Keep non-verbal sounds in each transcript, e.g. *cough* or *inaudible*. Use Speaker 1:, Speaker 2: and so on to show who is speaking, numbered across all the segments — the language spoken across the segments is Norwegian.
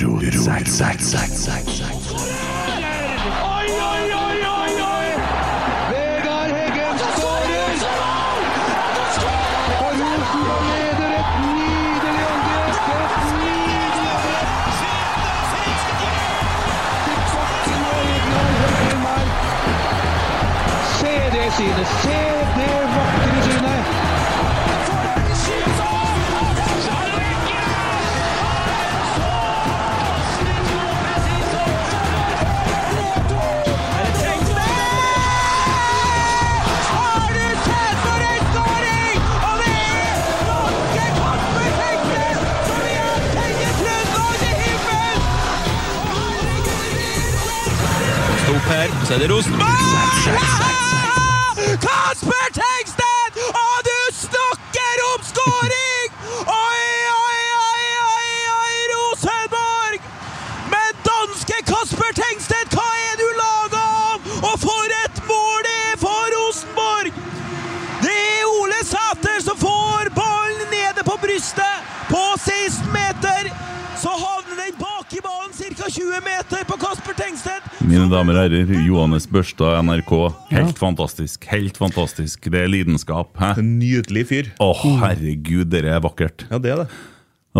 Speaker 1: Rotsekk, sekk, sekk, sekk, sekk.
Speaker 2: Oi, oi, oi, oi, oi!
Speaker 3: Vegard Heggen skårer! Og Rosenborg leder et nydelig angrep! Et nydelig angrep! Til bakken og Egnar Heggen her. Se det synet! Se det vakre synet!
Speaker 4: opp her, så er det Rosenborg! Kasper Tengstedt! Og du snakker om skåring! Oi, oi, oi, oi, oi, Rosenborg! Men danske Kasper Tengstedt, hva er du laga av? Og for et mål det er for Rosenborg! Det er Ole Sæter som får ballen nede på brystet på 16 meter. Så havner den bak i banen ca. 20 meter på Kasper Tengstedt.
Speaker 5: Mine damer og herrer, Johannes Børstad, NRK. Helt fantastisk. Helt fantastisk. Det er lidenskap. Hæ?
Speaker 6: En nydelig fyr.
Speaker 5: Å, herregud, det er vakkert.
Speaker 6: Mm. Ja, det er det.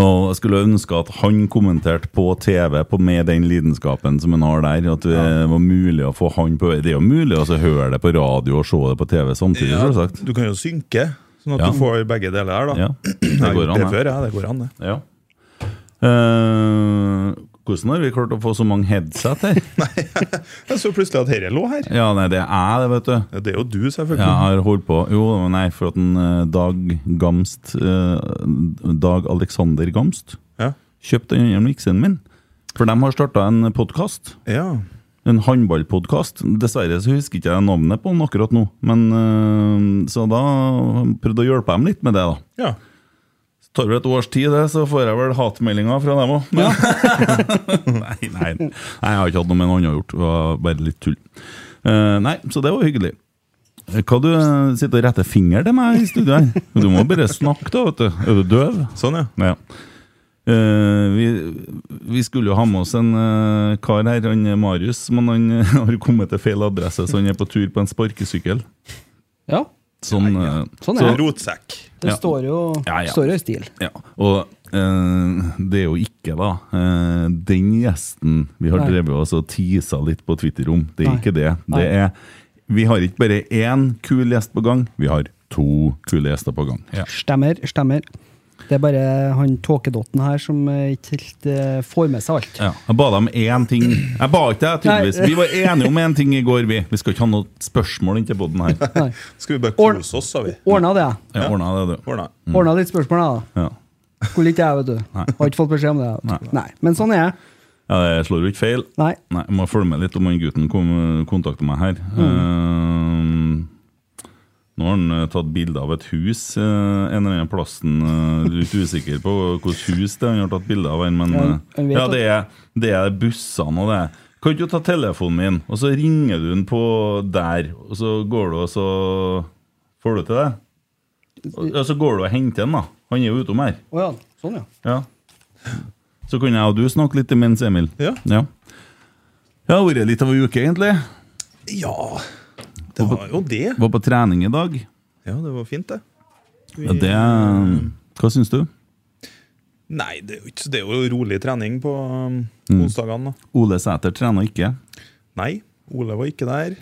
Speaker 5: Og jeg skulle ønske at han kommenterte på TV på med den lidenskapen som han har der. At det var mulig å få han på Det er jo mulig å så høre det på radio og se det på TV samtidig, selvsagt.
Speaker 6: Du kan jo synke, sånn at
Speaker 5: Ja.
Speaker 6: du får begge deler her, da.
Speaker 5: Ja, det går an,
Speaker 6: det.
Speaker 5: det.
Speaker 6: Før, ja, det går an, det.
Speaker 5: Ja. Eh, hvordan har vi klart å få så mange headset
Speaker 6: *laughs*
Speaker 5: her?
Speaker 6: Jeg så plutselig at herre lå her.
Speaker 5: Ja, nei, det er jeg, det, vet du.
Speaker 6: Ja, det er jo du, selvfølgelig. *laughs*
Speaker 5: Jeg har holdt på Jo, nei, for at en eh, Dag Gamst eh, Dag Alexander Gamst
Speaker 6: Ja.
Speaker 5: kjøpte den andre miksen min. For de har starta en podkast.
Speaker 6: ja.
Speaker 5: En håndballpodkast. Dessverre så husker ikke jeg navnet på den akkurat nå. Men, eh, så da prøvde jeg å hjelpe dem litt med det, da.
Speaker 6: ja.
Speaker 5: Det tar vel et års tid, det, så får jeg vel hatmeldinger fra dem òg. nei, *laughs* nei, nei, jeg har ikke hatt noe med noen annen å gjort. Det var bare litt tull. Eh, nei, så det var hyggelig. Hva du eh, sitter og retter finger til meg i studio her? Du må bare snakke, da. vet du. Er du døv?
Speaker 6: Sånn, ja.
Speaker 5: Ja. Eh, vi, vi skulle jo ha med oss en eh, kar her, han eh, Marius, men han eh, har kommet til feil adresse, så han er på tur på en sparkesykkel.
Speaker 7: Ja,
Speaker 5: Sånn, eh,
Speaker 7: sånn
Speaker 5: så-
Speaker 7: er det.
Speaker 6: Rotsekk.
Speaker 7: Det
Speaker 5: ja.
Speaker 7: står jo,
Speaker 5: Ja, ja.
Speaker 7: står jo i stil.
Speaker 5: Ja, og eh, det er jo ikke da eh, den gjesten vi har
Speaker 7: Nei.
Speaker 5: drevet oss og teasa litt på Twitter om. Det er
Speaker 7: Nei.
Speaker 5: ikke det.
Speaker 7: Nei.
Speaker 5: det er, vi har ikke bare én kul gjest på gang, vi har to kule gjester på gang.
Speaker 7: Stemmer, stemmer. Det er bare han tåkedotten her som eh, ikke helt eh, får med seg alt.
Speaker 5: Ja. Jeg ba dem én ting Jeg ba ikke deg, tydeligvis.
Speaker 7: Nei.
Speaker 5: Vi var enige om én ting i går, vi. Vi skal ikke ha noe spørsmål inntil poden her. *laughs*
Speaker 7: Nei.
Speaker 6: Skal vi bare
Speaker 7: Or-
Speaker 6: kose oss, sa vi.
Speaker 7: Ordna det.
Speaker 5: Jeg ordna det, du.
Speaker 6: Ordna.
Speaker 7: Ordna litt spørsmål, da.
Speaker 5: Ja.
Speaker 7: Skulle ikke jeg, vet du. Har ikke fått beskjed om det. vet du. Nei. Men sånn er jeg.
Speaker 5: ja, det slår jo ikke feil.
Speaker 7: Nei. Mm.
Speaker 5: Nei, jeg må følge med litt om han gutten kom, kontakter meg her. Eh, nå har han eh, tatt bilde av et hus eh, en eller annen plassen. eh, litt usikker på hvilket hus det er han har tatt bilde av. her, Men
Speaker 7: Ja,
Speaker 5: eh,
Speaker 7: jeg vet
Speaker 5: ja,
Speaker 7: at-
Speaker 5: det er, det er bussene og det. er- Kan ikke du ta telefonen min, og så ringer du den på der, og så går du og så Får du til det? Og, og så går du og henter den, da. Han er jo utom her.
Speaker 7: Å ja. Sånn, ja.
Speaker 5: Ja. Så kunne jeg og du snakke litt imens, Emil.
Speaker 6: Ja.
Speaker 5: Ja, ja det har vært litt av ei uke, egentlig.
Speaker 6: Ja, det var jo det.
Speaker 5: Var på trening i dag.
Speaker 6: Ja, det var fint, det.
Speaker 5: Ja, Det um, Hva syns du?
Speaker 6: Nei, det er jo, ikke, det er jo rolig trening på um,
Speaker 5: Mm.
Speaker 6: onsdagene. da.
Speaker 5: Ole Sæter trener ikke.
Speaker 6: Nei, Ole var ikke der.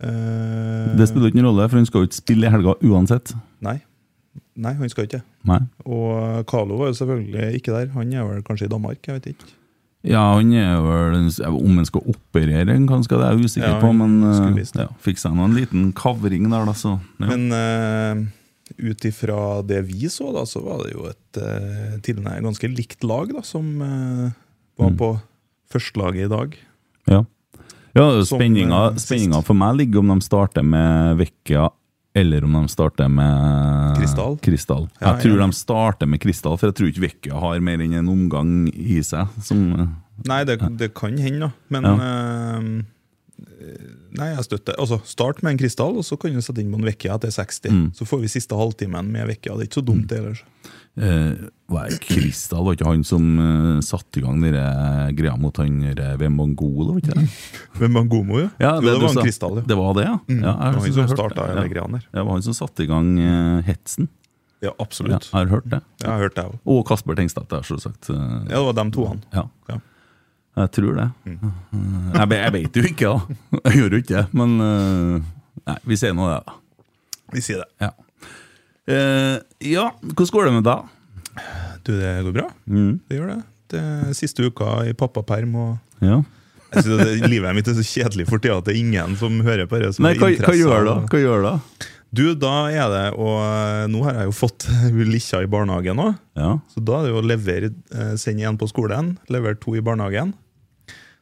Speaker 6: Eh,
Speaker 5: Det spiller ikke noen rolle, for han skal jo ikke spille i helga uansett.
Speaker 6: Nei. Nei, han skal ikke.
Speaker 5: Nei.
Speaker 6: Og Carlo var jo selvfølgelig ikke der. Han er vel kanskje i Danmark, jeg vet ikke.
Speaker 5: Ja, han er vel Om han skal operere, eller hva han skal, det er jeg usikker
Speaker 6: Ja,
Speaker 5: på, men
Speaker 6: skulle
Speaker 5: eh,
Speaker 6: visst det.
Speaker 5: ja, fikk seg nå en liten kavring der, da, så ja.
Speaker 6: Men uh, ut ifra det vi så, da, så var det jo et eh, tilnærmet ganske likt lag da, som eh, var
Speaker 5: Mm.
Speaker 6: på førstelaget i dag.
Speaker 5: ja. ja
Speaker 6: Som,
Speaker 5: spenninga,
Speaker 6: eh, sist.
Speaker 5: spenninga for meg ligger om de starter med Vecchia eller om de starter med
Speaker 6: Kristall.
Speaker 5: Kristall.
Speaker 6: Ja,
Speaker 5: jeg tror
Speaker 6: ja.
Speaker 5: de starter med Kristall, for jeg tror ikke Vecchia har mer enn en omgang i seg. Som, eh,
Speaker 6: Nei, det, det kan hende, da. Men eh, Nei, jeg støtter. Altså, Start med en
Speaker 5: Mm.
Speaker 6: krystall, og så kan du sette inn på en Vecchia etter 60. Så får vi siste halvtimen med Vecchia. Det er ikke så dumt, det ellers.
Speaker 5: eh, Hva er Kristal, var ikke han som eh, satte i gang dere greia mot han der ved Mongol? Var ikke det?
Speaker 6: Men Mangomo, *laughs* jo.
Speaker 5: Ja,
Speaker 6: jo, det
Speaker 5: du
Speaker 6: var
Speaker 5: sa.
Speaker 6: en krystall,
Speaker 5: Det
Speaker 6: jo.
Speaker 5: var det, ja? ja jeg
Speaker 6: det var
Speaker 5: har
Speaker 6: han
Speaker 5: hørt
Speaker 6: som starta hele
Speaker 5: ja.
Speaker 6: greia der.
Speaker 5: Det var han som satte i gang eh,
Speaker 6: Ja,
Speaker 5: hetsen. Ja,
Speaker 6: absolutt.
Speaker 5: jeg har hørt det.
Speaker 6: Jeg har hørt det òg.
Speaker 5: Og Kasper Tengstad, det er selvsagt. eh,
Speaker 6: Ja, det var dem to, han.
Speaker 5: Ja.
Speaker 6: Ja.
Speaker 5: Jeg tror det. Eh, Jeg, be- jeg vet jo ikke, da. Jeg gjør jo ikke det, men eh, Nei, vi sier nå det, da.
Speaker 6: Vi sier det.
Speaker 5: Ja. Eh, ja, hvordan går det med deg?
Speaker 6: Du, det går bra.
Speaker 5: Mm.
Speaker 6: Det gjør det. det er siste uka i pappaperm og
Speaker 5: Ja.
Speaker 6: Jeg synes at det- Livet mitt er så kjedelig for tida at det er ingen som hører på det. Som
Speaker 5: Nei,
Speaker 6: har
Speaker 5: hva, hva
Speaker 6: interesse
Speaker 5: gjør du da?
Speaker 6: av-
Speaker 5: Hva gjør du da?
Speaker 6: Du, da er det Og eh, nå har jeg jo fått *laughs* hun likkja i barnehagen òg.
Speaker 5: Ja.
Speaker 6: Så da er det jo å levere, eh, sende én på skolen, levere to i barnehagen.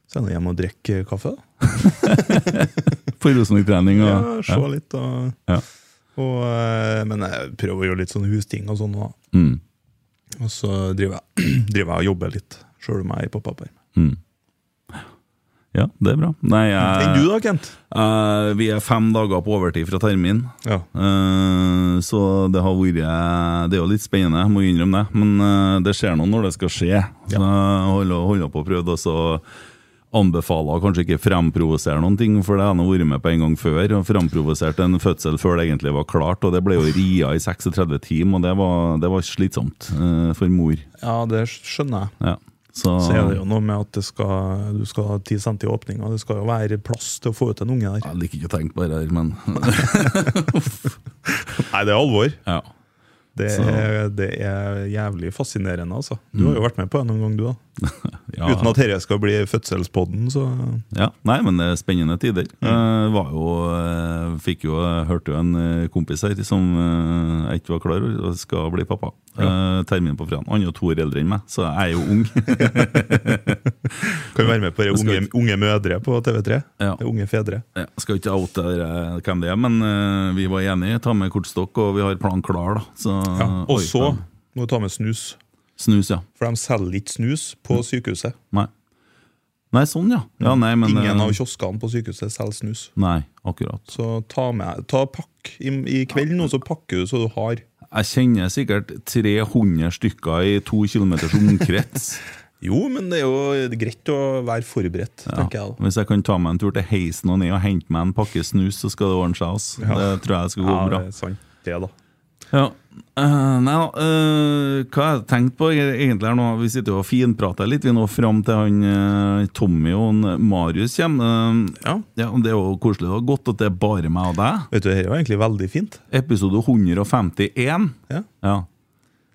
Speaker 6: Så er det hjem og drikke kaffe. da.
Speaker 5: For Rosenborg-trening sånn og
Speaker 6: Ja, se litt og,
Speaker 5: Ja.
Speaker 6: og eh, Men jeg prøver å gjøre litt sånne husting og sånn. Og,
Speaker 5: Mm.
Speaker 6: og så driver jeg, *clears throat* driver jeg og jobber litt, sjøl om jeg er i pappaperm.
Speaker 5: ja, det er bra. Nei,
Speaker 6: Enn
Speaker 5: jeg,
Speaker 6: du da, Kent?
Speaker 5: Eh, vi er fem dager på overtid fra termin.
Speaker 6: Ja.
Speaker 5: Eh, så det har vært eh, Det er jo litt spennende, jeg må innrømme det. Men eh, det skjer noe når det skal skje. Så jeg holder, holder på å prøve, og så anbefaler jeg å kanskje ikke fremprovosere noen ting, for det har jeg nå vært med på en gang før. Og fremprovoserte en fødsel før det egentlig var klart, og det ble jo ria i 36 timer, og det var, det var slitsomt eh, for mor.
Speaker 6: ja, det skjønner jeg.
Speaker 5: Ja. Så,
Speaker 6: Så er det jo noe med at det skal, du skal ha 10 cm i åpninga. Det skal jo være plass til å få ut en unge der.
Speaker 5: Jeg liker ikke å tenke på det der, men
Speaker 6: Nei, det er alvor.
Speaker 5: ja.
Speaker 6: Det er, det er jævlig fascinerende, altså. Du har jo vært med på det noen gang, du, da.
Speaker 5: Ja.
Speaker 6: Uten at dette skal bli fødselspodden, så
Speaker 5: Ja, nei, men det er spennende tider. Jeg var jo, eh, fikk jo, jeg hørte jo en eh, kompis her som eh, jeg ikke var klar over, og skal bli pappa. Eh, Termin på fredag. Han er jo to år eldre enn meg, så jeg er jo ung.
Speaker 6: kan vi være med på det
Speaker 5: skal
Speaker 6: unge, unge mødre på TV3.
Speaker 5: *laughs* Ja.
Speaker 6: Det er Unge fedre.
Speaker 5: Jeg skal ikke oute dere hvem det er, men eh, vi var enige. Ta med kortstokk, og vi har planen klar, da. Så,
Speaker 6: Ja. Og
Speaker 5: Oi,
Speaker 6: så
Speaker 5: ja.
Speaker 6: må du ta med snus,
Speaker 5: Snus, ja.
Speaker 6: for de selger ikke snus på sykehuset.
Speaker 5: Nei. Nei, sånn, ja. ja nei, men, eh,
Speaker 6: Ingen av kioskene på sykehuset selger snus.
Speaker 5: Nei, akkurat.
Speaker 6: Så ta med Ta pakk i, i kveld nå, så pakker du så du har.
Speaker 5: Jeg kjenner sikkert 300 stykker i to kilometers *laughs* omkrets.
Speaker 6: Jo, men det er jo greit å være forberedt, tenker jeg. da.
Speaker 5: Hvis jeg kan ta meg en tur til heisen og ned og hente meg en pakke snus, så skal det ordne seg. ass. Det tror jeg skal gå
Speaker 6: Ja,
Speaker 5: bra.
Speaker 6: det er sant, det, da.
Speaker 5: Ja. Eh, nei da, eh, hva har jeg tenkt på e- egentlig her nå? Vi sitter jo og finprater litt vi nå fram til han eh, Tommy og han Marius kommer. Eh,
Speaker 6: Ja.
Speaker 5: ja, og Det er jo koselig og godt at det er bare meg og deg.
Speaker 6: Vet du, Dette var egentlig veldig fint.
Speaker 5: Episode 151.
Speaker 6: Ja.
Speaker 5: Ja.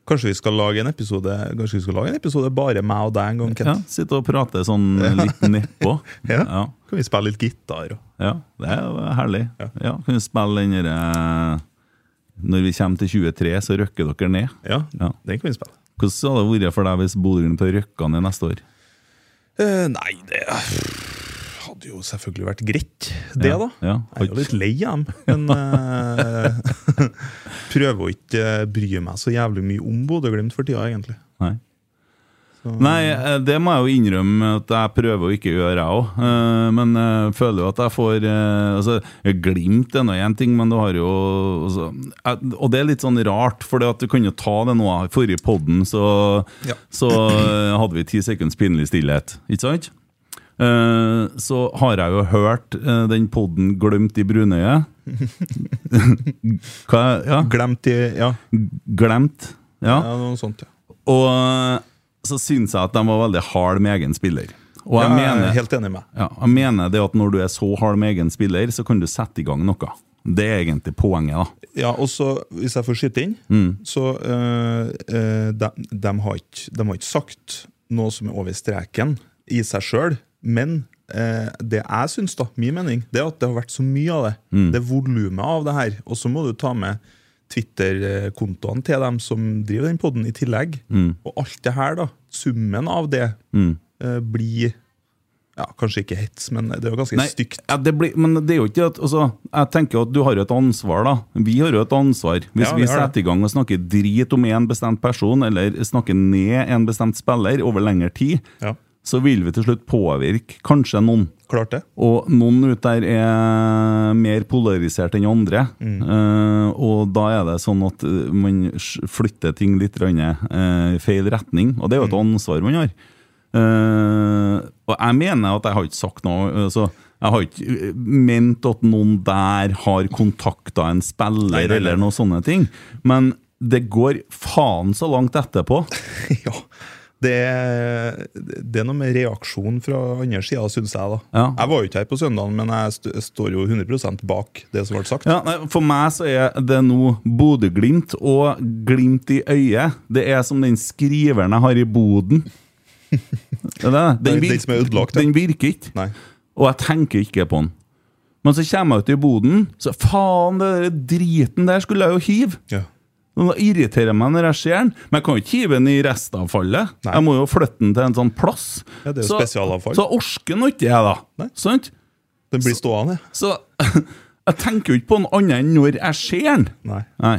Speaker 6: Kanskje vi skal lage en episode Kanskje vi skal lage en episode bare meg og deg en gang,
Speaker 5: ja.
Speaker 6: Kent?
Speaker 5: Sitter og prater sånn litt nedpå.
Speaker 6: *laughs* Ja.
Speaker 5: ja.
Speaker 6: Kan vi spille litt gitar? og-
Speaker 5: Ja, det er jo herlig. Ja, Kan du spille den derre eh, Når vi kommer til 23, så røkker dere ned.
Speaker 6: Ja,
Speaker 5: Ja.
Speaker 6: den kan vi spille.
Speaker 5: Hvordan hadde det vært for deg hvis Bodø-Glimt hadde røkka ned neste år?
Speaker 6: Eh, nei, det hadde jo selvfølgelig vært greit, det, da.
Speaker 5: Ja,
Speaker 6: Jeg er jo litt lei av dem, men eh, *laughs* prøver å ikke eh, bry meg så jævlig mye om Bodø-Glimt for tida, egentlig.
Speaker 5: Nei. Nei, eh, det må jeg jo innrømme at jeg prøver å ikke gjøre, jeg òg. Men jeg føler jo at jeg får eh, altså, Glimt er nå én ting, men du har jo altså, jeg- Og det er litt sånn rart, for du kan jo ta det nå. I forrige podden så,
Speaker 6: Ja.
Speaker 5: så eh, hadde vi ti sekunds pinlig stillhet, ikke sant? Eh, Så har jeg jo hørt eh, den podden 'Glemt i brunøyet'. *laughs* Hva? Ja,
Speaker 6: Glemt i Ja,
Speaker 5: glemt. Ja.
Speaker 6: ja noe sånt, ja.
Speaker 5: Og eh, så syns jeg at de var veldig hard med egen spiller. Og jeg,
Speaker 6: Jeg er
Speaker 5: mener,
Speaker 6: Helt enig med meg.
Speaker 5: ja, jeg mener det at når du er så hard med egen spiller, så kan du sette i gang noe. Det er egentlig poenget, da.
Speaker 6: Ja, og så, hvis jeg får skyte inn, så øh, øh, de, de, har ikke, de har ikke sagt noe som er over streken i seg sjøl, men øh, det jeg syns, da, min mening, det er at det har vært så mye av det. Det er volumet av det her. Og så må du ta med Twitter-kontoene til dem som driver den poden, i tillegg. Og alt det her, da, summen av det, øh, blir ja, Kanskje ikke hets, men det er jo ganske
Speaker 5: Nei,
Speaker 6: stygt.
Speaker 5: ja, det blir, men det er jo ikke at altså, Jeg tenker at du har jo et ansvar, da. Vi har jo et ansvar. Hvis
Speaker 6: Ja, vi
Speaker 5: vi
Speaker 6: har det.
Speaker 5: setter i gang og snakker drit om en bestemt person, eller snakker ned en bestemt spiller over lengre tid,
Speaker 6: Ja.
Speaker 5: så vil vi til slutt påvirke kanskje noen.
Speaker 6: Klart det.
Speaker 5: Og noen ut der er mer polarisert enn andre.
Speaker 6: Mm.
Speaker 5: Eh, og da er det sånn at eh, man s- flytter ting litt grann, eh, i feil retning. Og det er jo et
Speaker 6: Mm.
Speaker 5: ansvar man har. Eh, og jeg mener at jeg har ikke sagt noe altså, Jeg har ikke eh, ment at noen der har kontakta en spiller
Speaker 6: Nei, nei, nei.
Speaker 5: eller noen sånne ting. Men det går faen så langt etterpå.
Speaker 6: *laughs* ja. Det er, det er noe med reaksjonen fra andre sida, syns jeg. da.
Speaker 5: Ja.
Speaker 6: Jeg var jo ikke her på søndagen, men jeg st står jo 100 bak det som ble sagt.
Speaker 5: Ja, nei, for meg så er det nå Bodø-Glimt og glimt i øyet. Det er som den skriveren jeg har i boden. Det er det.
Speaker 6: Den- den som er ødelagt, ja.
Speaker 5: den virker ikke.
Speaker 6: Nei.
Speaker 5: Og jeg tenker ikke på den. Men så kommer jeg ut i boden, så faen, den der driten der skulle jeg jo hive.
Speaker 6: Ja.
Speaker 5: Og Det irriterer meg når jeg ser den, men jeg kan jo ikke hive den i restavfallet.
Speaker 6: Nei.
Speaker 5: Jeg må jo flytte den til en sånn plass.
Speaker 6: Ja, det er jo
Speaker 5: så,
Speaker 6: spesialavfall.
Speaker 5: Så orker nå ikke jeg, da.
Speaker 6: Nei.
Speaker 5: Sant?
Speaker 6: Den blir stående.
Speaker 5: Så *laughs* jeg tenker jo ikke på den annet enn når jeg ser den.
Speaker 6: Nei.
Speaker 5: Nei.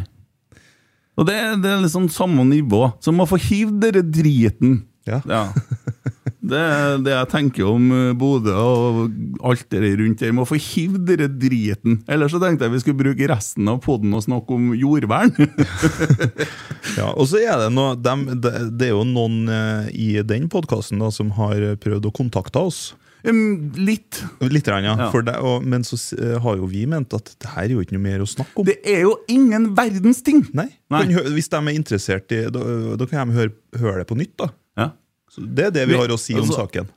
Speaker 5: Og det, det er liksom samme nivå. Så man får hive dere driten.
Speaker 6: Ja.
Speaker 5: Det er det jeg tenker om eh, Bodø og alt det der rundt der. Må få hive dere driten. Ellers så tenkte jeg vi skulle bruke resten av poden og snakke om jordvern. *laughs*
Speaker 6: Ja, og så er det noe dem, det, det er jo noen eh, i den podkasten som har prøvd å kontakte oss.
Speaker 5: Em, Litt.
Speaker 6: Litt, grann, ja.
Speaker 5: Ja.
Speaker 6: For det, og, men så s- eh, har jo vi ment at det her er jo ikke noe mer å snakke om.
Speaker 5: Det er jo ingen verdens ting!
Speaker 6: Nei.
Speaker 5: Nei.
Speaker 6: Kan hø- Hvis de er interessert i Da, da kan de høre, høre det på nytt, da.
Speaker 5: Ja.
Speaker 6: Så det er det vi
Speaker 5: Vi-
Speaker 6: har å si om
Speaker 5: altså-
Speaker 6: saken.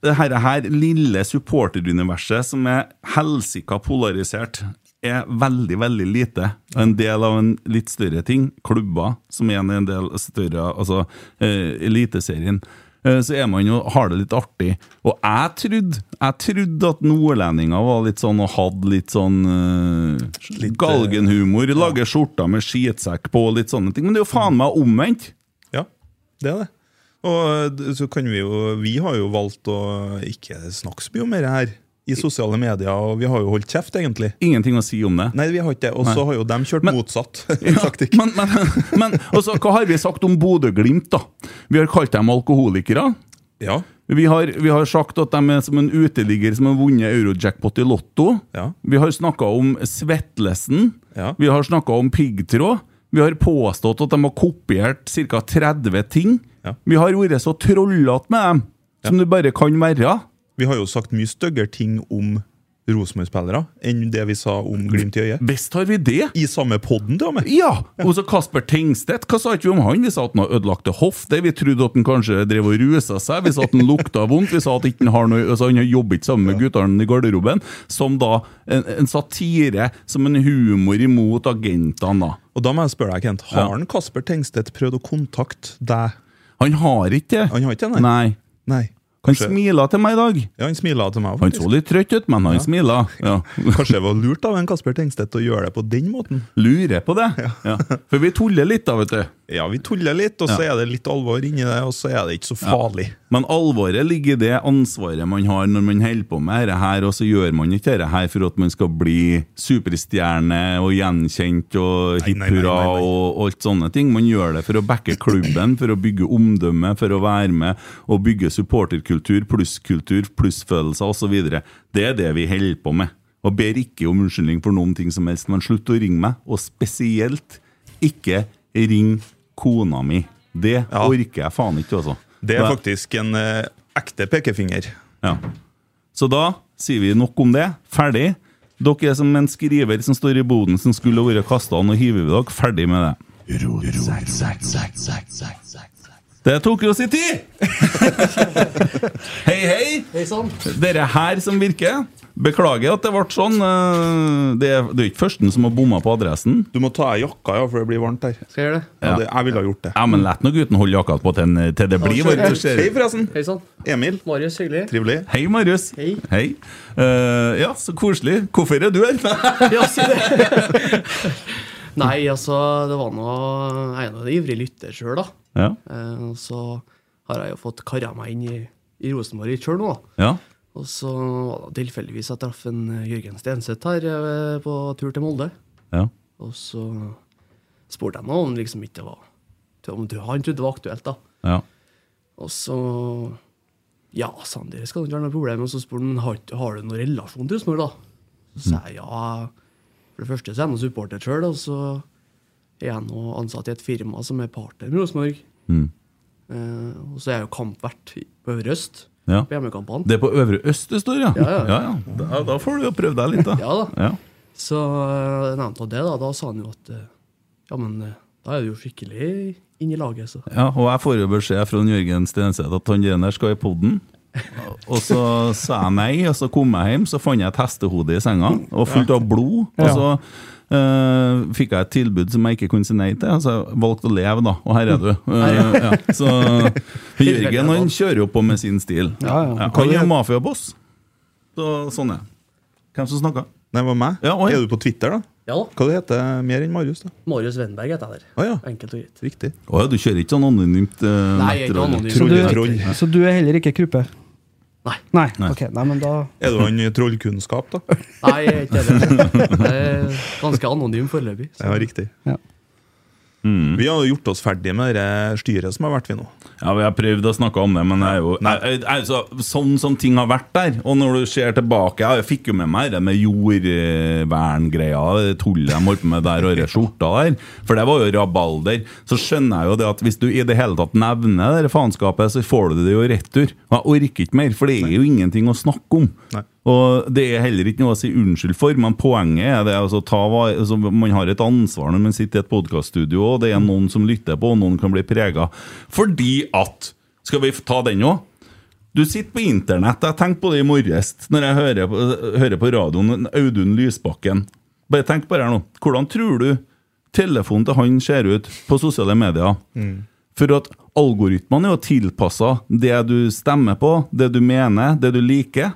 Speaker 5: det her, her lille supporteruniverset som er helsika polarisert, er veldig, veldig lite. En del av en litt større ting, klubber, som igjen er en del større, altså eh, eliteserien. Eh, Så er man jo, har det litt artig. Og jeg trodde, jeg trodde at nordlendinger var litt sånn og hadde litt sånn eh,
Speaker 6: Litt, eh,
Speaker 5: galgenhumor. Lager skjorter med skitsekk på og litt sånne ting. Men det er jo faen meg omvendt!
Speaker 6: Ja, det er det. Og eh, d- så kan vi jo Vi har jo valgt å ikke snakke så mye om det her i sosiale medier, og vi har jo holdt kjeft, egentlig.
Speaker 5: Ingenting å si om det.
Speaker 6: Nei, vi har ikke det. Og så har jo de kjørt
Speaker 5: Men-
Speaker 6: motsatt *laughs*
Speaker 5: *laughs* Ja,
Speaker 6: taktikk.
Speaker 5: men, men, *laughs* men altså, hva har vi sagt om Bodø-Glimt, da? Vi har kalt dem alkoholikere.
Speaker 6: Ja.
Speaker 5: Vi har, vi har sagt at de er som en uteligger som har vunnet euro-jackpot i Lotto.
Speaker 6: Ja.
Speaker 5: Vi har snakka om Svetlesen.
Speaker 6: Ja.
Speaker 5: Vi har snakka om piggtråd. Vi har påstått at de har kopiert ca. 30 ting.
Speaker 6: Ja.
Speaker 5: Vi har vært så trollete med dem som det bare kan være.
Speaker 6: Vi har jo sagt mye styggere ting om Rosenborg-spillere enn det vi sa om Glimt i øyet.
Speaker 5: Visst har vi det!
Speaker 6: I samme podden, til og med!
Speaker 5: Ja! Og så Kasper Tengstedt, hva sa ikke vi om han? Vi sa at han har ødelagte hofter, vi trodde at han kanskje drev og rusa seg, vi sa at han lukta vondt, vi sa at ikke han, har noe, altså han har jobbet sammen med guttene i garderoben. Som da en, en satire, som en humor imot agentene, da.
Speaker 6: Og da må jeg spørre deg, Kent, har
Speaker 5: Ja.
Speaker 6: han Kasper Tengstedt prøvd å kontakte deg?
Speaker 5: Han har ikke det.
Speaker 6: Han har ikke det, nei.
Speaker 5: nei.
Speaker 6: Nei.
Speaker 5: Han
Speaker 6: Kanskje-
Speaker 5: smila til meg i dag.
Speaker 6: Ja, han smiler til meg.
Speaker 5: Han så
Speaker 6: faktisk.
Speaker 5: litt trøtt ut, men han smila. Ja.
Speaker 6: Kanskje det var lurt av en Kasper Tengstedt å gjøre det på den måten?
Speaker 5: Lurer på det. Ja. For vi tuller litt, da, vet du.
Speaker 6: Ja, vi tuller litt, og så er det litt alvor inni det, og så er det ikke så farlig.
Speaker 5: Men alvoret ligger i det ansvaret man har når man holder på med dette, her, og så gjør man ikke dette her for at man skal bli superstjerne og gjenkjent og
Speaker 6: Nei,
Speaker 5: hipp
Speaker 6: nei, nei,
Speaker 5: hurra
Speaker 6: nei, nei.
Speaker 5: og alt sånne ting. Man gjør det for å backe klubben, for å bygge omdømme, for å være med og bygge supporterkultur, plusskultur, plussfølelser osv. Det er det vi holder på med. Og ber ikke om unnskyldning for noen ting som helst, men slutt å ringe meg, og spesielt ikke ring kona mi. Det
Speaker 6: Ja.
Speaker 5: orker jeg faen ikke, altså.
Speaker 6: Det er
Speaker 5: Nei.
Speaker 6: faktisk en eh, ekte pekefinger.
Speaker 5: Ja. Så da sier vi nok om det. Ferdig. Dere er som en skriver som står i boden som skulle vært kasta, nå hiver vi dere. Ferdig med det. Det tok jo sin tid! *laughs* hei, hei!
Speaker 7: Hei sann!
Speaker 5: Dere her som virker. Beklager at det ble sånn. eh, Det er, det er ikke førsten som har bomma på adressen.
Speaker 6: Du må ta av jakka, ja, for det blir varmt her.
Speaker 8: Skal jeg gjøre det?
Speaker 6: Ja. det, jeg ville ha gjort det.
Speaker 5: Ja, men La nå gutten holde jakka på til, den- til det blir varmt.
Speaker 6: Hei, forresten.
Speaker 8: Hei sann.
Speaker 6: Emil.
Speaker 8: Marius, hyggelig.
Speaker 6: Trivelig.
Speaker 5: Hei, Marius.
Speaker 8: Hei.
Speaker 5: Eh, ja, så koselig. Hvorfor er du her? *laughs*
Speaker 8: Ja, si det. *laughs* Nei, altså, det var nå Jeg er nå en ivrig lytter sjøl, da.
Speaker 5: ja.
Speaker 8: Eh, og så har jeg jo fått kara meg inn i, i Rosenborg sjøl nå, da.
Speaker 5: ja.
Speaker 8: Og så var det tilfeldigvis jeg traff en eh, Jørgen Stenseth her eh, på tur til Molde.
Speaker 5: Ja.
Speaker 8: Og så spurte jeg nå om liksom ikke det var Om han trodde det var aktuelt, da.
Speaker 5: Ja.
Speaker 8: Og så Ja, sa han, det skal ikke være noe problem. Og så spurte han har, ikke- har du noen relasjon til Rosenborg, da. Så sa jeg ja. For det første så er jeg noen supporter sjøl, og så er jeg nå ansatt i et firma som er partner med Rosenborg.
Speaker 5: Mm.
Speaker 8: Eh, og så er jeg jo kampvert i- på Øvre Øst
Speaker 5: Ja.
Speaker 8: på hjemmekampene.
Speaker 5: Det er på Øvre Øst det står, ja?
Speaker 8: Ja, ja.
Speaker 5: Da, da får du jo prøve deg litt, da.
Speaker 8: Ja da.
Speaker 5: Ja.
Speaker 8: Så eh, nevnte han det, da. Da sa han jo at eh, ja, men eh, da er du jo skikkelig inn i laget, så.
Speaker 5: Ja, og jeg får jo beskjed fra Jørgen Stenseth at han der skal i poden. Og så sa jeg nei, og så kom jeg hjem, så fant jeg et hestehode i senga, og fullt av blod. Og så eh, fikk jeg et tilbud som jeg ikke kunne si nei til, og så jeg valgte å leve, da. Og her er du. Eh, ja. Så Jørgen han kjører jo på med sin stil.
Speaker 7: Ja, ja.
Speaker 5: Han er mafiaboss. Så, sånn er det. Hvem som snakka?
Speaker 6: Nei, det var meg.
Speaker 5: Ja, oi.
Speaker 6: Er du på Twitter, da?
Speaker 8: Ja da.
Speaker 6: Hva det heter det mer enn Marius? da?
Speaker 8: Marius Wenberg heter jeg der.
Speaker 6: Å ja,
Speaker 8: Enkelt og greit.
Speaker 6: riktig.
Speaker 5: Å ja, du kjører ikke sånn anonymt? eh,
Speaker 8: Nei, jeg er ikke
Speaker 5: nettroll.
Speaker 8: anonym.
Speaker 7: Så du,
Speaker 6: Trolletroll.
Speaker 7: så du er heller ikke Kruppe?
Speaker 8: Nei.
Speaker 7: Nei.
Speaker 5: Nei.
Speaker 7: Ok, nei, men da
Speaker 6: Er du han i trollkunnskap,
Speaker 5: *laughs*
Speaker 6: da?
Speaker 8: Nei, jeg er ikke det. Jeg er ganske anonym foreløpig. så-
Speaker 6: Ja, riktig.
Speaker 7: Ja.
Speaker 6: Vi har jo gjort oss ferdig med det eh, styret som har vært, vi nå.
Speaker 5: Ja, vi har prøvd å snakke om det, men jeg er jo jeg, jeg, altså, Sånn som ting har vært der, og når du ser tilbake Jeg fikk jo med meg det med jordverngreia, det tullet de holdt på med der, og det skjorta der, for det var jo rabalder. Så skjønner jeg jo det at hvis du i det hele tatt nevner det der faenskapet, så får du det jo i retur. Og Jeg orker ikke mer, for det er jo ingenting å snakke om.
Speaker 6: Nei.
Speaker 5: Og det er heller ikke noe å si unnskyld for, men poenget er det altså, ta, va- altså, man har et ansvar når man sitter i et podkaststudio, og det er noen som lytter på, og noen kan bli prega. Fordi at Skal vi ta den òg? Du sitter på internett. Jeg tenkte på det i morges når jeg hører på, hører på radioen Audun Lysbakken. Bare tenk på det her nå. Hvordan tror du telefonen til han ser ut på sosiale medier? For at algoritmene er jo tilpassa det du stemmer på, det du mener, det du liker.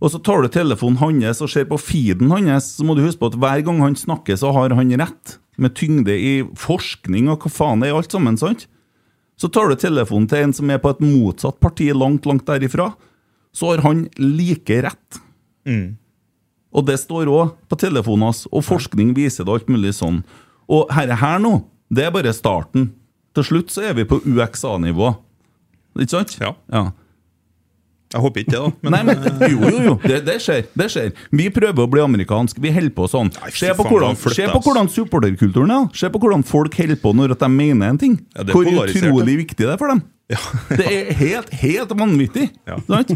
Speaker 5: Og så tar du telefonen hans og ser på feeden hans, så må du huske på at hver gang han snakker, så har han rett. Med tyngde i forskning og hva faen det er, alt sammen, sant? Så tar du telefonen til en som er på et motsatt parti langt, langt derifra, så har han like rett. Og det står òg på telefonen hans, og forskning viser det alt mulig sånn. Og herre her nå, det er bare starten. Til slutt så er vi på UXA-nivå. Ikke sant?
Speaker 6: Ja.
Speaker 5: ja.
Speaker 6: Jeg håper ikke det, da. Men, *laughs*
Speaker 5: Nei, men eh, Jo, jo, jo. Det, det skjer. det skjer Vi prøver å bli amerikansk. Vi holder på sånn.
Speaker 6: Nei, fy
Speaker 5: Se på
Speaker 6: faen, det
Speaker 5: hvordan,
Speaker 6: er flytt,
Speaker 5: se på
Speaker 6: ass.
Speaker 5: hvordan supporterkulturen er. da. Se på hvordan folk holder på når at de mener en ting.
Speaker 6: Ja, det er
Speaker 5: Hvor
Speaker 6: polarisert,
Speaker 5: utrolig
Speaker 6: da.
Speaker 5: viktig det er for dem. Det er helt, helt vanvittig.
Speaker 6: Ja.
Speaker 5: Sant?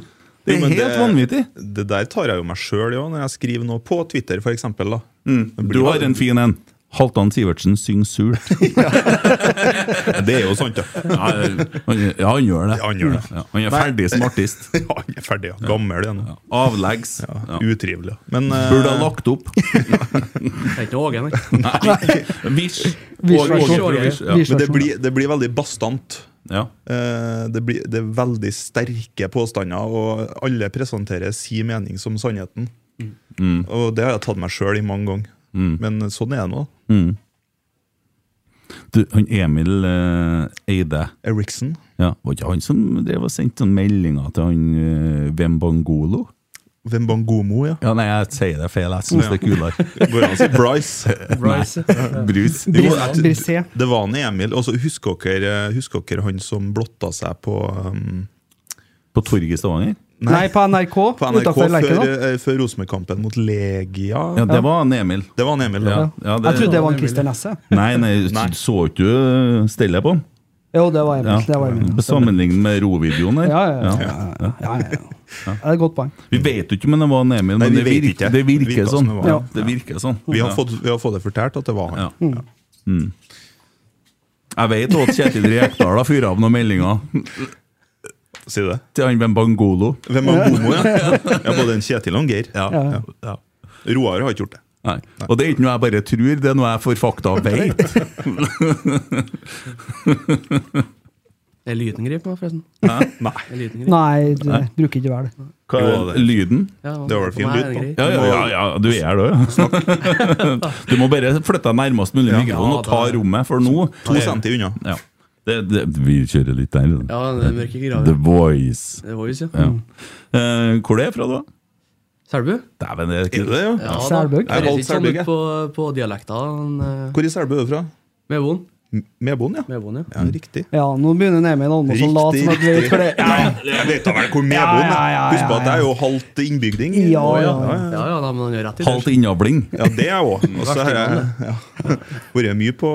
Speaker 6: *laughs* Jo,
Speaker 5: Det er
Speaker 6: men
Speaker 5: helt vanvittig.
Speaker 6: Det der tar jeg jo meg sjøl i òg, når jeg skriver noe på Twitter, for eksempel, da. Det
Speaker 5: Du
Speaker 6: blir
Speaker 5: har
Speaker 6: da-
Speaker 5: en fin en. Halvdan Sivertsen synger surt.
Speaker 6: Det er jo sant, *laughs* ja.
Speaker 5: Ja, han, ja, han gjør det.
Speaker 6: Ja, han gjør det.
Speaker 5: Ja, han er ferdig som artist.
Speaker 6: Ja, Han er ferdig, ja. Gammel igjen. *laughs* Ja.
Speaker 5: Avleggs.
Speaker 6: Ja.
Speaker 5: Ja.
Speaker 6: Utrivelig. ja. Men eh,
Speaker 5: Burde ha lagt
Speaker 6: *laughs*
Speaker 5: opp.
Speaker 8: Jeg er ikke noe Åge, nei.
Speaker 5: Nei. *laughs* Vish.
Speaker 7: Vish,
Speaker 5: Og-
Speaker 7: versjon.
Speaker 5: og- vish, ja.
Speaker 7: Vish.
Speaker 6: men det, blir, det blir veldig bastant.
Speaker 5: Ja.
Speaker 6: Eh, Det, blir, det er veldig sterke påstander, og alle presenterer sin mening som sannheten.
Speaker 5: Mm.
Speaker 6: Og det har jeg tatt meg sjøl i mange ganger. Men sånn er det nå.
Speaker 5: Mm. Du, han Emil eh, Eide
Speaker 6: Eriksen.
Speaker 5: Ja, Var ikke han som drev og sendte sånne meldinger til han eh, Vembangolo?
Speaker 6: Wembangomo, ja.
Speaker 5: Ja, nei, jeg sier det feil. Jeg syns det er kulere.
Speaker 6: Går det an å si Bryce?
Speaker 5: *laughs*
Speaker 8: Bryce.
Speaker 5: Brus.
Speaker 6: Jo,
Speaker 7: Bris-
Speaker 6: jeg-
Speaker 7: Brisé.
Speaker 6: Det var han Emil. Og så husker dere, husker dere han som blotta seg på, um,
Speaker 5: På torget i Stavanger?
Speaker 7: Nei, på NRK.
Speaker 6: på NRK
Speaker 7: utenfor
Speaker 6: før,
Speaker 7: Lerkendal.
Speaker 6: eh, før Rosenborg-kampen mot Legia?
Speaker 5: Ja, det var han Emil.
Speaker 6: Det var han Emil, da.
Speaker 5: Ja, ja,
Speaker 7: Jeg trodde det var en Christer Nesse.
Speaker 5: Nei, nei, så ikke du stellet på han?
Speaker 7: Jo, det var
Speaker 5: Ja. sånn.
Speaker 7: Emil. Det var Emil.
Speaker 5: Sammenlignet med rovideoen der.
Speaker 7: Ja, ja, ja. ja, ja, ja, ja. Ja, Det er et godt poeng.
Speaker 5: Vi vet jo ikke om det var han Emil,
Speaker 6: Nei,
Speaker 5: men
Speaker 6: vi
Speaker 5: det
Speaker 6: vet
Speaker 5: virker,
Speaker 6: ikke.
Speaker 5: det
Speaker 6: Det
Speaker 5: virker
Speaker 6: virker
Speaker 5: sånn.
Speaker 6: som det var.
Speaker 5: Ja,
Speaker 7: Ja.
Speaker 5: det virker sånn.
Speaker 6: Vi, har
Speaker 5: Ja.
Speaker 6: fått, vi har fått det fortalt at det var han.
Speaker 5: Ja. Mm. Jeg vet også at Kjetil Rekdal har fyrt av noen meldinger
Speaker 6: Si det.
Speaker 5: til han Vembangolo.
Speaker 6: Wembangomo,
Speaker 7: *laughs*
Speaker 6: ja. ja. Både en Kjetil og en Geir.
Speaker 5: Ja. Ja.
Speaker 6: Roar har ikke gjort det.
Speaker 5: Nei. Og det er ikke noe jeg bare tror, det er noe jeg for fakta vet.
Speaker 8: Er lyden grip nå, forresten?
Speaker 6: Nei.
Speaker 8: Er lyden grip?
Speaker 7: Nei, du bruker ikke vel det.
Speaker 5: Hva
Speaker 6: Jo,
Speaker 5: er
Speaker 6: det-
Speaker 5: lyden?
Speaker 8: Ja,
Speaker 6: Det var vel fin
Speaker 8: for meg
Speaker 6: lyd
Speaker 8: er
Speaker 6: på.
Speaker 8: det greit.
Speaker 5: Ja, ja, ja, ja, du er det, ja. Du må bare flytte deg nærmest mulig mikrofonen og ta
Speaker 8: Ja, da-
Speaker 5: rommet, for nå
Speaker 6: To centi unna.
Speaker 5: Ja. Det, det, vi kjører litt der. da.
Speaker 8: Ja, det er mørke
Speaker 5: The
Speaker 8: graver.
Speaker 5: Voice.
Speaker 8: Det var jo ja.
Speaker 5: Ja. Eh, hvor det er fra, da?
Speaker 8: Selbu?
Speaker 5: Dæven, det er
Speaker 6: Er
Speaker 5: ikke
Speaker 6: det det, ja?
Speaker 8: Ja, da.
Speaker 7: Selbugg?
Speaker 8: Jeg
Speaker 6: Jeg valgte
Speaker 8: er ikke sånn
Speaker 6: Selbugg,
Speaker 8: ut
Speaker 6: jeg.
Speaker 8: på, på dialekten eh,
Speaker 6: Hvor i Selbu er du fra?
Speaker 8: med von.
Speaker 6: M- Medboen, ja.
Speaker 8: Medboen, ja.
Speaker 6: Ja, Riktig.
Speaker 7: Ja, nå begynner Emil Almås å late som at vi vet for det.
Speaker 6: Ja, jeg vet da vel hvor
Speaker 7: Ja, ja,
Speaker 6: medboen er.
Speaker 7: ja, ja,
Speaker 6: Husk på at jeg er jo halvt innbygding.
Speaker 7: Ja, ja, ja.
Speaker 8: Ja, ja, nei, men han gjør rett i det.
Speaker 5: Halvt innavling.
Speaker 6: Ja, det er jeg òg. *laughs* Og så har jeg ja, vært mye på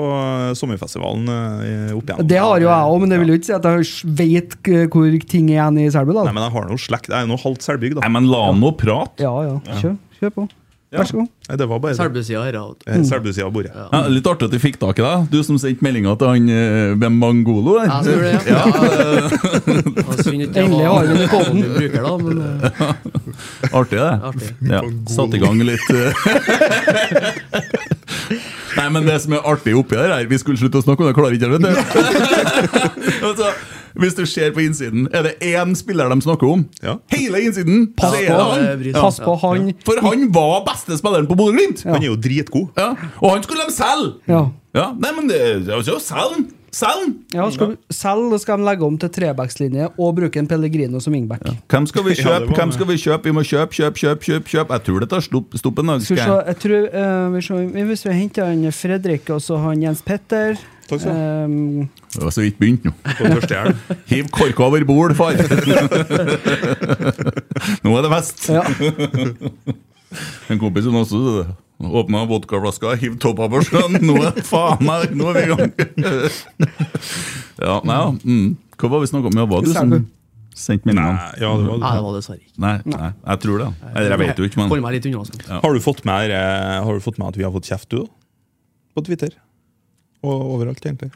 Speaker 6: sommerfestivalen eh, opp igjennom.
Speaker 7: Det har jo jeg òg, men det vil jo ikke si at jeg vet k- hvor ting er igjen i Selbu.
Speaker 6: Nei,
Speaker 7: da.
Speaker 6: men jeg har noe slekt. Jeg er nå halvt selbygg, da.
Speaker 5: Nei, men la nå prate!
Speaker 7: Ja, ja. Kjør, kjør på. Vær så god.
Speaker 6: Nei, det var bare det.
Speaker 8: Selbusida her, ja.
Speaker 6: Eh, Selbusida av bordet.
Speaker 5: Ja, litt artig at de fikk tak i deg, du som sendte meldinga til han eh, med Mangolo der.
Speaker 8: Jeg tror det, ja. Det var synd ikke jeg
Speaker 7: Endelig
Speaker 8: var-
Speaker 7: har vi den koden.
Speaker 8: vanlig bruker, da, men eh,
Speaker 5: Artig, det.
Speaker 8: artig.
Speaker 5: Ja, Satt i gang litt eh. *laughs* Nei, men det som er artig oppi her, er vi skulle slutte å snakke om det, klarer ikke det, vet du. altså, hvis du ser på innsiden, er det én spiller de snakker om?
Speaker 6: Ja.
Speaker 5: Hele innsiden!
Speaker 7: Pass
Speaker 5: så
Speaker 7: på
Speaker 5: er det
Speaker 8: Ja, det
Speaker 7: han!
Speaker 8: bryr seg.
Speaker 7: Pass på han!
Speaker 5: For han var beste spilleren på Bodø-Glimt!
Speaker 6: Han er jo dritgod.
Speaker 5: Ja. Og han skulle de selge!
Speaker 7: Ja.
Speaker 5: Ja. Nei, men det det er jo selg den! Selg den!
Speaker 7: Ja, skal, vi- selv da skal de legge om til trebackslinje og bruke en Pellegrino som wingback.
Speaker 5: Hvem skal
Speaker 6: *laughs*
Speaker 5: vi
Speaker 6: Ja, det
Speaker 5: kjøpe?
Speaker 6: var
Speaker 5: Hvem
Speaker 6: det.
Speaker 5: skal vi kjøpe? Vi må kjøpe, kjøpe, kjøpe. kjøpe, kjøpe. Jeg tror det tar stopp, stopp en dag.
Speaker 7: Skal vi se,
Speaker 5: jeg.
Speaker 7: jeg tror eh, vi ser, vi- Hvis vi henter han Fredrik og så han Jens Petter
Speaker 6: Takk skal du ha.
Speaker 7: ehm,
Speaker 5: Det var så vidt begynt nå.
Speaker 6: På første hjelm.
Speaker 5: Hiv korka over bord, far! *laughs* Nå er det fest!
Speaker 7: *laughs* ja.
Speaker 5: En kompis som også åpna vodkaflaska, hiv toppa på sjøen. Nå er faen meg Nå er vi i gang! *laughs* Ja, nei ja. Mm. Hva var vi snakka om? Ja, var du som
Speaker 7: Selbu.
Speaker 5: sendte meldinga?
Speaker 6: Nei, Ja, det var
Speaker 8: Nei,
Speaker 6: det.
Speaker 8: det var dessverre ikke.
Speaker 5: Nei, nei, jeg tror det. Eller jeg vet jo ikke,
Speaker 8: Holder
Speaker 5: men
Speaker 8: meg litt unna. Sånn.
Speaker 6: Har du fått med, eh, har du fått med at vi har fått kjeft, du, da? På Twitter. Og overalt, egentlig.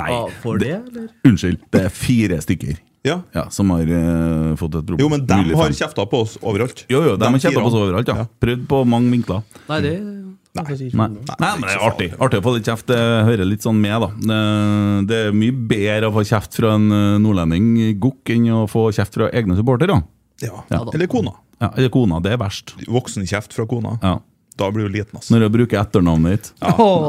Speaker 5: Nei.
Speaker 6: Ah,
Speaker 8: Ja, for det, eller?
Speaker 5: Unnskyld. Det er fire stykker
Speaker 6: Ja.
Speaker 5: ja, som har eh, fått et problem.
Speaker 6: Jo, men
Speaker 5: Mulig
Speaker 6: dem har
Speaker 5: fem.
Speaker 6: kjefta på oss overalt.
Speaker 5: Jo, jo, de har kjefta
Speaker 6: fire.
Speaker 5: på oss overalt, ja.
Speaker 6: Ja.
Speaker 5: Prøvd på mange vinkler.
Speaker 8: Nei, det
Speaker 5: Nei. Nei, men det er artig. Artig å få litt kjeft. Det hører litt sånn med, da. Eh, Det er mye bedre å få kjeft fra en eh, nordlending gokk enn å få kjeft fra egne supportere.
Speaker 6: Ja.
Speaker 5: Ja.
Speaker 6: Eller kona.
Speaker 5: Ja, eller kona. Det er verst.
Speaker 6: Voksenkjeft fra kona.
Speaker 5: Ja.
Speaker 6: Da blir du liten, ass.
Speaker 5: Når jeg bruker etternavnet ditt.
Speaker 7: Åh,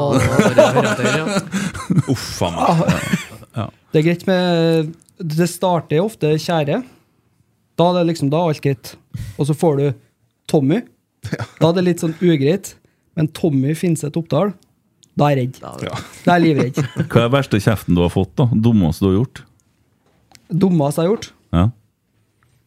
Speaker 6: Uff faen meg.
Speaker 7: Det er greit med Det starter jo ofte kjære. Da er det liksom, da er alt greit. Og så får du Tommy. Da er det litt sånn ugreit. Men Tommy Finseth Oppdal, da er jeg redd.
Speaker 8: Ja.
Speaker 7: Da er jeg livredd.
Speaker 5: Hva er verste kjeften du har fått, da? Dummeste du har gjort?
Speaker 7: Dummeste jeg har gjort?
Speaker 5: Ja.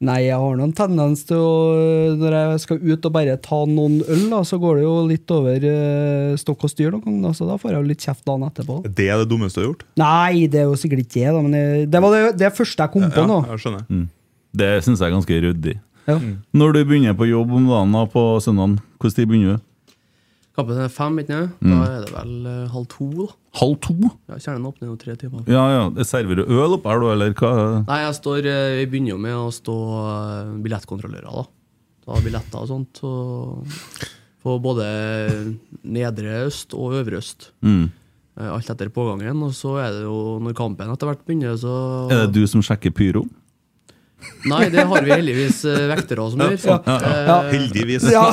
Speaker 7: Nei, jeg har noen tendens til å Når jeg skal ut og bare ta noen øl, da, så går det jo litt over eh, stokk og styr noen ganger, da, så da får jeg jo litt kjeft dagen etterpå.
Speaker 6: Det er det dummeste du har gjort?
Speaker 7: Nei, det er jo sikkert ikke det, da, men jeg, det var det, det første jeg kom på nå.
Speaker 6: jeg skjønner.
Speaker 5: Mm. Det syns jeg er ganske ryddig.
Speaker 7: Ja.
Speaker 5: Når du begynner på jobb om dagen da, på søndagen, hvordan tid begynner du?
Speaker 8: Kampen er fem, ikke sant?
Speaker 5: Mm.
Speaker 8: Da er det vel eh, halv to, da.
Speaker 5: Halv to?
Speaker 8: Ja, Kjernen åpner jo tre timer.
Speaker 5: Ja ja. Serverer du øl oppe her, da, eller hva?
Speaker 8: Nei, jeg, står, eh, jeg begynner jo med å stå eh, billettkontrollører, da. Ta billetter og sånt. Og på både nedre øst og øvre øst.
Speaker 5: Mm.
Speaker 8: Eh, Alt etter pågangen. Og så er det jo når kampen etter hvert begynner, så
Speaker 5: Er det du som sjekker pyro?
Speaker 8: Nei, det har vi heldigvis eh, vektere som gjør. Eh,
Speaker 6: Heldigvis.
Speaker 7: Ja,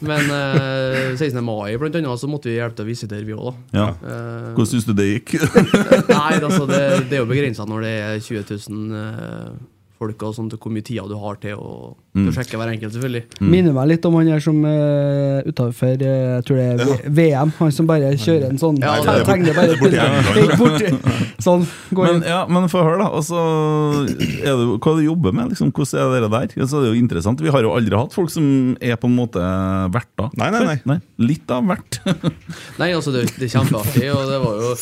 Speaker 8: Men eh, 16. mai blant annet, så måtte vi hjelpe til å visitere, vi òg, da.
Speaker 5: Ja.
Speaker 8: Eh,
Speaker 5: Hvordan syns du det *laughs* gikk?
Speaker 8: Nei, altså, det, det er jo begrensa når det er 20 000 eh, folk og sånt, hvor mye tida du har til å
Speaker 5: Mm.
Speaker 8: til å sjekke hver enkelt, selvfølgelig.
Speaker 7: Minner meg litt om han der som uh, utafor Jeg tror det er V- VM. Han som bare kjører en sånn
Speaker 8: Ja,
Speaker 7: teg-
Speaker 8: det er
Speaker 6: bort-
Speaker 7: tegner bare
Speaker 6: det er borti
Speaker 7: *laughs* Helt borti. Sånn. Går
Speaker 5: Men,
Speaker 7: inn.
Speaker 5: ja, men få høre, da. Altså, er det, hva du jobber med? Liksom, hvordan er det der? Altså, det er jo interessant. Vi har jo aldri hatt folk som er på en måte verter.
Speaker 6: Nei, nei, nei.
Speaker 5: litt av hvert. *laughs*
Speaker 8: Nei, altså, det, det er kjempeartig, og det var jo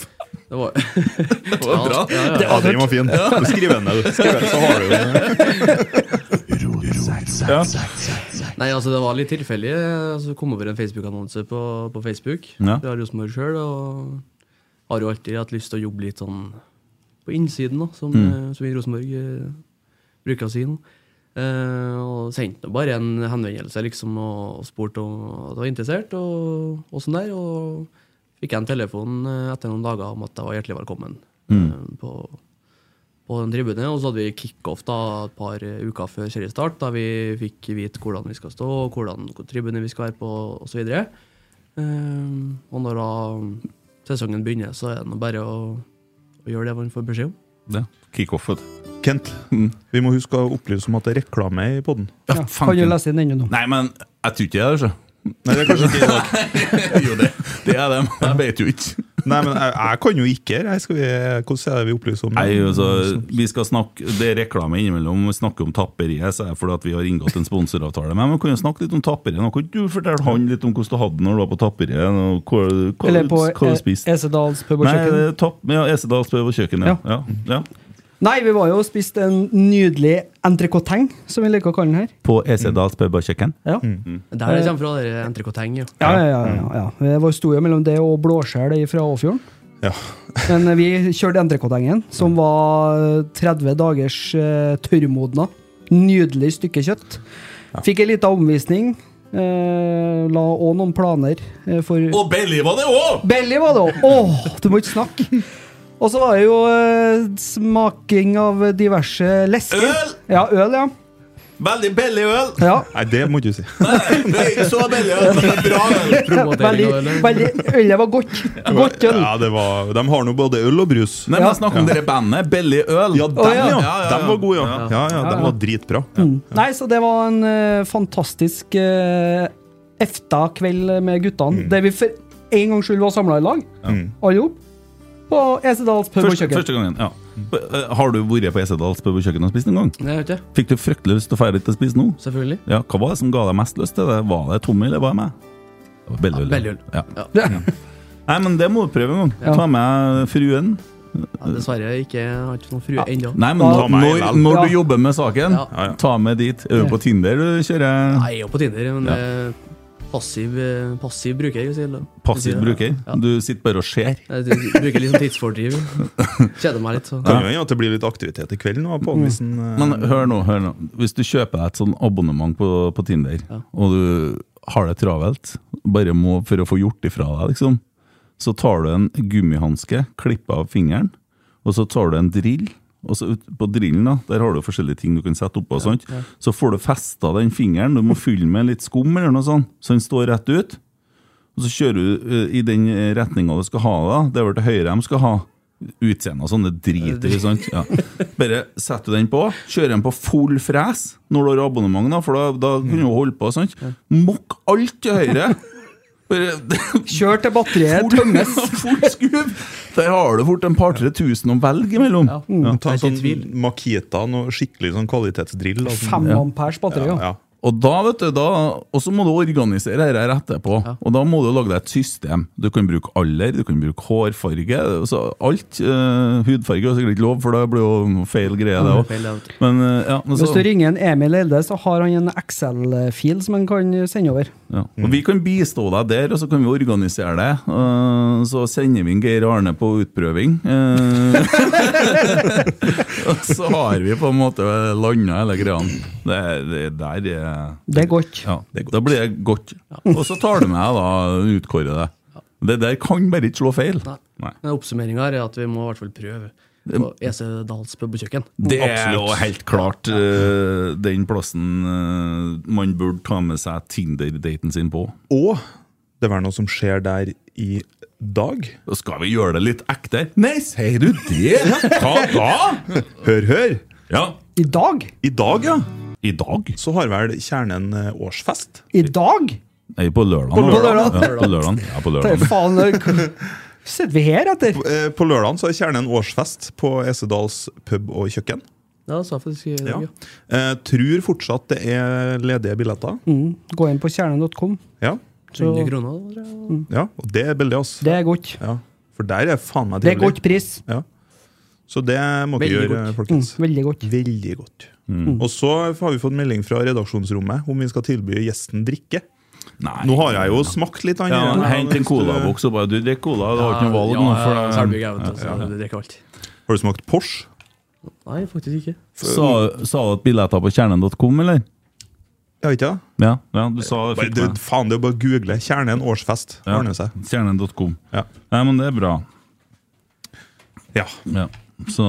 Speaker 8: det var, *laughs*
Speaker 5: Det var bra.
Speaker 8: Ja, ja, ja.
Speaker 6: Ja, den var fin. Du Skriv den ned, du. Skriv den, så har du den.
Speaker 5: Ja.
Speaker 8: Nei, altså, det var litt tilfeldig. Altså, kom over en Facebook-annonse på, på Facebook
Speaker 5: Ja.
Speaker 8: fra Rosenborg sjøl, og har jo alltid hatt lyst til å jobbe litt sånn på innsiden, da, som, eh, som vi i Rosenborg eh, bruker å si nå. Eh, og sendte nå bare en henvendelse liksom, og, og spurte om at jeg var interessert, og, og sånn der. Og fikk jeg en telefon eh, etter noen dager om at jeg var hjertelig velkommen eh, på, på den tribunen. Og så hadde vi kickoff da et par eh, uker før seriestart, da vi fikk vite hvordan vi skal stå, og hvordan hvor tribunen vi skal være på, osv. Um, og når da sesongen begynner, så er det nå bare å, å gjøre det man får beskjed om.
Speaker 5: Det. Kickoff, vet du.
Speaker 6: Kent,
Speaker 5: Mm.
Speaker 6: vi må huske å opplyse om at det er reklame i poden.
Speaker 7: Ja, kan du lese inn ennå nå?
Speaker 5: Nei, men jeg tror ikke det. Altså.
Speaker 6: Nei, det er kanskje ikke i dag.
Speaker 5: *laughs* jo, det, det er det, men jeg vet jo ikke.
Speaker 6: Nei, men jeg, jeg kan jo ikke her. Jeg skal vi, hvordan er det vi opplyser om det?
Speaker 5: Nei, altså, vi skal snakke, Det er reklame innimellom. Vi snakker om tapperiet så er det fordi at vi har inngått en sponsoravtale. Men vi kan jo snakke litt om tapperiet. Nå kan ikke du fortelle han litt om hvordan du hadde det når du var på tapperiet? og Hva, hva,
Speaker 7: Eller på eh,
Speaker 5: hva du spiste?
Speaker 7: Esedals pub og
Speaker 5: Nei,
Speaker 7: kjøkken.
Speaker 5: det er tapp, ja, Esedals pub og kjøkken. Ja. Ja. Ja.
Speaker 7: Nei, vi var jo og spiste en nydelig entrecôteng, som vi liker å kalle den her.
Speaker 5: På Esedals pub og kjøkken?
Speaker 7: Ja,
Speaker 8: Det er der det kommer fra, dere entrecôteng. Ja.
Speaker 7: ja, ja. ja, ja, ja. Det var jo jo mellom det og blåskjell fra Åfjorden.
Speaker 6: Ja.
Speaker 7: Men eh, vi kjørte entrecôtengen, som var 30 dagers eh, tørrmodna. Nydelig stykke kjøtt. Fikk en liten omvisning. Eh, la òg noen planer eh, for
Speaker 5: Og Belly var det òg!
Speaker 7: Belly var det òg! Åh, du må ikke snakke! Og så var det jo eh, smaking av diverse lesker.
Speaker 5: Øl!
Speaker 7: Ja, øl, ja.
Speaker 5: Veldig billig *laughs* øl!
Speaker 7: ja.
Speaker 6: Nei, det må du si.
Speaker 5: Det er ikke så billig øl, men det er bra øl!
Speaker 7: Veldig,
Speaker 8: Promotering og eller?
Speaker 7: veldig, ølet var godt. Godt øl.
Speaker 6: Ja, det var, de har nå både øl og brus.
Speaker 5: Nei, men jeg snakker om dere bandet. Billig øl.
Speaker 6: Ja, dem, ja.
Speaker 5: Ja, ja, ja.
Speaker 6: Dem var gode, ja. Ja, ja, dem var dritbra. Mm.
Speaker 7: Nei, så det var en eh, fantastisk eh, EFTA-kveld med guttene, der vi for en gangs skyld var samla i lag, alle sammen, på Esedals pub og
Speaker 5: Første,
Speaker 7: kjøkken.
Speaker 5: første gangen, ja. Eh, Har du vært på Esedals pub og kjøkken og spist en gang?
Speaker 8: Nei, vet du.
Speaker 5: Fikk du fryktelig lyst til å feire litt og spise nå?
Speaker 8: Selvfølgelig.
Speaker 5: Ja, Hva var det som ga deg mest lyst til det? Var det Tommy eller var det meg? Det var Belleøl.
Speaker 8: Ja, Belleøl.
Speaker 5: Ja.
Speaker 7: Ja.
Speaker 5: Nei, men det må du prøve en gang.
Speaker 7: Ja.
Speaker 5: Ta med fruen.
Speaker 8: Ja, dessverre ikke, jeg har ikke noen frue ennå.
Speaker 5: Nei, men
Speaker 7: Ta
Speaker 5: når,
Speaker 6: meg
Speaker 5: når,
Speaker 6: vel.
Speaker 5: når du
Speaker 7: Ja.
Speaker 5: jobber med saken,
Speaker 8: Ja.
Speaker 6: Ja, ja.
Speaker 5: ta med dit. Er du på Tinder du kjører
Speaker 8: Nei, jeg er jo på Tinder, men eh, passiv, eh, passiv bruker jeg. sier jeg.
Speaker 5: passiv bruker?
Speaker 8: Ja.
Speaker 5: Du sitter bare og ser.
Speaker 8: Jeg bruker liksom
Speaker 5: *laughs*
Speaker 8: tidsfordriv. Kjeder meg litt. Så.
Speaker 6: Kan jo hende at det blir litt aktivitet i kvelden nå, på eh, avisen.
Speaker 5: Men hør nå, hør nå. Hvis du kjøper deg et sånn abonnement på, på Tinder, og du har det travelt, bare må for å få gjort ifra deg, liksom, så tar du en gummihanske, klipper av fingeren, og så tar du en drill. Og så ut på drillen da, Der har du forskjellige ting du kan sette oppå. og sånt. Så får du festa den fingeren. Du må fylle med litt skum, eller noe sånt, så den står rett ut. Og så kjører du eh, i den retninga du skal ha da. Det er vel til høyre de skal ha utseende og sånne driter i. sant? Ja. Bare setter du den på, kjører den på full fres når du har abonnement, da, for da, da kan du jo holde på. sant? Mokk alt til høyre! Bare
Speaker 7: Kjør til batteriet
Speaker 5: Full,
Speaker 7: tømmes.
Speaker 5: *laughs* full skuv! Der har du fort en par-tre tusen å velge mellom.
Speaker 8: Ja.
Speaker 6: Ta en
Speaker 8: Jeg er ikke i
Speaker 6: sånn
Speaker 8: tvil.
Speaker 6: Makita, noe skikkelig sånn kvalitetsdrill. da, sånn-
Speaker 7: Fem ampers batteri, ja.
Speaker 6: ja.
Speaker 5: Og da, vet du, da, og så må du organisere dette her etterpå. Og da må du lage deg et system. Du kan bruke alder, du kan bruke hårfarge. Altså alt. eh, hudfarge er jo sikkert ikke lov, for det blir jo feil greie, det
Speaker 8: feil, det,
Speaker 5: òg. Men eh, ja, men
Speaker 7: Hvis
Speaker 5: så,
Speaker 7: du ringer en Emil Elde, så har han en Excel-fil som han kan sende over.
Speaker 5: ja. Og vi kan bistå deg der, og så kan vi organisere det. Eh, så sender vi en Geir Arne på utprøving. eh, *laughs* og så har vi på en måte landa hele greia. Det, det der eh, er
Speaker 7: Det er godt.
Speaker 5: Ja, Da blir det godt. Og så tar du med deg da utkåret det. Det der kan bare ikke slå feil.
Speaker 8: Nei.
Speaker 5: Nei.
Speaker 8: Men Oppsummeringa er at vi må i hvert fall prøve på EC Dals pub og kjøkken.
Speaker 5: Det er jo helt klart eh, den plassen eh, man burde ta med seg Tinder-daten sin på.
Speaker 6: Og det var noe som skjer der i dag.
Speaker 5: Da skal vi gjøre det litt ekte. Nei, sier du det?! Hva da?!
Speaker 6: Hør, hør!
Speaker 5: Ja,
Speaker 7: I dag?
Speaker 6: I dag, ja,
Speaker 5: i dag.
Speaker 6: så har vel Kjernen eh, årsfest.
Speaker 7: I dag?
Speaker 5: Nei, på lørdag.
Speaker 7: På lørdag.
Speaker 5: Ja, på lørdag. Ja, på
Speaker 7: Det er
Speaker 5: lørdag.
Speaker 7: faen det- Sitter vi her etter?
Speaker 6: Eh, På lørdagen så har Kjernen årsfest på Esedals pub og kjøkken.
Speaker 8: Ja, så jeg faktisk, i
Speaker 6: Ja.
Speaker 8: dag, ja.
Speaker 6: Eh, tror fortsatt det er ledige billetter.
Speaker 7: Gå inn på kjernen.com.
Speaker 6: Ja,
Speaker 8: 100 kroner, tror jeg.
Speaker 6: ja og det er billig, altså.
Speaker 7: Det er godt.
Speaker 6: Ja, for der er faen meg
Speaker 7: Det er godt pris.
Speaker 6: Ja. Så det må dere
Speaker 8: Veldig
Speaker 6: gjøre,
Speaker 8: godt.
Speaker 6: folkens.
Speaker 7: Veldig godt.
Speaker 6: Veldig godt.
Speaker 7: Mm.
Speaker 6: Og så har vi fått melding fra redaksjonsrommet om vi skal tilby gjesten drikke.
Speaker 5: Nei.
Speaker 6: Nå har jeg jo smakt litt. han
Speaker 5: ja,
Speaker 6: her.
Speaker 5: Hent en
Speaker 6: Hvis du-
Speaker 5: colaboks og bare Du drikker cola, du har ikke noe valg
Speaker 8: Mm. ja,
Speaker 5: nå.
Speaker 8: ja,
Speaker 5: For det,
Speaker 8: Selbygg er jo vet du, så det drikker alt.
Speaker 6: Har du smakt Porsche?
Speaker 8: Nei, faktisk ikke.
Speaker 5: sa, sa du at billetter på kjernen.com, eller?
Speaker 6: Ja, ikke det?
Speaker 5: Ja, ja du sa
Speaker 6: Bare,
Speaker 5: fikk
Speaker 6: det,
Speaker 5: meg.
Speaker 6: faen, det er jo bare å google 'Kjernen årsfest'.
Speaker 5: Ja.
Speaker 6: Ordner seg.
Speaker 5: Stjernen.com.
Speaker 6: Ja.
Speaker 5: Nei, men det er bra.
Speaker 6: Ja.
Speaker 5: Ja. Så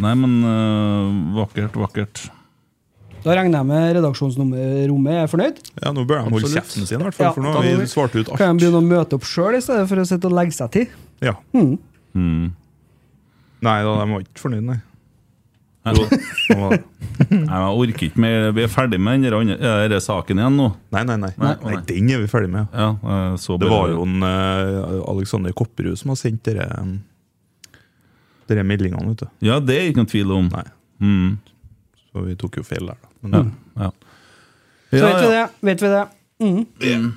Speaker 5: Nei, men øh, vakkert, vakkert.
Speaker 7: Da regner jeg med redaksjonsrommet er fornøyd?
Speaker 6: ja, nå bør de holde
Speaker 8: Absolutt.
Speaker 6: kjeften sin, i hvert fall, for nå har vi svart ut
Speaker 7: Kan
Speaker 6: alt.
Speaker 7: de begynne å møte opp sjøl i stedet for å sitte og legge seg til?
Speaker 6: Ja. Nei da, de var ikke fornøyd, nei.
Speaker 5: *laughs* Jo,
Speaker 6: Han var-
Speaker 5: Nei, jeg orker ikke mer. Vi er ferdig med den der andre- er det saken igjen nå.
Speaker 6: Nei, nei, nei.
Speaker 5: Nei,
Speaker 6: nei,
Speaker 5: nei.
Speaker 6: Den er vi ferdig med.
Speaker 5: Ja, jeg så
Speaker 6: Det
Speaker 5: bare-
Speaker 6: var jo en, eh, Alexander Kopperud som har sendt dere, em, dere meldingene, vet du.
Speaker 5: Ja, det er ikke noen tvil om.
Speaker 6: Nei,
Speaker 5: Mm.
Speaker 6: så vi tok jo feil der, da. Men,
Speaker 5: Ja, ja.
Speaker 7: Så
Speaker 5: Ja,
Speaker 7: vet vi det. Vet vi det. Mm.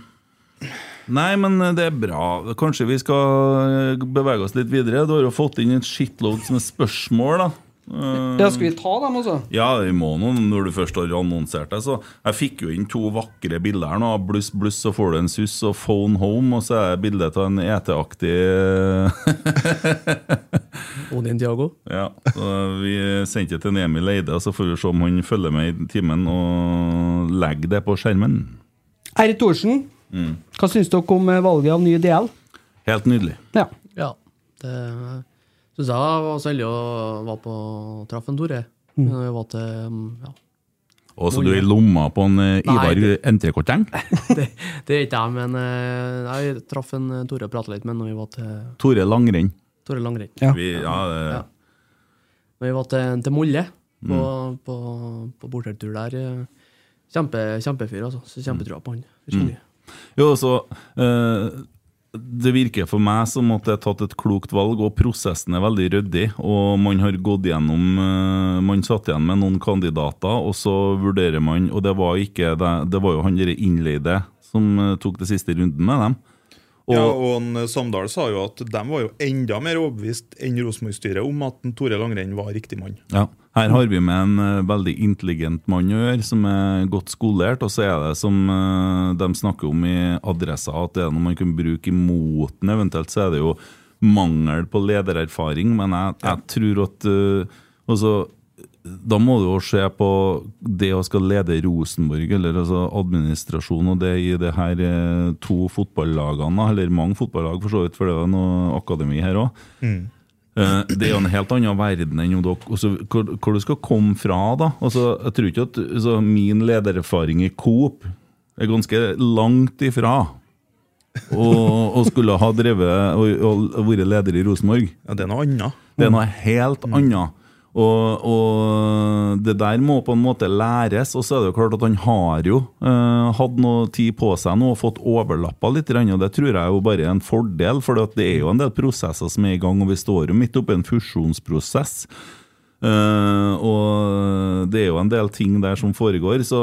Speaker 5: Nei, men øh, det er bra. Kanskje vi skal øh, bevege oss litt videre. Du har jo fått inn en shitload med spørsmål, da. Eh,
Speaker 7: Ja, skal vi ta dem, altså?
Speaker 5: Ja, i måneden når du først har annonsert deg. Så jeg fikk jo inn to vakre bilder her nå. av Bluss, bluss, så får du en suss, og phone home, og så er det bildet av en ET-aktig
Speaker 8: Odin Diago.
Speaker 5: *laughs* Ja. Så vi sendte det til en Emil Eide, og så får vi se om han følger med i timen og legger det på skjermen.
Speaker 7: Eirik Thorsen,
Speaker 5: Mm.
Speaker 7: hva syns dere om eh, valget av ny DL?
Speaker 5: Helt nydelig.
Speaker 7: Ja.
Speaker 8: Ja. Det syns jeg var så heldig å være på traff en Tore.
Speaker 5: Mm.
Speaker 8: Men Jeg var til ja.
Speaker 5: Og så du er i lomma på en eh,
Speaker 8: Nei,
Speaker 5: Ivar
Speaker 8: det-
Speaker 5: NT-korteng.
Speaker 8: Det, det er ikke jeg, men eh, jeg traff en Tore og prata litt med når vi var til
Speaker 5: Tore Langrenn.
Speaker 8: Tore Langrenn.
Speaker 7: Ja.
Speaker 5: Vi, ja, eh, det,
Speaker 8: Ja. Men vi var til, til Molde på,
Speaker 5: Mm.
Speaker 8: på, på bortetur der. Kjempe, kjempefyr, altså. Så
Speaker 5: Mm.
Speaker 8: kjempetrua på han. virkelig.
Speaker 5: Jo, så eh, Det virker for meg som at det er tatt et klokt valg, og prosessen er veldig ryddig. Og man har gått gjennom eh, Man satt igjen med noen kandidater, og så vurderer man Og det var, ikke det, det var jo han derre innleide som eh, tok det siste runden med dem. Og,
Speaker 6: ja, og en, eh, Samdal sa jo at de var jo enda mer overbevist enn Rosenborg-styret om at en Tore Langrenn var riktig mann.
Speaker 5: Ja. Her har vi med en eh, veldig intelligent mann å gjøre, som er godt skolert. Og så er det som eh, de snakker om i adressa, at det er noe man kan bruke imot den. Eventuelt så er det jo mangel på ledererfaring, men jeg, jeg tror at eh, altså, da må du jo se på det å skal lede Rosenborg, eller altså administrasjon og det i det her eh, to fotballagene, eller mange fotballag for så vidt, for det er jo noe akademi her òg. Eh, Det er jo en helt annen verden enn om dere altså, hvor, hvor du skal komme fra, da. Altså, jeg tror ikke at altså, min ledererfaring i Coop er ganske langt ifra å å skulle ha drevet og, og vært leder i Rosenborg.
Speaker 6: Ja, Det er noe annet.
Speaker 5: Det er noe helt annet. Og, og det der må på en måte læres. Og så er det jo klart at han har jo eh, hatt noe tid på seg nå og fått overlappa litt. grann, Og det tror jeg jo bare er en fordel, for det er jo en del prosesser som er i gang. Og vi står jo midt oppe i en fusjonsprosess. Eh, og det er jo en del ting der som foregår, så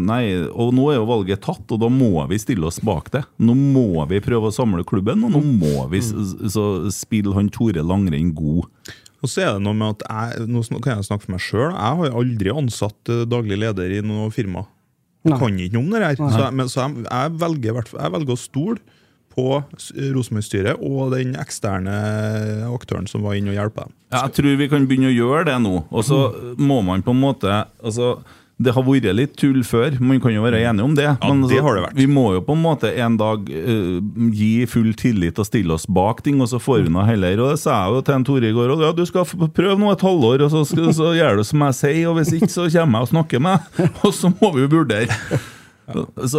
Speaker 5: nei. Og nå er jo valget tatt, og da må vi stille oss bak det. Nå må vi prøve å samle klubben, og nå må vi s- så spille han Tore Langrenn god.
Speaker 6: Og så er det noe med at jeg, Nå sn- kan jeg snakke for meg sjøl. Jeg har jo aldri ansatt eh, daglig leder i noe firma. Jeg
Speaker 7: Nei.
Speaker 6: kan ikke noe om det her. Så, jeg, men, så jeg, jeg, velger, i hvert fall- jeg velger å stole på s- Rosenborg-styret og den eksterne aktøren som var inne og hjelpa dem.
Speaker 5: Ja, jeg tror vi kan begynne å gjøre det nå. Og så må man på en måte altså, Det har vært litt tull før, man kan jo være enige om det. men
Speaker 6: Mm. det
Speaker 5: altså,
Speaker 6: har det vært.
Speaker 5: vi må jo på en måte en dag eh, gi full tillit og stille oss bak ting, og så får vi noe heller. Og det sa jeg jo til en Tore i går òg. Ja, du skal f- prøve nå et halvår, og så, skal, så gjør du som jeg sier. Og hvis ikke, så kommer jeg og snakker med deg. *laughs* Og så må vi jo vurdere. Så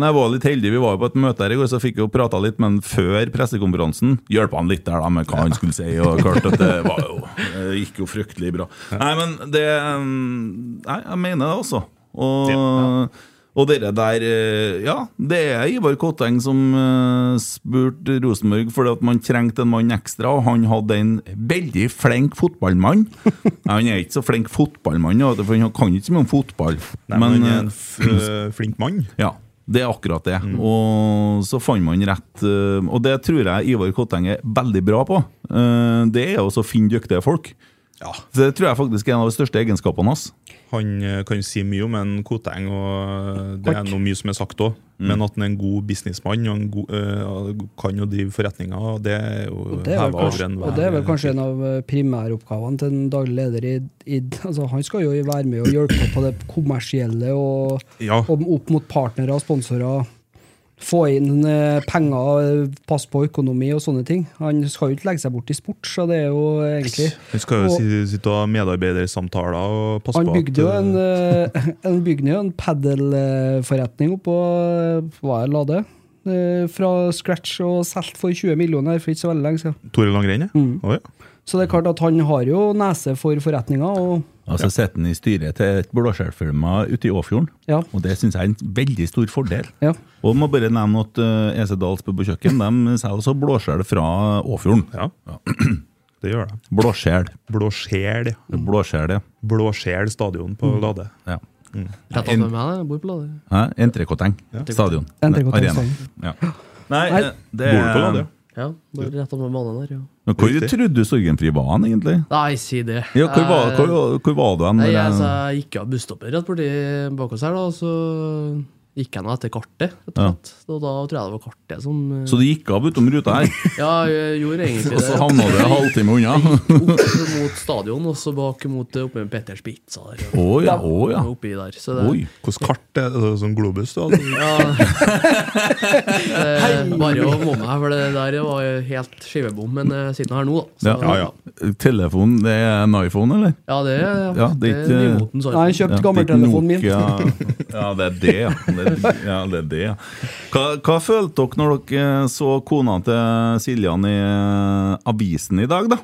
Speaker 5: når jeg var litt heldig, Vi var jo på et møte her i går, så fikk jeg jo prata litt med han før pressekonferansen. Hjelpa han litt der da med hva han skulle si. og klart at Det var jo, det gikk jo fryktelig bra. Nei, men det mm, Nei, jeg mener det også. Og, og dere der eh, Ja, det er Ivar Kotteng som eh, spurte Rosenborg fordi at man trengte en mann ekstra, og han hadde en veldig flink fotballmann. Nei, han er ikke så flink fotballmann, da, for han kan ikke så mye om fotball.
Speaker 6: Nei, men, han
Speaker 5: eh,
Speaker 6: er en f eh, flink mann.
Speaker 5: ja, det er akkurat det. Og så fant man rett eh, Og det tror jeg Ivar Kotteng er veldig bra på. Eh, Det er også å finne dyktige folk.
Speaker 6: Ja.
Speaker 5: Så Det tror jeg faktisk er en av de største egenskapene hans.
Speaker 6: Han eh, kan si mye om en Koteng, og eh, det er
Speaker 7: Takk.
Speaker 6: noe mye som er sagt òg. Men at han er en god businessmann og en god, eh, kan jo drive forretninger, og det er
Speaker 7: Det
Speaker 6: jo
Speaker 7: er vel
Speaker 6: hevet over
Speaker 7: kanskje,
Speaker 6: enhver
Speaker 7: og det er vel kanskje en av eh, primæroppgavene til en daglig leder. I, i, altså, han skal jo være med og hjelpe på det kommersielle og,
Speaker 6: Ja.
Speaker 7: og opp mot partnere og sponsorer. Få inn eh, penger, eh, passe på økonomi og sånne ting. Han skal jo ikke legge seg bort i sport, så det er jo egentlig
Speaker 6: Han skal jo
Speaker 7: Og-
Speaker 6: si- sitte og ha medarbeidersamtaler og passe
Speaker 7: Han
Speaker 6: på
Speaker 7: bygde jo
Speaker 6: eh,
Speaker 7: en, eh, *laughs* han bygde jo en padelforretning oppå eh, hva jeg la det, eh, fra scratch og solgt for 20 millioner for ikke så veldig lenge siden.
Speaker 6: Tore Langrenn, ja. Å, ja.
Speaker 7: Så det er klart at han har jo nese for forretninger, og
Speaker 5: Og så sitter han Altså, i styret til et blåskjellfirma ute i Åfjorden.
Speaker 7: Ja.
Speaker 5: Og det syns jeg er en veldig stor fordel.
Speaker 7: Ja.
Speaker 5: Og må bare nevne at eh, EC Dahls pub og *laughs* kjøkken de selger også blåskjell fra Åfjorden.
Speaker 6: Ja. *clears throat* Det gjør det.
Speaker 5: Blåskjell.
Speaker 6: Blåskjell. ja.
Speaker 5: Blåskjell, ja.
Speaker 6: Blåskjell stadion
Speaker 7: Mm.
Speaker 6: på Lade.
Speaker 5: ja.
Speaker 8: Rett attmed meg, jeg bor på Lade.
Speaker 5: Hæ? Entrecôteng stadion.
Speaker 7: Entrecôteng
Speaker 5: Arena.
Speaker 7: stadion.
Speaker 5: Ja. Nei,
Speaker 7: Nei.
Speaker 5: eh, det
Speaker 6: Bor du på Lade?
Speaker 8: Ja, bare rett attmed banen der. Ja.
Speaker 5: Men Hvor
Speaker 6: Riktig.
Speaker 5: trodde du sorgenfri var han, egentlig?
Speaker 8: Nei, si det.
Speaker 5: Ja, hvor, var,
Speaker 8: Jeg-
Speaker 5: hvor,
Speaker 7: Eh,
Speaker 5: hvor var du hen?
Speaker 8: Nei,
Speaker 5: når
Speaker 8: jeg,
Speaker 5: jeg-
Speaker 7: altså-
Speaker 8: så jeg gikk av busstoppet rett borti bak oss her, da, og så gikk jeg nå etter kartet. Rett og
Speaker 5: Ja.
Speaker 8: slett. Og da tror jeg det var kartet som eh,
Speaker 5: Så du gikk av utom ruta
Speaker 7: *laughs*
Speaker 5: her,
Speaker 8: Ja, jeg gjorde egentlig
Speaker 5: og
Speaker 8: det.
Speaker 5: så havna du en halvtime unna?
Speaker 8: Opp mot stadion, og så bak mot oppe med Petters Pizza der.
Speaker 5: Å
Speaker 8: Og,
Speaker 5: ja, å ja.
Speaker 8: og oppi der. Så det,
Speaker 5: Oi.
Speaker 6: Hvilket kart er det? Altså, Sånn
Speaker 7: *laughs*
Speaker 6: globus? da? Altså,
Speaker 8: *laughs* Ja, eh, bare å må meg, for det der var jo helt skivebom. Men eh, jeg sitter nå her nå, da.
Speaker 5: Ja. Telefonen, det er en iPhone, eller?
Speaker 8: Ja, det,
Speaker 5: Ja, det eh, er
Speaker 8: det
Speaker 5: ikke-
Speaker 8: nymotens
Speaker 7: Nei, han
Speaker 8: iPhone.
Speaker 7: kjøpte
Speaker 5: Ja,
Speaker 7: gammeltelefonen min.
Speaker 5: Nokia. *laughs* Ja, det er det, ja. Det er, ja, det er det, ja. Hva, hva følte dere når dere eh, så kona til Siljan i eh, avisen i dag, da?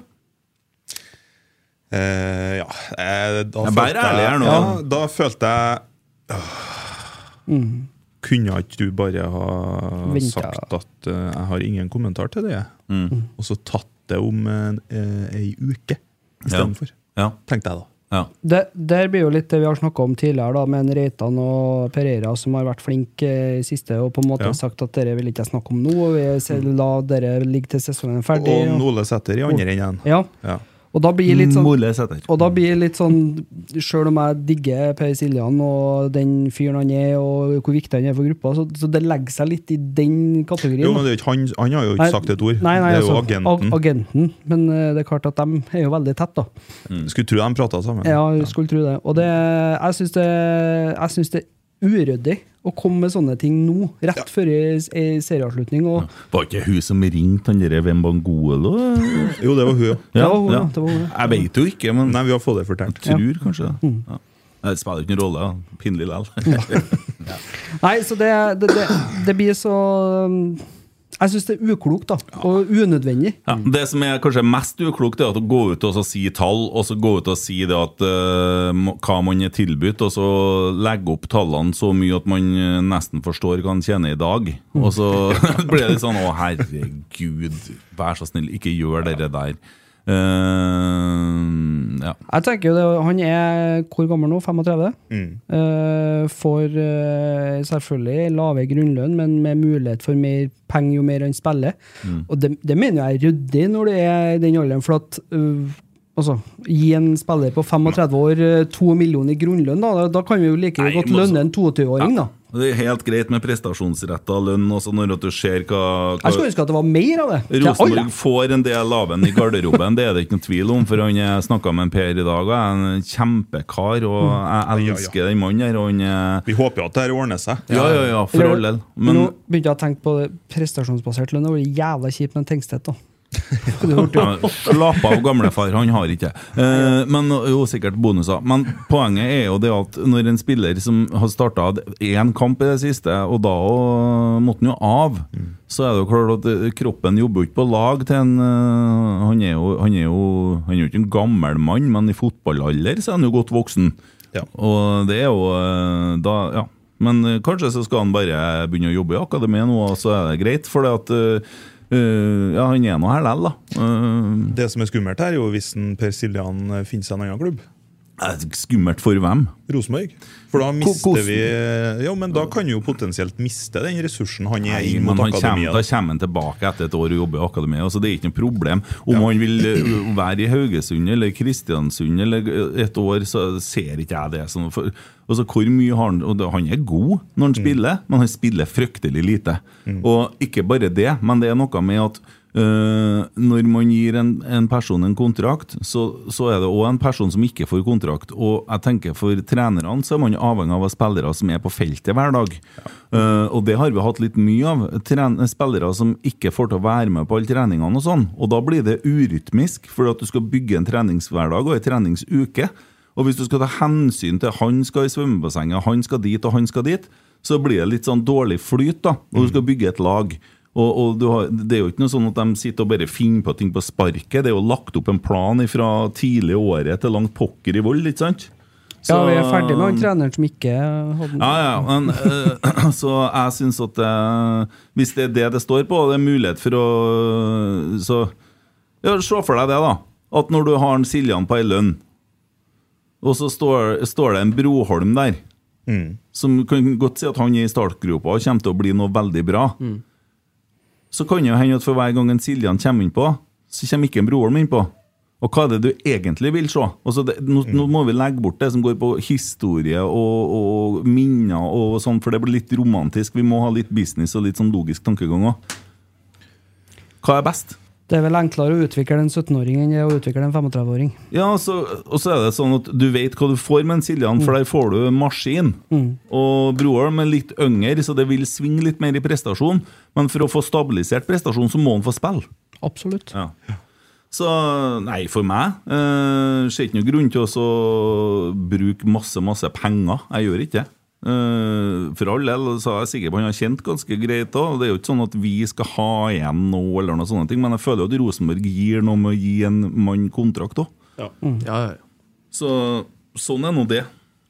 Speaker 6: eh, ja. eh, Da
Speaker 5: Jeg bærer ærlig her nå.
Speaker 6: Ja, da følte jeg Åh. Kunne ikke du bare ha
Speaker 7: Mm. Vent, ja.
Speaker 6: sagt at eh, jeg har ingen kommentar til det?
Speaker 5: Mm.
Speaker 6: Og så tatt det om en, eh, ei uke istedenfor,
Speaker 5: Ja.
Speaker 6: tenkte jeg da.
Speaker 5: ja.
Speaker 7: det, der blir jo litt det vi har snakka om tidligere, da, med en Reitan og Pereira som har vært flinke eh, i siste, og på en måte
Speaker 6: Ja.
Speaker 7: sagt at dere vil ikke jeg snakke om nå, og vi ser, la dere ligge til sesongen er ferdig.
Speaker 6: Og
Speaker 7: og-
Speaker 6: Nole Sæter i andre enden.
Speaker 7: ja,
Speaker 6: Ja.
Speaker 7: og da blir litt sånn
Speaker 5: Mole Sæther.
Speaker 7: og da blir det litt sånn, Sjøl om jeg digger Per Siljan og den fyren han er, og hvor viktig han er for gruppa, så, så det legger seg litt i den kategorien. da.
Speaker 6: Jo, men det er jo ikke han, han har jo ikke
Speaker 7: Nei,
Speaker 6: sagt et ord.
Speaker 7: Nei, nei,
Speaker 6: det er jo
Speaker 7: altså,
Speaker 6: agenten.
Speaker 7: ag- agenten. Men eh, det er klart at de er jo veldig tett, da.
Speaker 5: Mm.
Speaker 6: Skulle tro de prata sammen.
Speaker 7: Ja, jeg skulle tro det. Og det, jeg syns det, jeg synes det er uryddig å komme med sånne ting nå, rett før ei ei serieavslutning. Og,
Speaker 5: Var ikke hun som ringte han eh? derre Wembangolo?
Speaker 6: Jo, det var hun, ja.
Speaker 7: Ja, hun, det var hun.
Speaker 5: Jeg veit jo ikke, men
Speaker 6: Nei, vi har fått det fortalt.
Speaker 5: jeg tror kanskje det.
Speaker 7: Mm.
Speaker 5: Ja. Det spiller ikke noen rolle. da. Pinlig
Speaker 7: *laughs*
Speaker 5: likevel.
Speaker 7: Nei, så det, det, det, det blir så um, Jeg syns det er uklokt, da. Og unødvendig.
Speaker 5: Ja, det som er kanskje mest uklokt, er at å gå ut og så si tall, og så gå ut og si det at eh, må- hva man er tilbudt, og så legge opp tallene så mye at man eh, nesten forstår hva man tjener i dag.
Speaker 7: Mm.
Speaker 5: Og så *laughs* blir det litt sånn 'Å, herregud, vær så snill, ikke gjør dere der'. Eh, ja.
Speaker 7: Jeg tenker jo det, Han er hvor gammel nå? 35?
Speaker 5: Mm.
Speaker 7: Eh, får eh, selvfølgelig lave grunnlønn, men med mulighet for mer penger jo mer han spiller.
Speaker 5: Mm.
Speaker 7: Og det, det mener jeg er ryddig når du er i den alderen, for at eh, altså, gi en spiller på 35 år eh, to millioner i grunnlønn, da, da kan vi jo like
Speaker 5: Nei,
Speaker 7: godt
Speaker 5: men altså-
Speaker 7: lønne en 22-åring, da.
Speaker 5: Det er helt greit med prestasjonsretta lønn også, når at du ser hva,
Speaker 7: Jeg skulle
Speaker 5: hva
Speaker 7: ønske at det var mer av det. til alle.
Speaker 5: Rosenborg får en del av ham i garderoben, det er det ikke noen tvil om. For han snakka med en Per i dag, og er en kjempekar. Og jeg
Speaker 6: ja.
Speaker 5: elsker den mannen her. Og han er
Speaker 6: Vi håper jo at det her ordner seg.
Speaker 5: Ja, ja, ja, for all del. Men
Speaker 7: Nå begynte jeg å tenke på det prestasjonsbasert lønn. Det var jævla kjipt med en Tengstedt,
Speaker 5: *laughs*
Speaker 7: da. Skulle vært
Speaker 5: ja, slapp av, gamlefar. Han har ikke det. Eh, men jo, sikkert bonuser. Men poenget er jo det at når en spiller som har starta én kamp i det siste, og da og, måtte han jo av, så er det jo klart at eh, kroppen jobber jo ikke på lag til en eh, Han er jo, han er jo, han er jo ikke en gammel mann, men i fotballalder så er han jo godt voksen.
Speaker 6: Ja.
Speaker 5: Og det er jo eh, da Ja. Men eh, kanskje så skal han bare begynne å jobbe i akademiet nå, og så er det greit. For det at eh, eh, Ja, han er nå her likevel, da. Eh,
Speaker 6: Det som er skummelt her, er jo hvis en Per Siljan eh, finner seg en annen klubb.
Speaker 5: eh, skummelt for hvem?
Speaker 6: Rosenborg. For da mister
Speaker 5: hvordan?
Speaker 6: vi eh, Ja, men da kan jo potensielt miste den ressursen han er
Speaker 5: Nei,
Speaker 6: inn
Speaker 5: men
Speaker 6: mot
Speaker 5: han kommer, da
Speaker 6: akademiet.
Speaker 5: kommer han tilbake etter et år og jobber i akademiet. Altså, det er ikke noe problem. Om han vil eh, være i Haugesund eller Kristiansund eller eh, et år, så ser ikke jeg det. Sånn, for, altså, hvor mye har han og det, Han er god når
Speaker 6: Mm.
Speaker 5: han spiller, men han spiller fryktelig lite. Og ikke bare det, men det er noe med at eh, når man gir en, en person en kontrakt, så, så er det òg en person som ikke får kontrakt. Og jeg tenker for trenerne så er man avhengig av å ha spillere som er på feltet hver dag. Eh, og det har vi hatt litt mye av. Tren spillere som ikke får til å være med på alle treningene og sånn. Og da blir det urytmisk, for at du skal bygge en treningshverdag og en treningsuke. Og hvis du skal ta hensyn til han skal i
Speaker 7: Mm.
Speaker 5: svømmebassenget, han skal dit og han skal dit, så blir det litt sånn dårlig flyt, da, når du skal bygge et lag. Og, og du har, Det er jo ikke noe sånn at de sitter og bare finner på ting på sparket. Det er jo lagt opp en plan fra tidlig i året til langt pokker i vold, ikke sant?
Speaker 7: Ja,
Speaker 5: Så-
Speaker 7: vi er ferdig med han treneren som ikke hadde
Speaker 5: ja, ja, men eh, *clears throat* Så jeg syns at eh, hvis det er det det står på, og det er mulighet for å Så ja, se for deg det, da. At når du har en Siljan på ei lønn, og så står, står det en Broholm der, som kan godt si at han er i startgropa og kommer til å bli noe veldig bra, så kan det jo hende at for hver gang en Siljan kommer innpå, så kommer ikke en Broholm innpå. Og hva er det du egentlig vil se? Altså det, nå, nå må vi legge bort det som går på historie og, og minner, og sånn, for det blir litt romantisk. Vi må ha litt business og litt sånn logisk tankegang òg. Hva er best?
Speaker 7: Det er vel enklere å utvikle en 17-åring enn det er å utvikle en 35-åring.
Speaker 5: Ja, så, og så er det sånn at du vet hva du får med en Siljan, for der får du en maskin. Og Broholm er litt yngre, så det vil svinge litt mer i prestasjon. Men for å få stabilisert prestasjon, så må han få spille.
Speaker 7: Absolutt.
Speaker 5: Ja. Så nei, for meg eh, ser ikke noe grunn til å så bruke masse, masse penger. Jeg gjør ikke det. Eh, for all del så er jeg sikker på han har kjent ganske greit òg. Det er jo ikke sånn at vi skal ha igjen noe, eller noe sånne ting, men jeg føler jo at Rosenborg gir noe med å gi en mann kontrakt òg.
Speaker 8: Ja, ja, ja.
Speaker 5: Så sånn er nå det.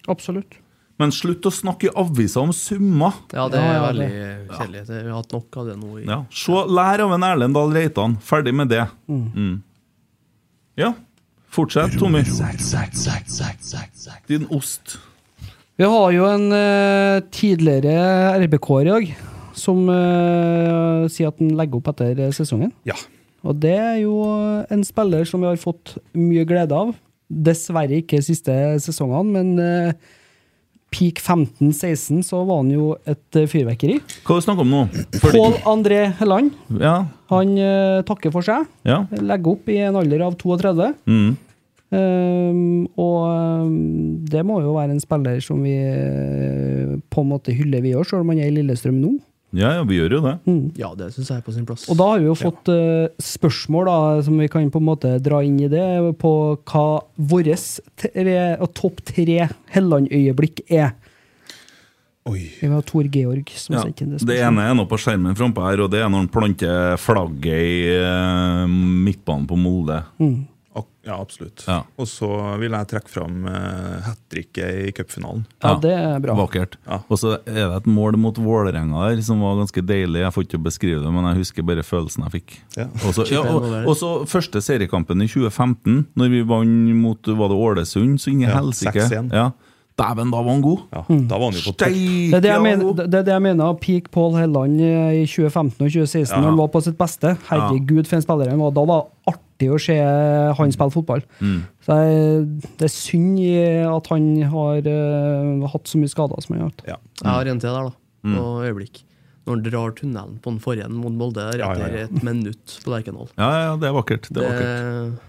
Speaker 7: Absolutt.
Speaker 5: Men slutt å snakke i aviser om summer!
Speaker 8: ja det er
Speaker 7: Ja, ja,
Speaker 8: veldig
Speaker 7: det-
Speaker 8: kjedelig. Det- Vi har hatt nok av det nå. i-
Speaker 5: Ja. Se, lær av en Erlend Dahl Reitan. Ferdig med det. Mm. Ja. Fortsett, Tommy. Din ost.
Speaker 7: Vi har jo en eh, tidligere RBK-er i dag, som eh, sier at han legger opp etter eh, sesongen.
Speaker 6: Ja.
Speaker 7: Og det er jo en spiller som vi har fått mye glede av. Dessverre ikke de siste sesongene, men eh, peak 15-16 så var han jo et eh, fyrverkeri.
Speaker 5: Hva er det snakk om nå?
Speaker 7: Pål André Helland
Speaker 5: Ja.
Speaker 7: han eh, takker for seg.
Speaker 5: ja.
Speaker 7: Legger opp i en alder av 32.
Speaker 5: Mm.
Speaker 7: Ehm, og ehm, det må jo være en spiller som vi eh, på en måte hyller, vi òg, selv om han er i Lillestrøm nå.
Speaker 5: ja, ja, vi gjør jo det.
Speaker 7: Mm,
Speaker 8: Ja, det syns jeg er på sin plass.
Speaker 7: Og da har vi jo fått eh, spørsmål da, som vi kan på en måte dra inn i det, på hva våre topp tre Helland-øyeblikk er.
Speaker 6: Oi.
Speaker 7: Vi har Tor Georg som
Speaker 5: Ja.
Speaker 7: sendte inn det
Speaker 5: Det
Speaker 7: spørsmålet.
Speaker 5: ene er nå på skjermen frampå her, og det er når han planter flagget i eh, midtbanen på Molde.
Speaker 7: Mm.
Speaker 6: Ak ja, absolutt.
Speaker 5: Ja.
Speaker 6: Og så vil jeg trekke fram uh, hat tricket i cupfinalen.
Speaker 7: Ja, det er bra.
Speaker 5: Vakkert.
Speaker 6: Ja.
Speaker 5: Og så er det et mål mot Vålerenga der som var ganske deilig. Jeg får ikke beskrive det, men jeg husker bare følelsen jeg fikk.
Speaker 6: Ja.
Speaker 5: Og så- ja, og, og så første seriekampen i 2015, når vi vant mot var det Ålesund, så inn i
Speaker 6: Ja,
Speaker 5: helsike.
Speaker 6: 6-1.
Speaker 5: Ja. Dæven, da var han god!
Speaker 6: Ja,
Speaker 7: Mm.
Speaker 6: Da var han jo på
Speaker 7: Det
Speaker 6: topp.
Speaker 7: er det,
Speaker 5: Steike
Speaker 7: jeg mener,
Speaker 5: god!
Speaker 7: det er det jeg mener. Peak Pål Helland eh, i 2015 og 2016, når han var på sitt beste. Herregud, for en spiller han var. Da var det artig å se han spille fotball. Så jeg, det er synd i at han har eh, hatt så mye skader som han har hatt.
Speaker 6: Ja.
Speaker 8: Jeg har en til der,
Speaker 5: Mm.
Speaker 8: da. På øyeblikk. Når han drar tunnelen på den forrige mot Molde der
Speaker 6: Ja, ja,
Speaker 8: etter
Speaker 6: ja.
Speaker 8: et minutt på Lerkendal.
Speaker 5: Ja, ja, det er vakkert. Det er vakkert.
Speaker 8: Det-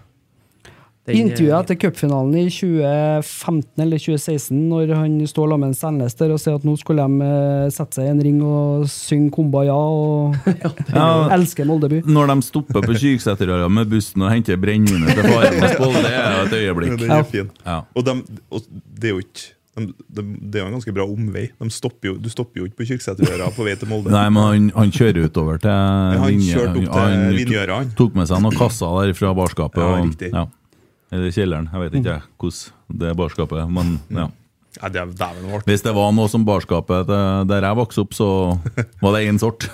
Speaker 8: den-
Speaker 7: Intervjuet etter cupfinalen i 2015 eller 2016, når han står sammen med Selnes der og sier at nå skulle de eh, sette seg i en ring og synge Kumbaya og
Speaker 5: Ja,
Speaker 7: elske Moldeby.
Speaker 5: Når de stopper på Kyrksæterøra med bussen og henter brennevinet til faren hans Pål, det er jo et
Speaker 6: Men
Speaker 5: øyeblikk.
Speaker 6: Den er fin.
Speaker 5: Ja.
Speaker 6: Og, dem- og det er jo ikke dem- dem- Det er jo en ganske bra omvei. De stopper jo, du stopper jo ikke på Kyrksæterøra på vei til Molde.
Speaker 5: Nei, men han, han kjører utover til
Speaker 6: han
Speaker 5: linje-
Speaker 6: kjørte opp til
Speaker 5: han
Speaker 6: Vinjøra, han.
Speaker 5: Tok med seg noen kasser der fra barskapet.
Speaker 6: Ja,
Speaker 5: og-
Speaker 6: riktig.
Speaker 5: ja. Eller kjelleren, jeg vet ikke jeg, hvordan det er barskapet. Men ja.
Speaker 6: Nei, det er dæven vårt.
Speaker 5: hvis det var noe som barskapet til- der jeg vokste opp, så var det
Speaker 6: *laughs*
Speaker 5: én sort.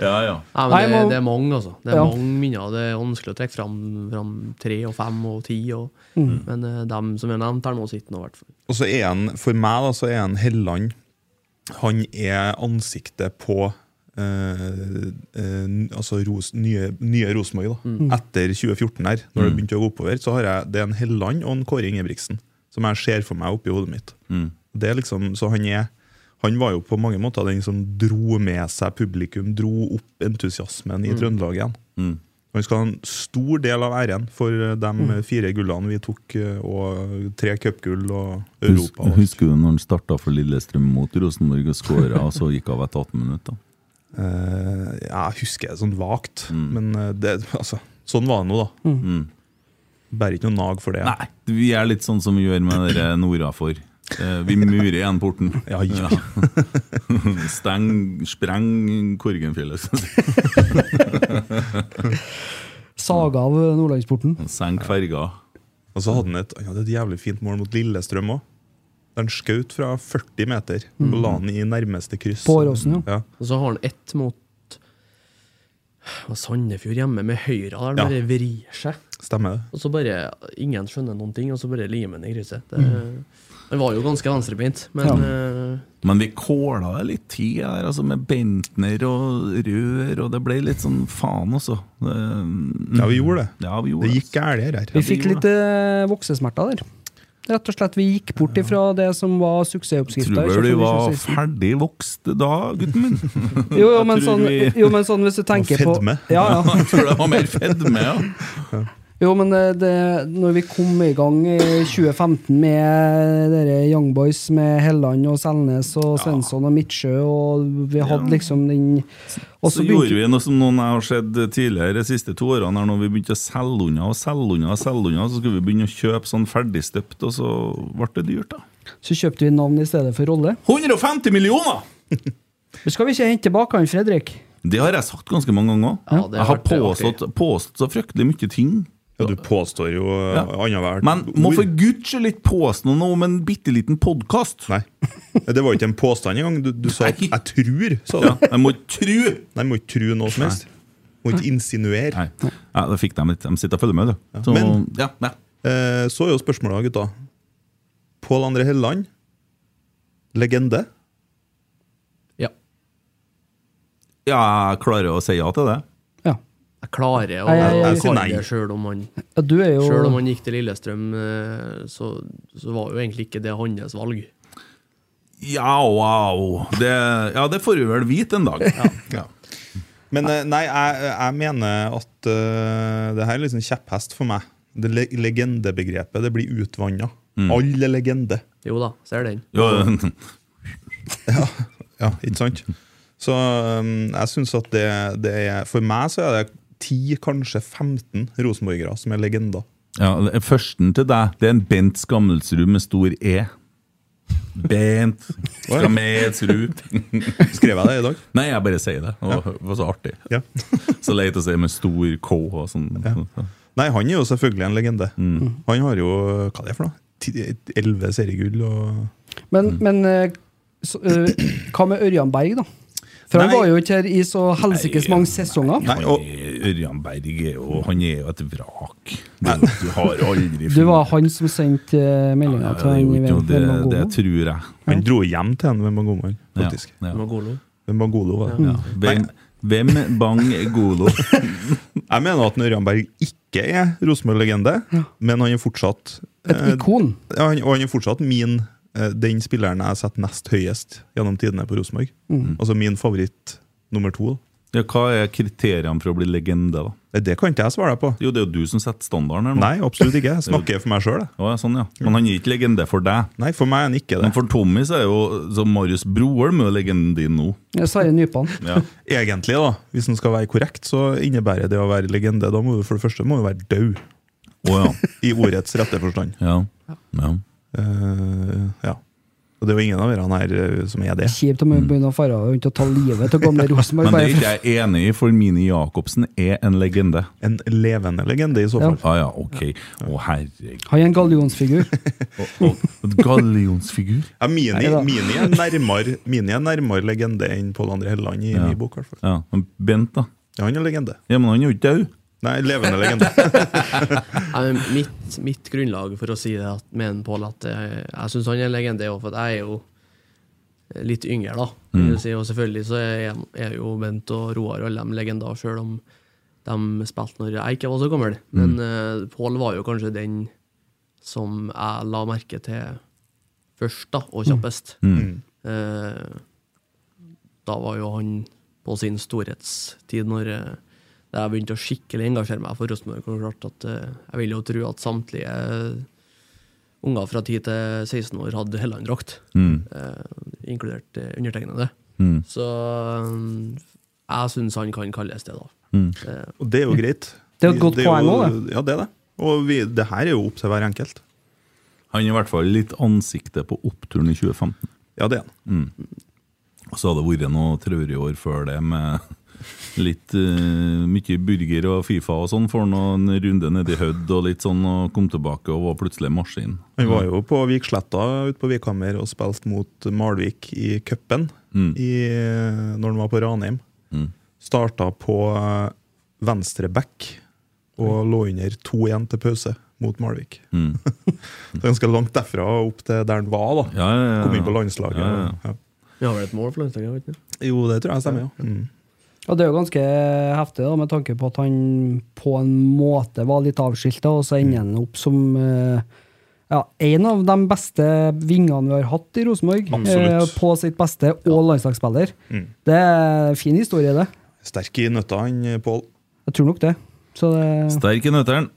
Speaker 5: ja, ja.
Speaker 8: Ja, men
Speaker 7: Nei,
Speaker 8: det,
Speaker 7: må-
Speaker 8: det er mange, altså. Det er
Speaker 7: Ja.
Speaker 8: mange minner. Det er vanskelig å trekke fram, fram tre og fem og ti. Og,
Speaker 7: Mm.
Speaker 8: Men uh, dem som er nevnt her nå, sitter nå i hvert fall.
Speaker 6: Og så er han, for meg da, så er han Helland Han er ansiktet på eh, eh, n- altså Ros, nye, nye Rosenborg. da. Etter 2014, her, når det begynte å gå oppover, så har jeg, det er en Helland og en Kåre Ingebrigtsen som jeg ser for meg oppi hodet mitt. Det er liksom, så han er han var jo på mange måter den som dro med seg publikum, dro opp entusiasmen i Trøndelag igjen. Han skal ha en stor del av æren for eh, de eh, fire gullene vi tok, eh, og tre cupgull og
Speaker 5: Hus,
Speaker 6: Europa. altså. og alt.
Speaker 5: husker du når han starta for Lillestrøm mot Rosenborg og skåra, og så gikk av etter 18 minutter?
Speaker 6: Eh, ja, jeg husker det sånn vagt,
Speaker 5: Mm.
Speaker 6: men eh, det, altså, sånn var det nå, da.
Speaker 7: Mm.
Speaker 6: Bærer ikke noe nag for det.
Speaker 5: Nei, vi er litt sånn som vi gjør med dere nordafor. Eh, Vi murer igjen porten.
Speaker 6: *laughs* Ja, ja.
Speaker 5: *laughs* Steng, spreng Korgenfjellet.
Speaker 7: Saga av Nordlandsporten.
Speaker 5: Senk ferga.
Speaker 6: Og så hadde han et, han hadde et jævlig fint mål mot Lillestrøm òg. Der han skjøt fra 40 meter og la han i nærmeste kryss.
Speaker 7: Mm. På Åråsen,
Speaker 6: ja.
Speaker 8: Og så har han ett mot hva, Sandefjord hjemme med høyre. Der han
Speaker 6: Ja.
Speaker 8: bare vrir seg.
Speaker 6: Stemmer det?
Speaker 8: Og så bare Ingen skjønner noen ting, og så bare limer han i krysset. Det,
Speaker 7: Mm.
Speaker 8: Han var jo ganske venstrebeint, men eh,
Speaker 5: Men vi kåla det litt tid her, altså, med bentner og rør, og det ble litt sånn faen, altså. Det-
Speaker 6: Ja, vi gjorde det.
Speaker 5: Ja, vi gjorde
Speaker 6: Det gikk
Speaker 5: altså.
Speaker 6: gærent her.
Speaker 7: Vi fikk litt eh, voksesmerter der. Rett og slett, Vi gikk bort ifra det som var suksessoppskrifta.
Speaker 5: Tror vel du var *laughs* ferdig vokst da, gutten min?
Speaker 6: *laughs*
Speaker 7: Jo, jo, men
Speaker 5: Jeg tror
Speaker 7: sånn,
Speaker 5: vi-
Speaker 7: jo, men sånn
Speaker 5: *laughs*
Speaker 7: hvis du tenker på
Speaker 6: fedme.
Speaker 7: ja, ja.
Speaker 5: Jeg tror det var mer fedme, ja.
Speaker 7: Jo, men eh, det, når vi kom i gang i 2015 med dere Young Boys med Helland og Selnes og Svensson og Midtsjø, og vi hadde liksom den og
Speaker 5: Så gjorde vi noe som noen jeg har sett tidligere de siste to årene, her når vi begynte å selge unna og selge unna og selge unna, så skulle vi begynne å kjøpe sånn ferdigstøpt, og så ble det dyrt, da.
Speaker 7: Så kjøpte vi navn i stedet for rolle.
Speaker 5: 150 millioner!
Speaker 7: Men skal vi ikke hente tilbake han Fredrik?
Speaker 5: Det har jeg sagt ganske mange ganger.
Speaker 8: Ja, det
Speaker 5: jeg har
Speaker 8: har vært
Speaker 5: påstått, påstått så fryktelig mye ting.
Speaker 6: Ja, du påstår jo eh, ja. annethvert
Speaker 5: Men må for guds skyld ikke påstå noe om en bitte liten podkast.
Speaker 6: Nei. Det var ikke en påstand engang. Du, du sa at
Speaker 5: Nei.
Speaker 6: 'jeg tror'. Sa du.
Speaker 5: Ja, jeg må ikke *laughs* tru!
Speaker 6: Nei, må ikke tro noe som helst. Må ikke insinuere.
Speaker 5: Nei, ja, da fikk de litt. De sitter og følger med, du. Så,
Speaker 6: Men-
Speaker 5: ja, ja.
Speaker 6: Eh, så er jo spørsmålet, gutta. Pål André Helleland. Legende.
Speaker 8: ja.
Speaker 5: ja, jeg klarer å si ja til det.
Speaker 7: Ja.
Speaker 8: Jeg klarer å
Speaker 7: Nei, jeg- jeg-
Speaker 8: jeg
Speaker 6: sier nei.
Speaker 8: kalle det sjøl om han
Speaker 7: ja, du er jo
Speaker 8: Selv om han gikk til Lillestrøm, eh, så, så var jo egentlig ikke det hans valg.
Speaker 5: Ja, wow. Det, ja, det får vi vel vite en dag. Ja.
Speaker 6: Men eh, nei, jeg, jeg mener at eh, det her er liksom kjepphest for meg. Det le legendebegrepet det blir utvanna. Alle legender.
Speaker 8: Jo da, ser den.
Speaker 5: Jo,
Speaker 6: Ja, ikke sant? Så um, jeg syns at det, det er For meg så er det 10, kanskje 15 rosenborgere som er legender.
Speaker 5: *laughs* ja, førsten til deg, det er en Bent Skammelsrud med stor E. Bent Skammelsrud.
Speaker 6: *laughs* Skrev jeg det i dag?
Speaker 5: Nei, jeg bare sier det. Det var, var så artig.
Speaker 6: Ja.
Speaker 5: Så leit å si med stor K og sånn.
Speaker 6: Nei, han er jo selvfølgelig en legende. Han har jo hva det er for noe? Ti- Elleve seriegull og
Speaker 7: Men,
Speaker 5: Mm.
Speaker 7: men eh, så, eh, hva med Ørjan Berg, da? For han
Speaker 6: Nei.
Speaker 7: var jo ikke her i så helsikes
Speaker 5: Nei,
Speaker 7: mange sesonger.
Speaker 6: Nei, og
Speaker 5: Ørjan Berg er jo Han er jo et vrak. Det, du har aldri
Speaker 7: Det var han som sendte eh, meldinga
Speaker 5: ja,
Speaker 7: til
Speaker 5: det, er
Speaker 7: han
Speaker 5: jo
Speaker 7: i
Speaker 5: ikke noe- det,
Speaker 7: Vembangomo.
Speaker 5: det tror jeg.
Speaker 6: han dro hjem til en Wembangolo,
Speaker 5: Ja,
Speaker 6: faktisk.
Speaker 5: ja.
Speaker 8: Magolo.
Speaker 6: Wembangolo, var det.
Speaker 5: Hvem, hvem bang golo?
Speaker 6: Jeg mener at Ørjan Berg ikke er Rosenborg-legende, men han er fortsatt
Speaker 7: Et
Speaker 6: eh,
Speaker 7: ikon.
Speaker 6: Ja, han, og han er fortsatt min eh, den spilleren jeg setter nest høyest gjennom tidene på Rosenborg.
Speaker 7: Mm.
Speaker 6: Altså min favoritt nummer to. da.
Speaker 5: Ja, hva er kriteriene for å bli legende, da?
Speaker 6: Eh, Det kan ikke jeg svare deg på.
Speaker 5: Jo, det er jo du som setter standarden her nå.
Speaker 6: Nei, absolutt ikke. Jeg *laughs* snakker for meg sjøl.
Speaker 5: Ja, sånn, ja. Men han er ikke legende for deg.
Speaker 6: Nei, for meg er han ikke det.
Speaker 5: Men for Tommy så er jo så Marius Broholm er jo legenden din nå.
Speaker 7: Ja, eh, Sverre Nypan.
Speaker 5: Ja.
Speaker 6: Egentlig, da, hvis en skal være korrekt, så innebærer det å være legende. Da må du for det første må du være død,
Speaker 5: Å,
Speaker 6: i ordets rette forstand.
Speaker 5: ja. ja. ja.
Speaker 6: Eh, ja. Og det er jo ingen av dere her eh, som er det.
Speaker 7: Kjipt om hun begynner å fare rundt og ta livet av gamle Rosenborg.
Speaker 5: Men det
Speaker 7: bare
Speaker 5: er
Speaker 7: for-
Speaker 5: ikke jeg enig i, for Mini Jacobsen er en legende.
Speaker 6: En levende legende, i så
Speaker 7: Ja.
Speaker 6: fall.
Speaker 5: Ah, ja, ok. Å, herregud.
Speaker 7: Han er en gallionsfigur.
Speaker 5: Gallionsfigur.
Speaker 6: Ja, mini,
Speaker 7: Nei da.
Speaker 6: mini, er nærmere, mini er nærmere legende enn Pål André Helleland i min bok. i hvert fall.
Speaker 5: Ja, men Bent, da.
Speaker 6: Ja, han er legende.
Speaker 5: Ja, Men han er jo ikke død.
Speaker 6: Nei, levende legende.
Speaker 7: *laughs*
Speaker 8: Nei, men Mitt, mitt grunnlag for å si det at, med en Pål at eh, jeg syns han er en legende, er jo for at jeg er jo litt yngre, da. vil jeg Si, og selvfølgelig så er, er jo Bent og Roar og alle de legender, sjøl om de spilte når jeg ikke var så gammel. Men eh, Pål var jo kanskje den som jeg la merke til først, da, og kjappest.
Speaker 5: Mm.
Speaker 8: Eh, da var jo han på sin storhetstid, når eh, da jeg begynte å skikkelig engasjere meg for Rosenborg. og klart at eh, Jeg vil jo tro at samtlige unger fra 10 til 16 år hadde Helland-drakt,
Speaker 5: Mm.
Speaker 8: eh, inkludert eh, undertegnede. Så mm, jeg syns han kan kalles det, da.
Speaker 5: Mm.
Speaker 8: Eh,
Speaker 6: Og det er jo greit.
Speaker 7: Det er jo et godt
Speaker 6: jo-
Speaker 7: poeng også,
Speaker 6: Ja, det er det. Og vi, det her er jo opp til hver enkelt.
Speaker 5: Han er i hvert fall litt ansiktet på oppturen i 2015.
Speaker 6: Ja, det er han.
Speaker 5: Mm. Og så har det vært noe traurige år før det med *laughs* litt eh, mye burger og Fifa og sånn. Får noen runde nedi Hødd og litt sånn, og kom tilbake og var plutselig maskin.
Speaker 6: Han
Speaker 7: Mm.
Speaker 6: var jo på Viksletta ute på Vikhammer og spilte mot Malvik i cupen
Speaker 5: Mm,
Speaker 6: i- når han var på Ranheim. Starta på eh, venstre back og lå under 2-1 til pause mot Malvik.
Speaker 5: mm.
Speaker 6: det er ganske langt derfra og opp til der han var. da
Speaker 5: Ja, ja, ja.
Speaker 6: Kom inn på landslaget.
Speaker 5: Ja, ja,
Speaker 6: Ja.
Speaker 8: Vi har vel et mål for landslaget? har vi ikke det?
Speaker 6: Jo, det tror jeg stemmer, ja. Mm.
Speaker 7: Og det er jo ganske heftig, da, med tanke på at han på en måte var litt avskilta, og så ender han opp som eh, ja, en av de beste vingene vi har hatt i Rosenborg.
Speaker 6: Absolutt.
Speaker 7: eh, På sitt beste, og landslagsspiller.
Speaker 6: Mm.
Speaker 7: Det er en fin historie, det.
Speaker 6: Sterk i nøtta, han Pål.
Speaker 7: Jeg tror nok det. Så det
Speaker 5: Sterk i nøtteren.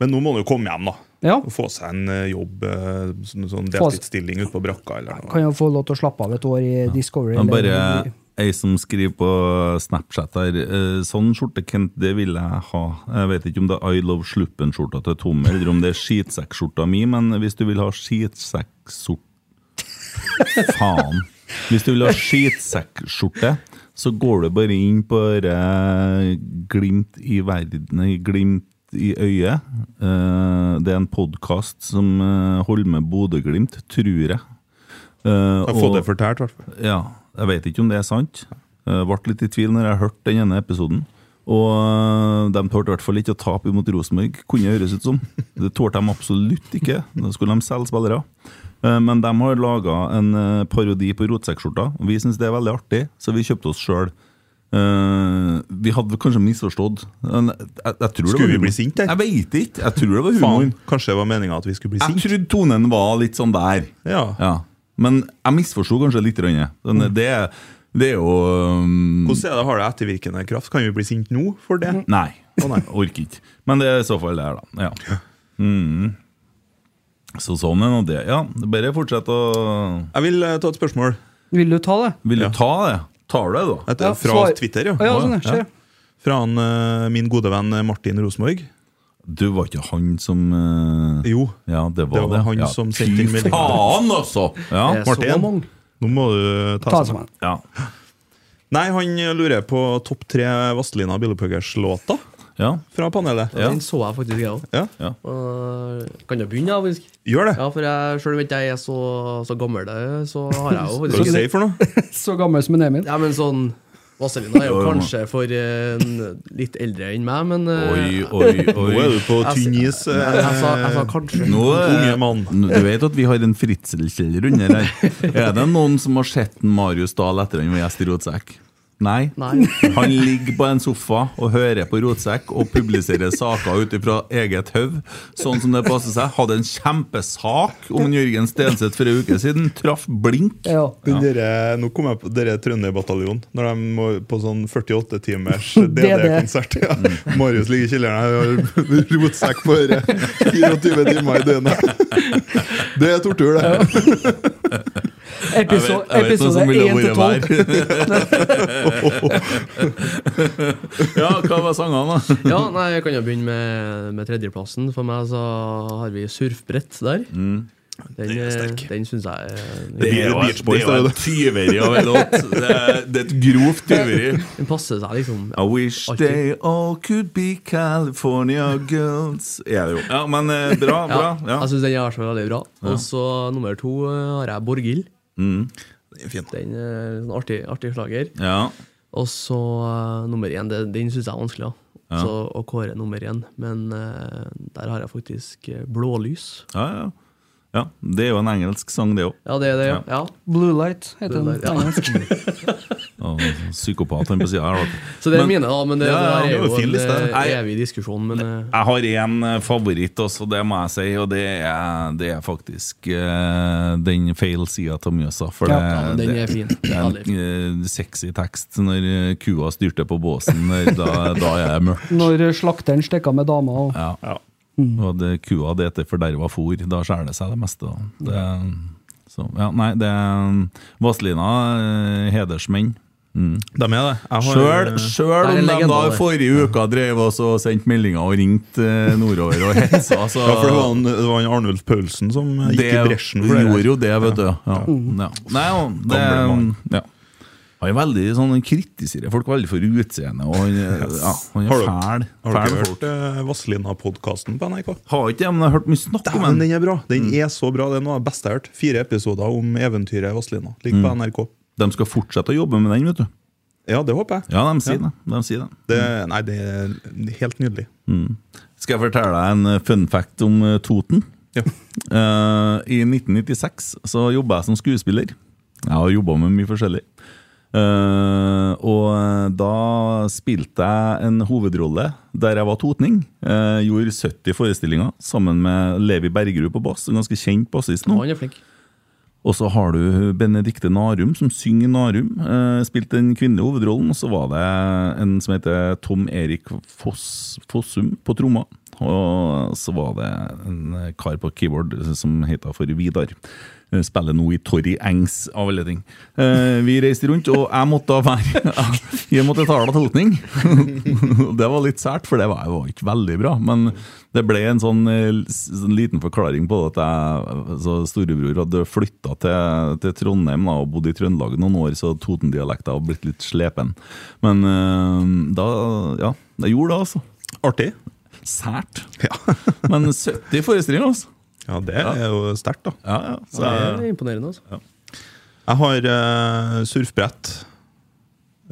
Speaker 6: Men nå må han jo komme hjem, da.
Speaker 7: Ja.
Speaker 6: Og få seg en eh, jobb, eh, sånn, sånn
Speaker 7: Få seg-
Speaker 6: deltidsstilling ute på brakka eller noe.
Speaker 7: Kan jo få lov til å slappe av et år i Discovery.
Speaker 5: Det er bare
Speaker 7: eller-
Speaker 5: ei som skriver på Snapchat her eh, Sånn skjorte, Kent, det vil jeg ha. Jeg vet ikke om det er I Love Sluppen-skjorta til Tommy, eller om det er skitsekkskjorta mi, men hvis du vil ha skitsekksort... Faen. Hvis du vil ha skitsekkskjorte, så går du bare inn på eh, Glimt i verden nei, Glimt i øyet. Eh, det er en podkast som eh, holder med Bodø-Glimt, tror jeg. Uh,
Speaker 6: Har fått det fortært, i hvert fall.
Speaker 5: ja, jeg vet ikke om det er sant. Jeg ble litt i tvil når jeg hørte den ene episoden. Og eh, de tålte i hvert fall ikke å tape imot Rosenborg, kunne høres ut som. Det tålte de absolutt ikke. Da skulle de selge spillere. Eh, Men de har laga en eh, parodi på rotsekkskjorta, og vi syns det er veldig artig, så vi kjøpte oss sjøl. vi hadde vel kanskje misforstått. Men Jeg, jeg, jeg tror det
Speaker 6: Skulle
Speaker 5: var
Speaker 6: vi
Speaker 5: humor.
Speaker 6: bli sint der?
Speaker 5: Jeg veit ikke. Jeg tror det var
Speaker 6: Faen,
Speaker 5: humoren.
Speaker 6: kanskje det var meninga at vi skulle bli
Speaker 5: Jeg
Speaker 6: sinte?
Speaker 5: trodde tonen var litt sånn der.
Speaker 6: Ja. Mm.
Speaker 5: Ja. Men jeg misforsto kanskje litt. Rønne. Den, det, det er jo um,
Speaker 6: Hvordan er det, har det ettervirkende kraft? Kan vi bli sinte nå for det?
Speaker 7: Mm.
Speaker 5: Nei.
Speaker 6: Å, nei.
Speaker 5: *laughs* Orker ikke. Men det er i så fall det her, da. Ja. Mm. Så sånn er nå det. Ja, det er bare fortsett å
Speaker 6: Jeg vil eh, ta et spørsmål
Speaker 7: Vil du ta det?
Speaker 5: Vil du
Speaker 6: Ja.
Speaker 5: ta det? Tar du det, da?
Speaker 6: Et, fra
Speaker 7: svar.
Speaker 6: Twitter,
Speaker 7: Å,
Speaker 6: ja.
Speaker 7: ja, sånn, ja. Kjør.
Speaker 6: Fra han, eh, min gode venn eh, Martin Rosenborg.
Speaker 5: Du var ikke han som eh,
Speaker 6: Jo.
Speaker 5: Ja, det var det.
Speaker 6: Det var han
Speaker 5: ja.
Speaker 6: som sendte inn meldingen.
Speaker 5: Fy faen, altså! Ja.
Speaker 8: Det er så
Speaker 6: Martin,
Speaker 8: mange.
Speaker 6: nå må du eh, ta
Speaker 7: Ta det
Speaker 6: sammen.
Speaker 7: sammen.
Speaker 5: ja.
Speaker 6: Nei, han eh, lurer på topp tre Vazelina Billepøggers-låter
Speaker 5: ja.
Speaker 6: fra panelet.
Speaker 5: Ja.
Speaker 8: Den så jeg faktisk, jeg òg.
Speaker 6: Ja.
Speaker 8: Kan jeg begynne, da? faktisk?
Speaker 6: Gjør det!
Speaker 8: Ja, for jeg, selv om ikke jeg er så, så gammel, eh, så har jeg jo
Speaker 6: Hva er det du
Speaker 8: faktisk
Speaker 6: sier for noe?
Speaker 7: Så gammel som en Emil.
Speaker 8: Ja, men sånn Vazelina er jo
Speaker 5: Jo, jo, men-
Speaker 8: kanskje for eh, en litt eldre enn meg, men eh,
Speaker 5: Oi, oi,
Speaker 6: *laughs* Nå er du
Speaker 5: oi.
Speaker 6: på
Speaker 8: Jeg-
Speaker 6: tynn is. eh,
Speaker 8: jeg, jeg, sa, jeg sa kanskje.
Speaker 5: Nå, eh,
Speaker 6: Unge mann.
Speaker 5: Du vet at vi har en fritselkjeller under *laughs* her. Er det noen som har sett en Marius Dahl etter han var gjest i Rotsekk? Nei.
Speaker 8: Nei.
Speaker 5: *laughs* Han ligger på en sofa og hører på Rotsekk og publiserer saker ut fra eget høv, sånn som det passer seg. Hadde en kjempesak om en Jørgen Stenseth for en uke siden. Traff blink.
Speaker 7: Ja.
Speaker 6: Men Dere, nå kom jeg på dere Trønderbataljonen, når de må på sånn
Speaker 7: *laughs*
Speaker 6: 48-timers
Speaker 7: DD.
Speaker 6: DD-konsert. Ja.
Speaker 8: Mm.
Speaker 6: Marius ligger i kjelleren her og har *laughs* rotsekk for eh, *laughs* 24 timer i døgnet. *laughs* Det er tortur, det.
Speaker 7: Episo episode 1
Speaker 5: noen
Speaker 7: til 12.
Speaker 5: vært der. *laughs* ja, hva var sangene, da?
Speaker 8: Ja, nei, jeg kan jo begynne med, med tredjeplassen. For meg så har vi surfbrett der. Den,
Speaker 6: er
Speaker 8: eh,
Speaker 6: sterk.
Speaker 8: den syns jeg er-
Speaker 5: Mm. Det er jo et- det er jo et tyveri av en låt. Det er, det er et grovt tyveri.
Speaker 8: Den passer seg liksom.
Speaker 5: I wish
Speaker 8: Alltid.
Speaker 5: they all could be California girls Er det jo. Ja, men eh, bra. bra ja.
Speaker 8: Jeg syns den er så veldig bra. Og så nummer to eh, har jeg Borghild.
Speaker 5: Mm.
Speaker 8: Den er sånn artig, artig slager.
Speaker 5: ja.
Speaker 8: Og så eh, nummer én. det- Den syns jeg er vanskelig da. Så å kåre nummer én. Men eh, der har jeg faktisk eh, Blålys.
Speaker 5: Ja, ja. ja. Det er jo en engelsk sang, det òg.
Speaker 8: Ja, det er det, ja. ja.
Speaker 7: Blue Light heter
Speaker 8: Blue
Speaker 7: den.
Speaker 8: Light, ja.
Speaker 7: på engelsk.
Speaker 5: Psykopat han på sida her. da.
Speaker 8: Så det er
Speaker 5: Men-
Speaker 8: mine, da. Men det,
Speaker 5: Ja, ja,
Speaker 8: det
Speaker 5: det
Speaker 8: er
Speaker 5: var
Speaker 8: jo
Speaker 5: fin
Speaker 8: en
Speaker 5: liste.
Speaker 8: eh,
Speaker 5: Nei.
Speaker 8: evig diskusjon. Men eh,
Speaker 5: Jeg har én favoritt også, det må jeg si, og det er, det er faktisk eh, den feil sida av Mjøsa. For
Speaker 7: Ja,
Speaker 5: det,
Speaker 8: ja, men den
Speaker 5: det-
Speaker 8: er fin.
Speaker 5: Det er
Speaker 8: Veldig fin.
Speaker 5: en eh, sexy tekst når eh, kua styrte på båsen. der, Da, da er det mørkt.
Speaker 7: Når eh, slakteren stikker av med dama. Og
Speaker 5: Ja. Og det, kua det etter forderva fôr. Da skjærer det seg det meste. Da. Det, så, ja, nei, det Vazelina, eh, um, hedersmenn.
Speaker 6: De er det. Jeg har,
Speaker 5: Sjøl,
Speaker 6: eh,
Speaker 5: sjøl
Speaker 8: Det er
Speaker 5: om
Speaker 8: en
Speaker 5: de da
Speaker 8: legende,
Speaker 5: i forrige uka drev oss og sendte meldinger og ringte eh, nordover og hetsa, så
Speaker 6: Ja, for det var, en, det var en Arnulf Paulsen som eh, gikk i bresjen for det.
Speaker 5: gjorde jo det, vet du. Ja. Ja. Nei, jo, det
Speaker 6: Gammel mann.
Speaker 5: ja. Han er veldig sånn, han kritiserer folk veldig for utseendet, og han, er- ja, han
Speaker 6: Har
Speaker 5: er
Speaker 6: du-
Speaker 5: fæl.
Speaker 6: Har
Speaker 5: Fæl
Speaker 6: dere
Speaker 5: folk.
Speaker 6: hørt eh, Vazelina-podkasten på NRK?
Speaker 5: Har ikke det, men jeg har hørt mye snakk om
Speaker 6: Dæven,
Speaker 5: den.
Speaker 6: den er bra! Den er så bra. Det er noe av det beste jeg har hørt. Fire episoder om eventyret Vazelina. Ligger på NRK.
Speaker 5: De skal fortsette å jobbe med den, vet du.
Speaker 6: Ja, det håper jeg.
Speaker 5: Ja, de sier det. De sier det.
Speaker 6: Det, nei, det er helt nydelig.
Speaker 5: Skal jeg fortelle deg en eh, fun fact om eh, Toten?
Speaker 6: Ja.
Speaker 5: Eh, I 1996 så jobba jeg som skuespiller. Jeg har jobba med mye forskjellig. Eh, og eh, da spilte jeg en hovedrolle der jeg var totning. Eh, gjorde 70 forestillinger sammen med Levi Bergerud på bass, en ganske kjent bassist nå.
Speaker 8: Han er flink.
Speaker 5: Og så har du Benedikte Narum, som synger Narum. Eh, spilte den kvinnelige hovedrollen. Og så var det en som heter Tom Erik Foss, Fossum på tromma. Og så var det en kar på keyboard som heter for Vidar. Eh, Spiller nå i Torry Engs, av alle ting. Eh, vi reiste rundt, og jeg måtte da være *laughs* Jeg måtte tale tolkning. *laughs* det var litt sært, for det var, det var ikke veldig bra. Men det ble en sånn, eh, s- sånn liten forklaring på at jeg, så storebror hadde flytta til, til Trondheim da, og bodde i Trøndelag noen år, så Toten-dialekten har blitt litt slepen. Men eh, da Ja, det gjorde det, altså.
Speaker 6: Artig.
Speaker 5: Sært. *laughs*
Speaker 6: Ja,
Speaker 5: Men 70 forestillinger, altså.
Speaker 6: ja det er jo sterkt, da.
Speaker 5: Ja, ja. Så
Speaker 8: Det
Speaker 5: jeg,
Speaker 8: er imponerende, altså.
Speaker 6: Jeg har eh, surfbrett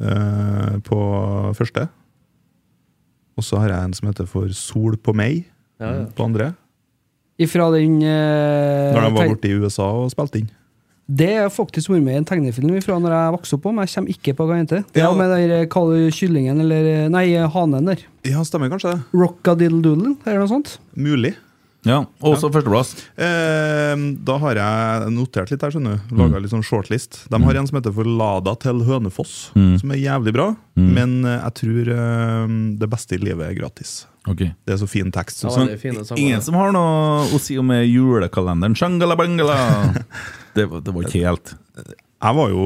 Speaker 6: eh, på første. Og så har jeg en som heter for Sol på meg
Speaker 8: Ja, ja.
Speaker 6: på andre.
Speaker 7: Ifra den eh,
Speaker 6: Da de var
Speaker 7: tegn-
Speaker 6: borte i USA og spilte inn.
Speaker 7: Det er faktisk vært med i en tegnefilm fra når jeg vokste opp, om jeg kommer ikke på hva den heter. Det
Speaker 6: Ja.
Speaker 7: er med den der, eh, kall det kyllingen eller eh, Nei, eh, hanen der.
Speaker 6: Ja, stemmer kanskje det.
Speaker 7: Rockadiddle-doodle, eller noe sånt.
Speaker 6: Mulig.
Speaker 5: ja. Også førsteplass.
Speaker 6: Eh, da har jeg notert litt her, skjønner du. Laga litt sånn shortlist. De har en som heter for Lada til Hønefoss, som er jævlig bra. Men eh, jeg tror eh, det beste i livet er gratis.
Speaker 5: Okay.
Speaker 6: Det er så fin tekst. Sånn-
Speaker 8: Ja,
Speaker 6: synes jeg.
Speaker 8: det er fine sanger.
Speaker 5: sånn Ingen som har noe å si om julekalenderen? Shangala-bangala! *laughs* Det, var- det var ikke helt
Speaker 6: Jeg var jo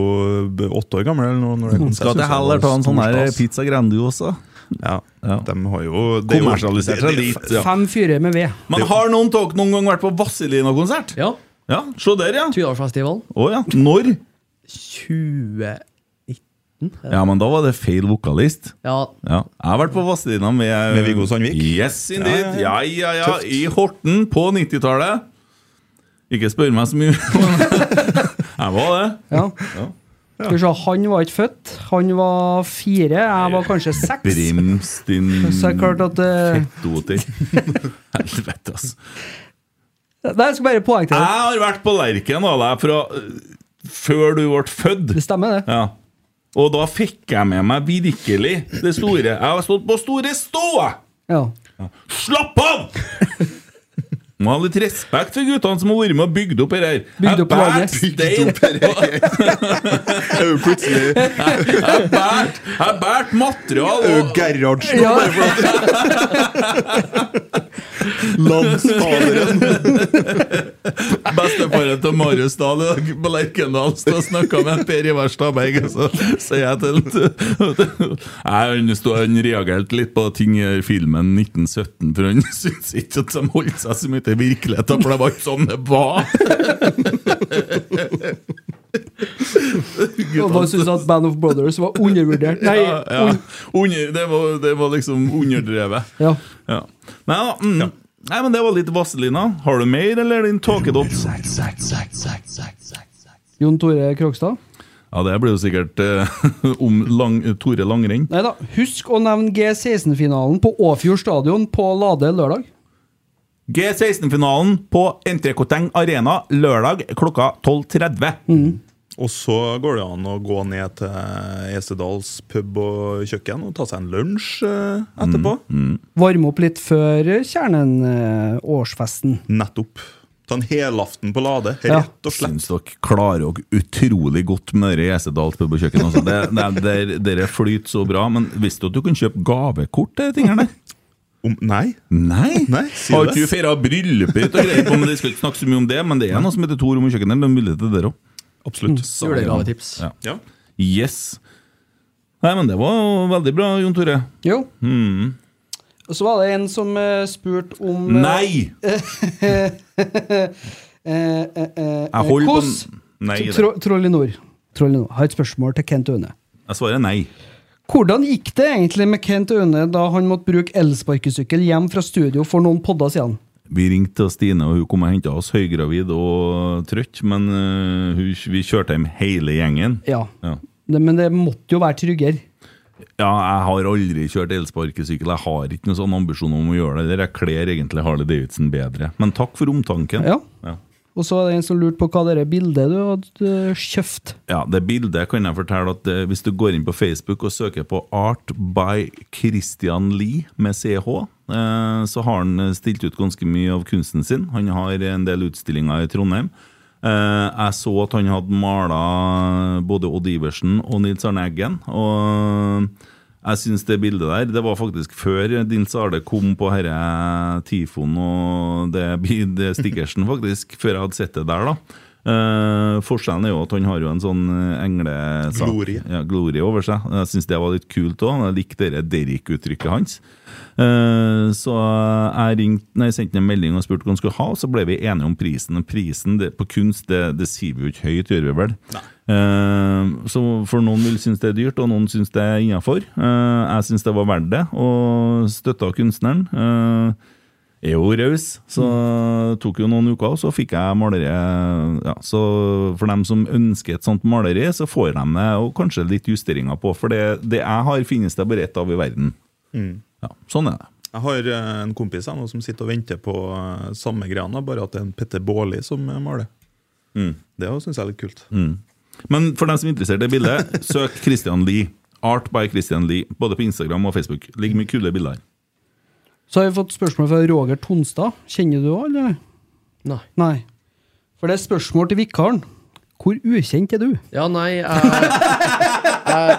Speaker 6: b- åtte år gammel. Når, når det kom, så jeg
Speaker 5: Skal
Speaker 6: synes
Speaker 5: til
Speaker 6: jeg var
Speaker 5: heller ta en sånn
Speaker 6: stor
Speaker 5: her
Speaker 6: stas.
Speaker 5: pizza grandiosa.
Speaker 6: Ja,
Speaker 5: Ja.
Speaker 6: de har jo det er jo-
Speaker 5: Kommersialisert
Speaker 6: det-
Speaker 5: seg
Speaker 6: det-
Speaker 5: litt. Ja.
Speaker 7: Fem fyrer med ved.
Speaker 5: Men har noen av dere noen gang vært på Vazelina-konsert?
Speaker 8: Ja.
Speaker 5: Ja, Se der, ja.
Speaker 8: Tydalsfestivalen.
Speaker 5: Å ja. Når?
Speaker 8: 2019. Ja.
Speaker 5: Ja, men da var det feil vokalist.
Speaker 8: ja.
Speaker 5: Ja. Jeg har vært på Vazelina med eh,
Speaker 6: Med Viggo Sandvik?
Speaker 5: Yes, indeed. Ja, ja, ja. I Horten på 90-tallet. Ikke spør meg så mye, *laughs* men jeg var det.
Speaker 7: Ja. Skal vi se, han var ikke født. Han var fire, jeg var kanskje seks.
Speaker 5: Brims, din
Speaker 7: Så er det klart at eh,
Speaker 6: *laughs*
Speaker 5: fettoter. Helvete, altså.
Speaker 7: Nei, jeg skal bare poengtere det.
Speaker 5: Jeg har vært på Lerken da, da, fra øh, før du ble født.
Speaker 7: Det stemmer, det.
Speaker 5: Ja. Og da fikk jeg med meg virkelig det store. Jeg har stått på store stå! jeg.
Speaker 7: Ja.
Speaker 5: Slapp av! Må ha litt respekt for guttene som har vært med og bygd opp det her.
Speaker 7: Bygd opp laget.
Speaker 5: Jeg bært stein på- *laughs*
Speaker 6: Det er jo plutselig
Speaker 5: Jeg bært- Jeg bært material
Speaker 6: det er jo
Speaker 5: og
Speaker 6: Gerhardsen
Speaker 7: Ja.
Speaker 6: Landsfaderen!
Speaker 5: bestefaren til Marius Dahl i dag på Lerkendal stod og snakka med Per Ivar Stabberg, og så sier jeg til han Han stod- han reagerte litt på ting i filmen 1917, for han syntes ikke at de holdt seg så mye til virkeligheten, for det var ikke sånn det var.
Speaker 7: Og bare synes at Band of Brothers var undervurdert. Nei,
Speaker 5: Ja, ja.
Speaker 7: un
Speaker 5: Under, det, var, det var liksom underdrevet.
Speaker 7: ja.
Speaker 5: Ja. Nei da. Mm. Nei, men det var litt Vazelina. Har du mer, eller er din tåkedott?
Speaker 7: Jon Tore Krogstad.
Speaker 5: Ja, det blir jo sikkert eh, *laughs* om lang, Tore Langrenn.
Speaker 7: Nei da. Husk å nevne G16-finalen på Åfjord stadion på Lade lørdag.
Speaker 5: G16-finalen på Entrecoteng Arena lørdag klokka 12.30.
Speaker 6: Og så går det an å gå ned til Esedals pub og kjøkken og ta seg en lunsj eh, etterpå.
Speaker 7: Varme opp litt før eh, Kjernen-årsfesten.
Speaker 6: Nettopp. Ta en helaften på Lade,
Speaker 7: Ja.
Speaker 6: rett og slett.
Speaker 5: Syns dere klarer dere utrolig godt med dere Esedal pub og kjøkken. Altså. Det, *laughs* det, det, dere flyter så bra. Men visste du at du kan kjøpe gavekort til de tingene der?
Speaker 6: Om, nei,
Speaker 5: Nei?
Speaker 6: Nei, sier
Speaker 5: Har
Speaker 6: det.
Speaker 5: ikke du feira bryllupet ditt og greier på, men det skal ikke snakke så mye om det. Men det er noe som heter to rom og kjøkken der, det Mm. er mulighet til det òg.
Speaker 6: absolutt.
Speaker 8: Julegavetips.
Speaker 5: Ja.
Speaker 6: Ja.
Speaker 5: Yes. Nei, men det var jo veldig bra, Jon Tore.
Speaker 7: Jo.
Speaker 5: Mm.
Speaker 7: Og så var det en som eh, spurte om eh,
Speaker 5: Nei!
Speaker 7: eh, eh, eh,
Speaker 5: Jeg holder på
Speaker 7: hvordan-
Speaker 5: n- Nei, det.
Speaker 7: Tro, Troll i nord. Troll i nord. Har et spørsmål til Kent Aune.
Speaker 5: Jeg svarer nei.
Speaker 7: Hvordan gikk det egentlig med Kent Aune da han måtte bruke elsparkesykkel hjem fra studio for noen podder siden?
Speaker 5: Vi ringte Stine, og hun kom og henta oss høygravid og trøtt, men eh, hun, vi kjørte hjem hele gjengen.
Speaker 7: Ja.
Speaker 5: Ja.
Speaker 7: Det, men det måtte jo være tryggere.
Speaker 5: Ja, jeg har aldri kjørt elsparkesykkel. Jeg har ikke noen sånn ambisjon om å gjøre det. Eller jeg kler egentlig Harley Davidson bedre. Men takk for omtanken.
Speaker 7: Ja.
Speaker 5: Ja.
Speaker 7: Og så var det en som lurte på hva det der bildet du hadde eh, kjøpt.
Speaker 5: Ja, Det bildet kan jeg fortelle at eh, hvis du går inn på Facebook og søker på Art by Christian Lie med CH, eh, så har han eh, stilt ut ganske mye av kunsten sin. Han har en del utstillinger i Trondheim. Eh, Jeg så at han hadde mala både Odd Iversen og Nils Arne Eggen. og... Jeg syns det bildet der Det var faktisk før Nils Arne kom på herre Tifon og det, bi- det stickersen, faktisk. Før jeg hadde sett det der, da. Eh, forskjellen er jo at han har jo en sånn eh, engle... sa-
Speaker 6: Glorie.
Speaker 5: Ja, glorie over seg. Jeg syns det var litt kult òg. Jeg likte det Derrik-uttrykket hans. Eh, så jeg ringte, nei, sendte han en melding og spurte hva han skulle ha, og så ble vi enige om prisen. Og prisen det, på kunst, det, det sier vi jo ikke høyt, gjør vi vel? Eh, så for noen vil synes det er dyrt, og noen synes det er innafor. jeg synes det var verdt det, og støtta kunstneren. Eh, er jo raus, så tok jo noen uker, og så fikk jeg maleri. Ja, så for dem som ønsker et sånt maleri, så får de det, og kanskje litt justeringer på. For det, det jeg har, finnes det bare ett av i verden. Ja, sånn er det.
Speaker 6: Jeg har eh, en kompis her nå som sitter og venter på eh, samme greia, bare at det er en Petter Baarli som eh, maler.
Speaker 5: Mm.
Speaker 6: Det syns jeg er litt kult.
Speaker 5: Men for dem som er interessert i bildet, *laughs* søk Christian Lie. Art by Christian Lie, både på Instagram og Facebook. Ligger mye kule bilder her.
Speaker 7: Så har vi fått spørsmål fra Roger Tonstad. Kjenner du òg, eller?
Speaker 8: Nei.
Speaker 7: Nei. For det er spørsmål til vikaren. Hvor ukjent er du?
Speaker 8: Ja, nei, jeg, jeg,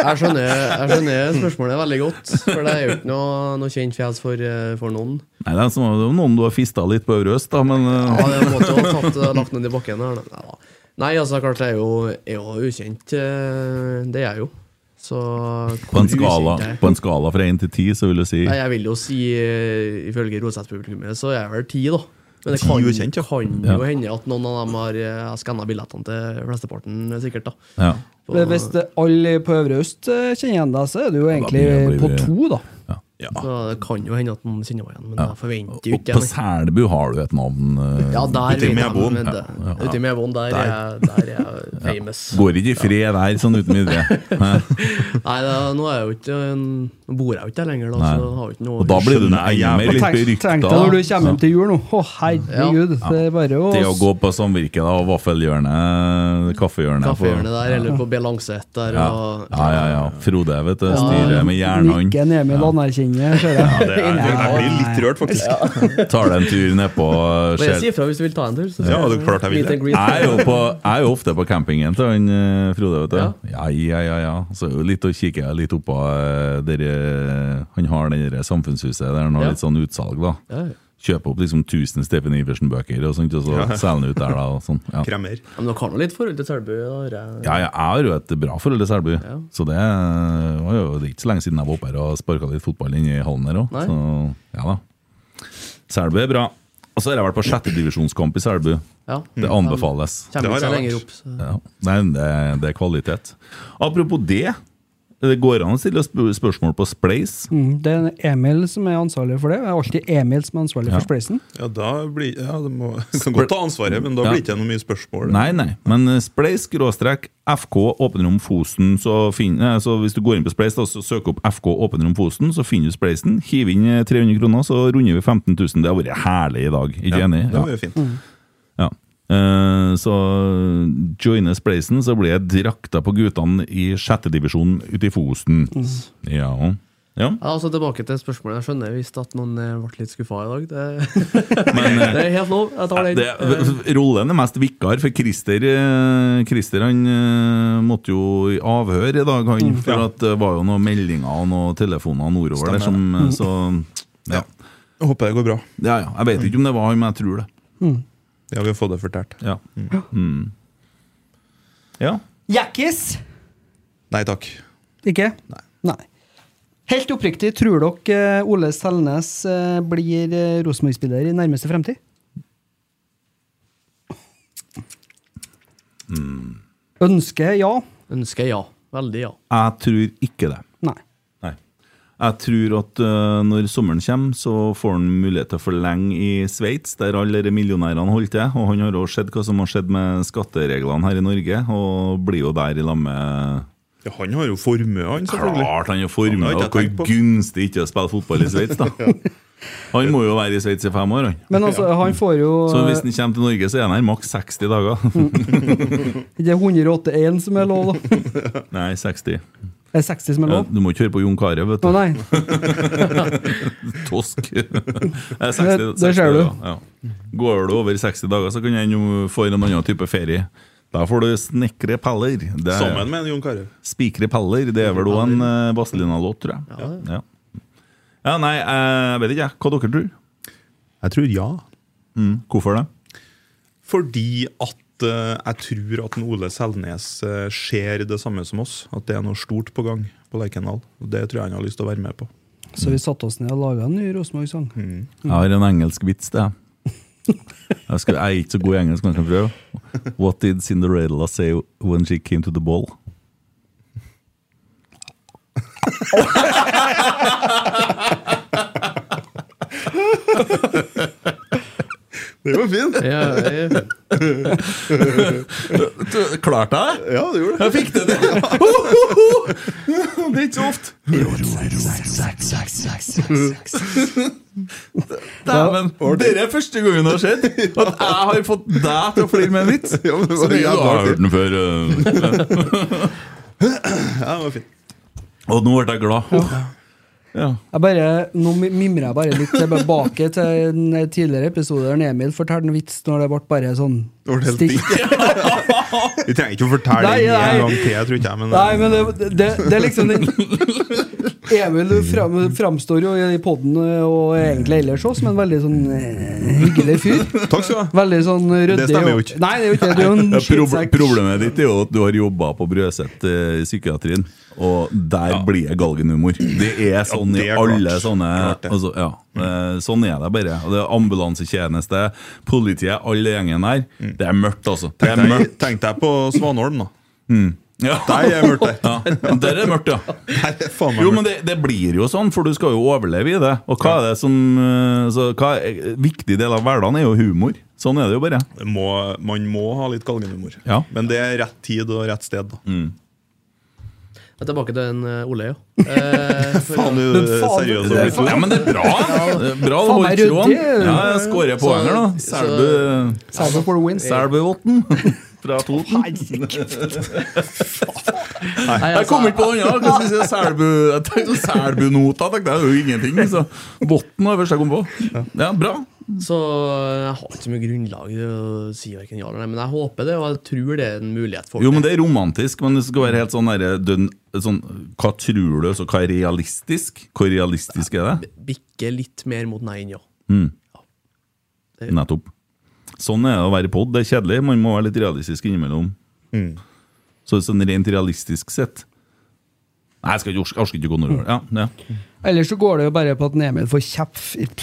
Speaker 8: jeg, skjønner, jeg skjønner spørsmålet veldig godt. For det er jo ikke noe, noe kjent fjes for, eh, for noen.
Speaker 5: Nei, det er som om det er noen du har fista litt på Øvre Øst, da, men eh,
Speaker 8: Ja, det måtte jo ha tatt, eh, lagt ned i bakken her. da. Neida. Nei, altså, klart jeg er jo, er jo ukjent. eh, Det er jeg jo. Så
Speaker 5: på, en
Speaker 8: hvor
Speaker 5: skala, *laughs*
Speaker 8: ukjent jeg er-
Speaker 5: på en skala fra én til ti, så vil du si
Speaker 8: Nei, jeg vil jo si, eh, ifølge Roseth-publikummet, så er jeg vel ti, da. Men det
Speaker 6: Ti
Speaker 8: kan,
Speaker 6: ukjent, ja.
Speaker 8: kan
Speaker 5: Ja.
Speaker 8: jo hende at noen av dem har skanna billettene til flesteparten, eh, sikkert. da.
Speaker 5: Ja.
Speaker 8: På-
Speaker 7: Hvis det- alle på Øvre Øst eh, kjenner igjen deg, så er du jo egentlig
Speaker 5: blir-
Speaker 7: på
Speaker 5: blir-
Speaker 7: to, da.
Speaker 8: Så det kan jo hende at noen kjenner meg igjen, men jeg forventer jo
Speaker 5: Og
Speaker 8: ikke
Speaker 5: på
Speaker 8: det. nei.
Speaker 5: Selbu har du et navn. eh,
Speaker 8: Ja, der
Speaker 6: Uti
Speaker 8: vet jeg,
Speaker 6: Meboen.
Speaker 8: men det- Uti Meboen, der er jeg-
Speaker 5: *laughs*
Speaker 8: der er jeg famous.
Speaker 5: Går ikke i fred der, sånn uten
Speaker 8: *laughs*
Speaker 5: videre. Nei.
Speaker 8: Nei, da, nå er jeg jo ikke Nå bor jeg jo ikke der lenger, da,
Speaker 5: Nei.
Speaker 8: så jeg har jo ikke noe
Speaker 5: Og da blir du
Speaker 6: Skjønner jeg
Speaker 5: enda mer
Speaker 6: jævlig.
Speaker 5: litt
Speaker 7: Tenk,
Speaker 5: berykta.
Speaker 7: tenk deg når du kommer hjem til jul nå. Å, herregud. Det er bare å
Speaker 5: Det å gå på samvirket da, og vaffelhjørnet, kaffehjørnet
Speaker 8: Kaffehjørnet der, eller på Belanset der,
Speaker 5: Ja.
Speaker 8: og
Speaker 5: ja, ja, ja. Frode, vet du.
Speaker 7: Ja,
Speaker 5: Styrer med jernhånd.
Speaker 7: Nikken Emil anerkjenner, ser jeg.
Speaker 6: Jeg, jeg blir litt rørt, faktisk. *laughs*
Speaker 5: Tar deg en tur nedpå
Speaker 8: Bare si
Speaker 5: Skjell.
Speaker 8: ifra hvis du vil ta en tur. så
Speaker 6: Ja,
Speaker 8: skal
Speaker 6: det er klart jeg vil
Speaker 8: meet
Speaker 6: det.
Speaker 8: and greet.
Speaker 5: Jeg er, jo på, jeg er jo ofte på campingen til han eh, Frode, vet du. Ja, ja, ja. ja. Så er det jo litt å kikke jeg litt oppå eh, der eh, Han har det der samfunnshuset der han har
Speaker 8: Ja.
Speaker 5: litt sånn utsalg, da.
Speaker 8: Ja, ja.
Speaker 5: Kjøper opp liksom 1000 Stephen Iversen-bøker og sånt, og så selger han ut der, da. Og sånn. ja.
Speaker 6: Kremmer.
Speaker 8: Ja, Men dere har nå litt forhold til Selbu? da, dere.
Speaker 5: Ja, jeg har jo et bra forhold til Selbu. Så det eh, var jo det er ikke så lenge siden jeg var oppe her og sparka litt fotball inne i hallen her òg.
Speaker 8: Nei.
Speaker 5: Så ja da. Selbu er bra. Og så har jeg vært på sjettedivisjonskamp i Selbu.
Speaker 8: Ja. Mm.
Speaker 5: Det anbefales.
Speaker 6: Det
Speaker 8: Kommer
Speaker 6: har
Speaker 8: ikke så
Speaker 6: jeg
Speaker 8: lenger
Speaker 6: vært.
Speaker 8: opp. Så.
Speaker 5: Ja. Nei, det, det er kvalitet. Apropos det. Det går an å stille sp- spørsmål på Spleis.
Speaker 7: Mm, Det er Emil som er ansvarlig for det. Det er alltid Emil som er ansvarlig for spleisen.
Speaker 6: Ja, da blir, ja, det må, *laughs* kan godt ta ansvaret, men da
Speaker 5: Ja.
Speaker 6: blir det ikke noe mye spørsmål.
Speaker 5: Nei, nei. Men eh, Spleis skråstrek FK åpenrom Fosen. Så, finn, eh, så hvis du går inn på Spleis da, så søk opp FK åpenrom Fosen, så finner du Spleisen. Hiv inn eh, 300 kroner, så runder vi 15 000. Det har vært herlig i dag. Ikke enig?
Speaker 6: Det var jo fint.
Speaker 5: Ja. Eh, Så joiner Spleisen, så blir jeg drakta på guttene i sjettedivisjon ute i Fosen. Ja. ja.
Speaker 8: Ja, altså Tilbake til spørsmålet. Jeg skjønner visst at noen eh, ble litt skuffa i dag. Det, *laughs*
Speaker 5: Men eh,
Speaker 8: det er helt lov. Jeg tar den.
Speaker 5: det, rollen er mest vikar, for Christer, eh, Christer han eh, måtte jo i avhør i dag, han, for at det var jo noen meldinger og noen telefoner nordover der som eh, Så ja.
Speaker 6: Jeg Håper det går bra.
Speaker 5: ja, ja. Jeg vet ikke om det var han, men jeg tror det.
Speaker 6: Ja, vi har fått det fortalt.
Speaker 5: Ja. Mm. ja.
Speaker 7: Jackis!
Speaker 6: Nei takk.
Speaker 7: Ikke? Nei. Helt oppriktig, tror dere eh, Ole Selnes eh, blir eh, Rosenborg-spiller i nærmeste fremtid?
Speaker 5: Hmm.
Speaker 7: Ønske ja.
Speaker 8: Ønsker ja. Veldig ja.
Speaker 5: Jeg tror ikke det.
Speaker 7: Nei.
Speaker 5: Nei. Jeg tror at øh, når sommeren kommer, så får han mulighet til å forlenge i Sveits, der alle de millionærene holdt til. Og han har også sett hva som har skjedd med skattereglene her i Norge, og blir jo der i lag med
Speaker 6: Ja, han har jo formue, han, selvfølgelig.
Speaker 5: Klart han er
Speaker 6: Han
Speaker 5: formue,
Speaker 6: har ikke
Speaker 5: og hvor
Speaker 6: tenkt på.
Speaker 5: gunstig ikke å spille fotball i Sveits,
Speaker 6: *laughs*
Speaker 5: da. Han må jo være i Sveits i fem år, han.
Speaker 7: Men
Speaker 5: *laughs*
Speaker 7: altså, han får jo
Speaker 5: Så hvis han kommer til Norge, så er han her maks 60
Speaker 7: Mm.
Speaker 5: dager.
Speaker 7: Det er 181 som er lov, da.
Speaker 5: *laughs* Nei, 60.
Speaker 7: Det er 60 som er
Speaker 5: Ja,
Speaker 7: lov.
Speaker 5: Du må ikke høre på Jon Carew, vet
Speaker 7: Å
Speaker 5: du.
Speaker 7: nei.
Speaker 5: *laughs* Tosk. Det er 60,
Speaker 7: Det- det
Speaker 5: 60
Speaker 7: ser du.
Speaker 5: dager, Ja. Går du over 60 dager, så kan han jo få en annen type ferie. Da får du snekre paller. Det er-
Speaker 6: Sammen med en Jon Carew.
Speaker 5: Spikre paller, det er vel også en eh, Vazelina-låt, tror jeg. Ja. ja, nei, eh, jeg vet ikke, jeg. Hva dere tror?
Speaker 6: Jeg tror ja.
Speaker 5: Hvorfor det?
Speaker 6: Fordi at eh, jeg tror at en Ole Selnes eh, ser det samme som oss. At det er noe stort på gang på Lerkendal. Og Det tror jeg han har lyst til å være med på.
Speaker 7: Så vi satte oss ned og laga en ny Rosenborg-sang.
Speaker 5: Jeg har en engelsk vits, det. Jeg, skal, jeg er ikke så god i engelsk, men jeg kan prøve. What did Cinderella say when she came to the ball?
Speaker 6: Det var fint!
Speaker 8: Ja, jeg,
Speaker 5: Klarte jeg *laughs* det?
Speaker 6: Ja, det gjorde det.
Speaker 5: Jeg fikk det! det.
Speaker 6: Det er ikke så ofte.
Speaker 5: Dæven! Det er første gangen det har skjedd at jeg har fått deg til å flire med en vits.
Speaker 6: Ja, men det var
Speaker 5: Så det
Speaker 6: jævla
Speaker 5: jeg har
Speaker 6: artig.
Speaker 5: hørt den før. *laughs* eh.
Speaker 6: Ja, det var fint.
Speaker 5: Og nå ble jeg glad. Ja.
Speaker 7: Jeg bare, nå mi- mimrer jeg bare litt tilbake til en tidligere episode der Emil fortalte en vits når det ble bare sånn
Speaker 6: Det var helt
Speaker 7: stille.
Speaker 6: *laughs* Vi trenger ikke å fortelle
Speaker 7: Nei,
Speaker 6: den
Speaker 7: nei.
Speaker 6: en gang til, jeg tror ikke jeg, men, eh,
Speaker 7: Nei, men det, det, det er liksom den Emil du fram, framstår jo i poden og egentlig ellers òg som en veldig sånn eh, hyggelig fyr.
Speaker 6: Takk skal du ha.
Speaker 7: Veldig sånn ryddig.
Speaker 6: Det stemmer jo
Speaker 7: og-
Speaker 6: ikke.
Speaker 7: Nei, det er jo ikke det. Du er jo en
Speaker 5: Ja, proble-
Speaker 7: skittsekk.
Speaker 5: Problemet ditt er jo at du har jobba på Brøset eh, i psykiatrien, og der blir det galgenhumor. Det er sånn
Speaker 6: det er
Speaker 5: i alle
Speaker 6: klart.
Speaker 5: sånne
Speaker 6: Klart det. Mm.
Speaker 5: altså, ja, eh, Sånn er det bare. Og det er ambulansetjeneste, politiet, alle gjengen der. Det er mørkt, altså. Det er
Speaker 6: Mm. Tenk-
Speaker 5: mørkt.
Speaker 6: Tenk deg på Svanholm, da.
Speaker 5: Ja.
Speaker 6: Der er mørkt, der.
Speaker 5: Ja, der er det
Speaker 6: *laughs*
Speaker 5: mørkt, ja.
Speaker 6: Der er faen meg
Speaker 5: Jo, men
Speaker 6: mørkt.
Speaker 5: det, det blir jo sånn, for du skal jo overleve i det. Og hva er det som eh, så, hva er, Viktig del av hverdagen er jo humor. Sånn er det jo bare.
Speaker 6: Det må, man må ha litt galgenhumor.
Speaker 5: Ja.
Speaker 6: Men det er rett tid og rett sted, da.
Speaker 8: jeg er tilbake til en eh, Ole,
Speaker 6: *laughs*
Speaker 8: ja. Eh, for-
Speaker 6: Faen, du
Speaker 7: Men faen,
Speaker 6: seriøst
Speaker 7: det
Speaker 6: har
Speaker 7: er
Speaker 6: blitt
Speaker 7: faen-
Speaker 5: Ja, men det er bra! Det er bra du
Speaker 7: Faen,
Speaker 5: holdt
Speaker 7: jeg er
Speaker 5: tråden.
Speaker 7: ryddig.
Speaker 5: Ja, jeg skårer poeng her, da.
Speaker 8: Så-
Speaker 5: Selbu
Speaker 7: Sarah for the win.
Speaker 5: Selbuvotn fra Toten.
Speaker 8: Nei,
Speaker 5: Jeg kom
Speaker 8: altså,
Speaker 5: ikke på noe annet. Hva skal jeg si? Selbu Jeg tenkte Selbunota, tenkte jeg. Det er jo ingenting. Så Botn var det første jeg kom på. Ja, bra.
Speaker 8: Så eh, jeg har ikke så mye grunnlag til å si hverken ja eller nei, men jeg håper det, og jeg tror det er en mulighet for
Speaker 5: Jo, men det er romantisk, men det skal være helt sånn derre dønn- sånn, Hva tror du, så hva er realistisk? Hvor realistisk er det?
Speaker 8: Bikke litt mer mot nei enn ja.
Speaker 5: Nettopp. Sånn er det å være pod. Det er kjedelig. Man må være litt realistisk innimellom. Så sånn rent realistisk sett Nei, jeg skal ikke orske, jeg orker ikke gå nordover. Ja, ja.
Speaker 7: Ellers så går det jo bare på at en Emil får kjeft,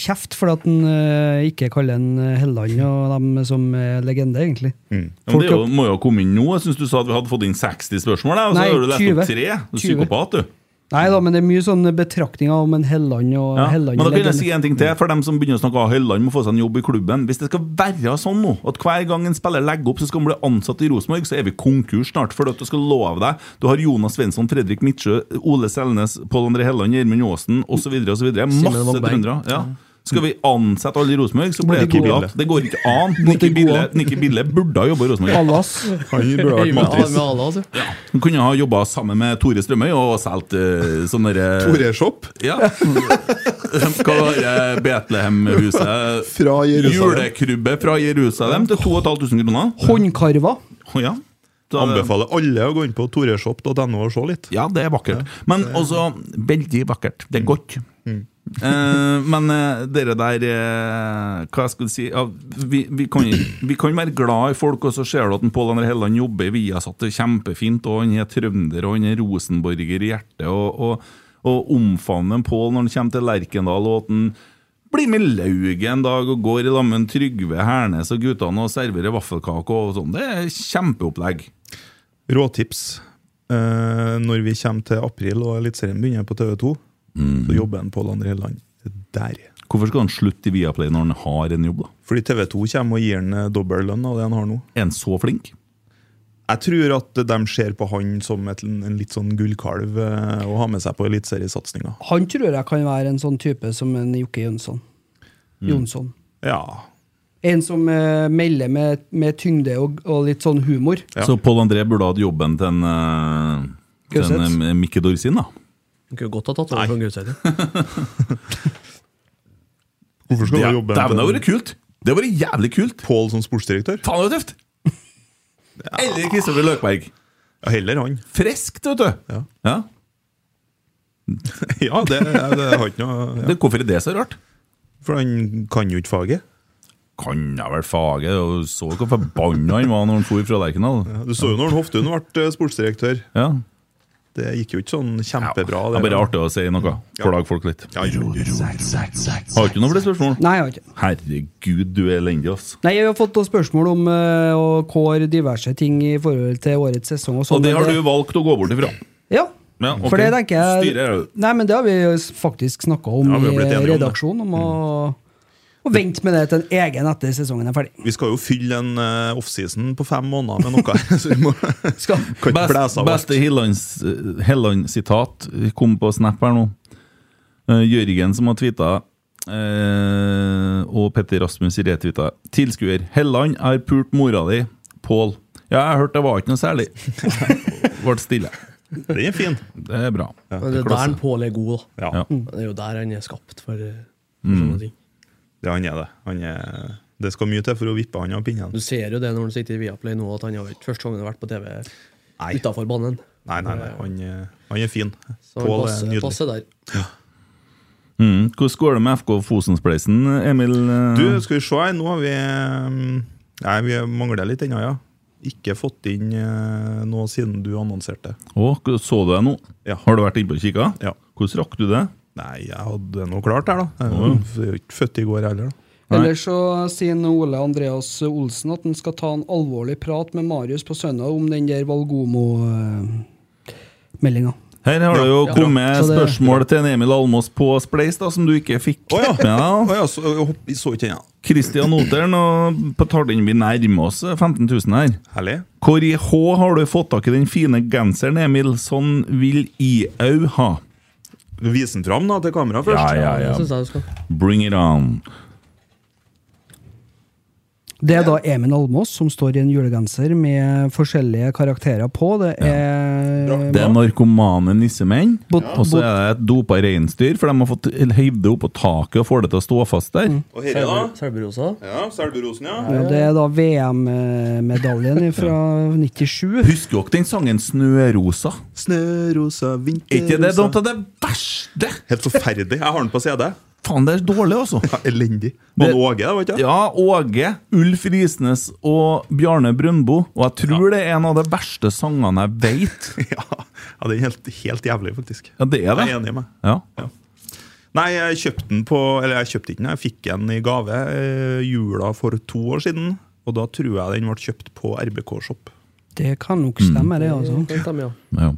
Speaker 7: kjeft fordi at han eh, ikke kaller han eh, Helland og dem som er legende, egentlig.
Speaker 6: Mm.
Speaker 5: Ja, Men det er jo, må jo komme inn nå. Jeg syns du sa at vi hadde fått inn 60 spørsmål. Da, og så
Speaker 7: Nei,
Speaker 5: har du lest
Speaker 7: 20.
Speaker 5: opp tre.
Speaker 7: 20.
Speaker 5: Du er psykopat, du.
Speaker 7: Nei da, men det er mye sånne betraktninger om en Helland og
Speaker 5: Ja. Men
Speaker 7: Helland Mm.
Speaker 5: da kan
Speaker 7: legende.
Speaker 5: jeg si en ting til for dem som begynner å snakke om Helland må få seg en jobb i klubben. Hvis det skal være sånn nå at hver gang en spiller legger opp, så skal han bli ansatt i Rosenborg, så er vi konkurs snart. For at du skal love deg Du har Jonas Svensson, Fredrik Midtsjø, Ole Selnes, Pål André Helland, Gjermund Aasen osv. osv. Masse
Speaker 8: Wangberg.
Speaker 5: trøndere. Ja. Skal vi ansette alle i Rosenborg, så blir
Speaker 7: Mm.
Speaker 5: det
Speaker 7: Nicky
Speaker 5: kopiat. Det går ikke
Speaker 7: *laughs*
Speaker 5: an.
Speaker 7: Måtte
Speaker 5: Nikki
Speaker 7: gå
Speaker 5: Bille,
Speaker 7: an.
Speaker 5: Nikki Bille burde ha jobba i Rosenborg.
Speaker 7: Allas.
Speaker 6: Han burde vært
Speaker 8: Med
Speaker 6: matris.
Speaker 8: med Allah, altså.
Speaker 5: Hun kunne ha jobba sammen med Tore Strømøy og solgt uh, sånne der-
Speaker 6: Tore Shop
Speaker 5: Ja. *laughs* Hva var det Betlehem-huset?
Speaker 6: fra Jerusalem.
Speaker 5: eh, Julekrybbe fra Jerusalem til 2500 kroner.
Speaker 7: Håndkarva.
Speaker 5: Å, Ja. Så-
Speaker 6: Anbefaler alle å gå inn på toreshop.no og se litt.
Speaker 5: Ja, det er vakkert. Men også veldig vakkert. Det er godt. Eh, men eh, dere der eh, Hva jeg skulle si ja, vi, vi, kan, vi kan være glad i folk, og så ser du at en Pål André Helland jobber i Viasat. Det er kjempefint. Og han er trønder, og han er rosenborger i hjertet. Og, og, og omfavne en Pål når han kommer til Lerkendal, og at han blir med lauget en dag og går i lag med en Trygve Hernes og guttene og serverer vaffelkake og sånn. Det er kjempeopplegg.
Speaker 6: Råtips. Eh, når vi kommer til april og Eliteserien begynner på TV2,
Speaker 5: Mm.
Speaker 6: så jobber en Pål André Helland der.
Speaker 5: Hvorfor skal han slutte i Viaplay når han har en jobb, da?
Speaker 6: Fordi TV2 kommer og gir han eh, dobbel lønn av det han har nå.
Speaker 5: Er han så flink?
Speaker 6: Jeg tror at de ser på han som et, en litt sånn gullkalv eh, å ha med seg på eliteseriesatsinga.
Speaker 7: Han tror jeg kan være en sånn type som en Jokke Jønsson.
Speaker 5: Mm.
Speaker 7: Jonsson.
Speaker 6: Ja.
Speaker 7: En som eh, melder med, med tyngde og, og litt sånn humor.
Speaker 6: Ja.
Speaker 5: Så Pål André burde hatt jobben til en, eh, til en
Speaker 7: Gauseth.
Speaker 5: eh, Mikke Dorsin, da.
Speaker 8: Han kunne godt ha tatt over fra
Speaker 6: *laughs*
Speaker 8: Gauseth. ja.
Speaker 6: Hvorfor skal du jobbe
Speaker 5: Dæven, det hadde
Speaker 6: med
Speaker 5: vært kult! Det hadde vært jævlig kult!
Speaker 6: Pål som sportsdirektør?
Speaker 5: Faen, det
Speaker 6: *laughs*
Speaker 5: var tøft! Eller Kristoffer Løkberg.
Speaker 6: Ja, Heller han.
Speaker 5: Friskt, vet du!
Speaker 6: Ja.
Speaker 5: Ja.
Speaker 6: *laughs* Ja, det, Eh, det har ikke noe ja.
Speaker 5: Det, hvorfor er det så rart?
Speaker 6: For han kan jo ikke faget.
Speaker 5: Kan jeg vel faget? Og så hvor forbanna han var når han for fra Lerkendal.
Speaker 6: Ja, Du så jo når Hoftun ble eh, sportsdirektør.
Speaker 5: Ja.
Speaker 6: Det gikk jo ikke sånn
Speaker 5: Ja.
Speaker 6: kjempebra.
Speaker 5: Det er bare artig å si noe. Forlag folk litt.
Speaker 6: Ja, jo.
Speaker 5: Har ikke noe flere spørsmål?
Speaker 7: Nei, jeg har ikke.
Speaker 5: Herregud, du er elendig, ass.
Speaker 7: Nei, jeg har fått noen spørsmål om eh, å kåre diverse ting i forhold til årets sesong. Og, sånn,
Speaker 5: Og det
Speaker 7: men
Speaker 5: har du valgt å gå bort ifra.
Speaker 7: Ja.
Speaker 5: Ja, ok.
Speaker 7: For det tenker jeg
Speaker 5: Styret er jo-
Speaker 7: Nei, men det har vi jo s- faktisk snakka om
Speaker 6: Ja, vi har
Speaker 7: i
Speaker 6: blitt enige om det.
Speaker 7: redaksjonen, om å,
Speaker 5: Mm.
Speaker 7: å vente med det til en egen etter sesongen er ferdig.
Speaker 6: Vi skal jo fylle en eh, offseason på fem måneder med noe. *laughs* så vi må,
Speaker 7: Skal.
Speaker 6: kan ikke
Speaker 5: Best,
Speaker 6: blæse av alt.
Speaker 5: beste Hellands- eh, Helland-sitat kom på Snap her nå. Eh, Jørgen som har tweeta, eh, og Petter Rasmus i retweeta. Tilskuer. Helland har pult mora di. Pål. Ja, jeg hørte det var ikke noe
Speaker 7: *laughs*
Speaker 5: særlig. Ble stille.
Speaker 6: Den er fin.
Speaker 5: Det er bra.
Speaker 8: Men det er der han Pål er god, da. Mm.
Speaker 6: Ja, Mm.
Speaker 5: Ja.
Speaker 8: Det er jo der han er skapt for, eh, for sånne ting.
Speaker 6: Det, han er det. Han er, det skal mye til for å vippe han av pinnen.
Speaker 8: Du ser jo det når han sitter i Viaplay nå, at han har jo ikke første gangen han har vært på
Speaker 6: Nei.
Speaker 8: TV utafor banen.
Speaker 6: Nei, nei, nei. Han, eh, han er fin.
Speaker 8: Så han
Speaker 6: Pål er
Speaker 8: passer,
Speaker 6: nydelig.
Speaker 8: passer der.
Speaker 5: Mm. Hvordan går det med FK Fosenspleisen, Emil? eh?
Speaker 6: Du, skal vi se her, nå har vi eh, Nei, vi mangler litt ennå, ja. Ikke fått inn eh, noe siden du annonserte.
Speaker 5: Å, så du det nå?
Speaker 6: Ja.
Speaker 5: Har du vært inne og kikka?
Speaker 6: Ja.
Speaker 5: Hvordan rakk du det?
Speaker 6: Nei, jeg hadde noe klart her, da. Jeg er jo ikke født i går heller, da.
Speaker 7: Ellers så sier nå Ole Andreas Olsen at han skal ta en alvorlig prat med Marius på søndag om den der Valgomo-meldinga.
Speaker 5: Her har det jo
Speaker 7: Ja.
Speaker 5: kommet
Speaker 7: Så det-
Speaker 5: spørsmål til en Emil Almås på Spleis, da, som du ikke fikk
Speaker 6: Å ja.
Speaker 5: med deg.
Speaker 6: *laughs* Å ja, så, jeg hopp- jeg så ikke den, ja.
Speaker 5: Kristian Oteren, og på tallene vi nærmer oss 15 000 her.
Speaker 6: Herlig.
Speaker 5: Hvor i H har du fått tak i den fine genseren, Emil? Sånn vil IAU ha.
Speaker 6: Vis den fram da, til kamera først.
Speaker 8: Det synes jeg du skal.
Speaker 5: Bring it on.
Speaker 7: Det er da Emin Almås som står i en julegenser med forskjellige karakterer på. Det er
Speaker 5: Det er narkomane nissemenn,
Speaker 7: Bot-
Speaker 5: og så er det et dopa reinsdyr, for de har fått hivd det opp på taket og får det til å stå fast der.
Speaker 7: Mm.
Speaker 6: Og her, da?
Speaker 8: Selberosa.
Speaker 6: Ja, Selburosen, ja.
Speaker 7: Ja, det er da VM-medaljen fra 97.
Speaker 5: Husker dere den sangen 'Snørosa'?
Speaker 6: Snørosa, vinterrosa
Speaker 5: Er ikke det noe av det verste?
Speaker 6: Helt forferdelig. Jeg har den på CD.
Speaker 5: Faen, det er dårlig, altså.
Speaker 6: Ja, elendig. Var det
Speaker 5: Det-
Speaker 6: Åge, det, var ikke det?
Speaker 5: Ja, Åge, Ulf Risnes og Bjarne Brøndbo. Og jeg tror det er en av de verste sangene jeg veit.
Speaker 6: *laughs* Ja. ja, det er helt, helt jævlig, faktisk.
Speaker 5: Ja, det er det.
Speaker 6: Jeg er enig i meg.
Speaker 5: Ja.
Speaker 6: Nei, jeg kjøpte den på Eller jeg kjøpte ikke den, jeg fikk den i gave eh, jula for to år siden. Og da tror jeg den ble kjøpt på RBK Shop.
Speaker 7: Det kan nok
Speaker 5: Mm.
Speaker 7: stemme, det. altså.
Speaker 8: Kan stemme, ja.
Speaker 5: ja.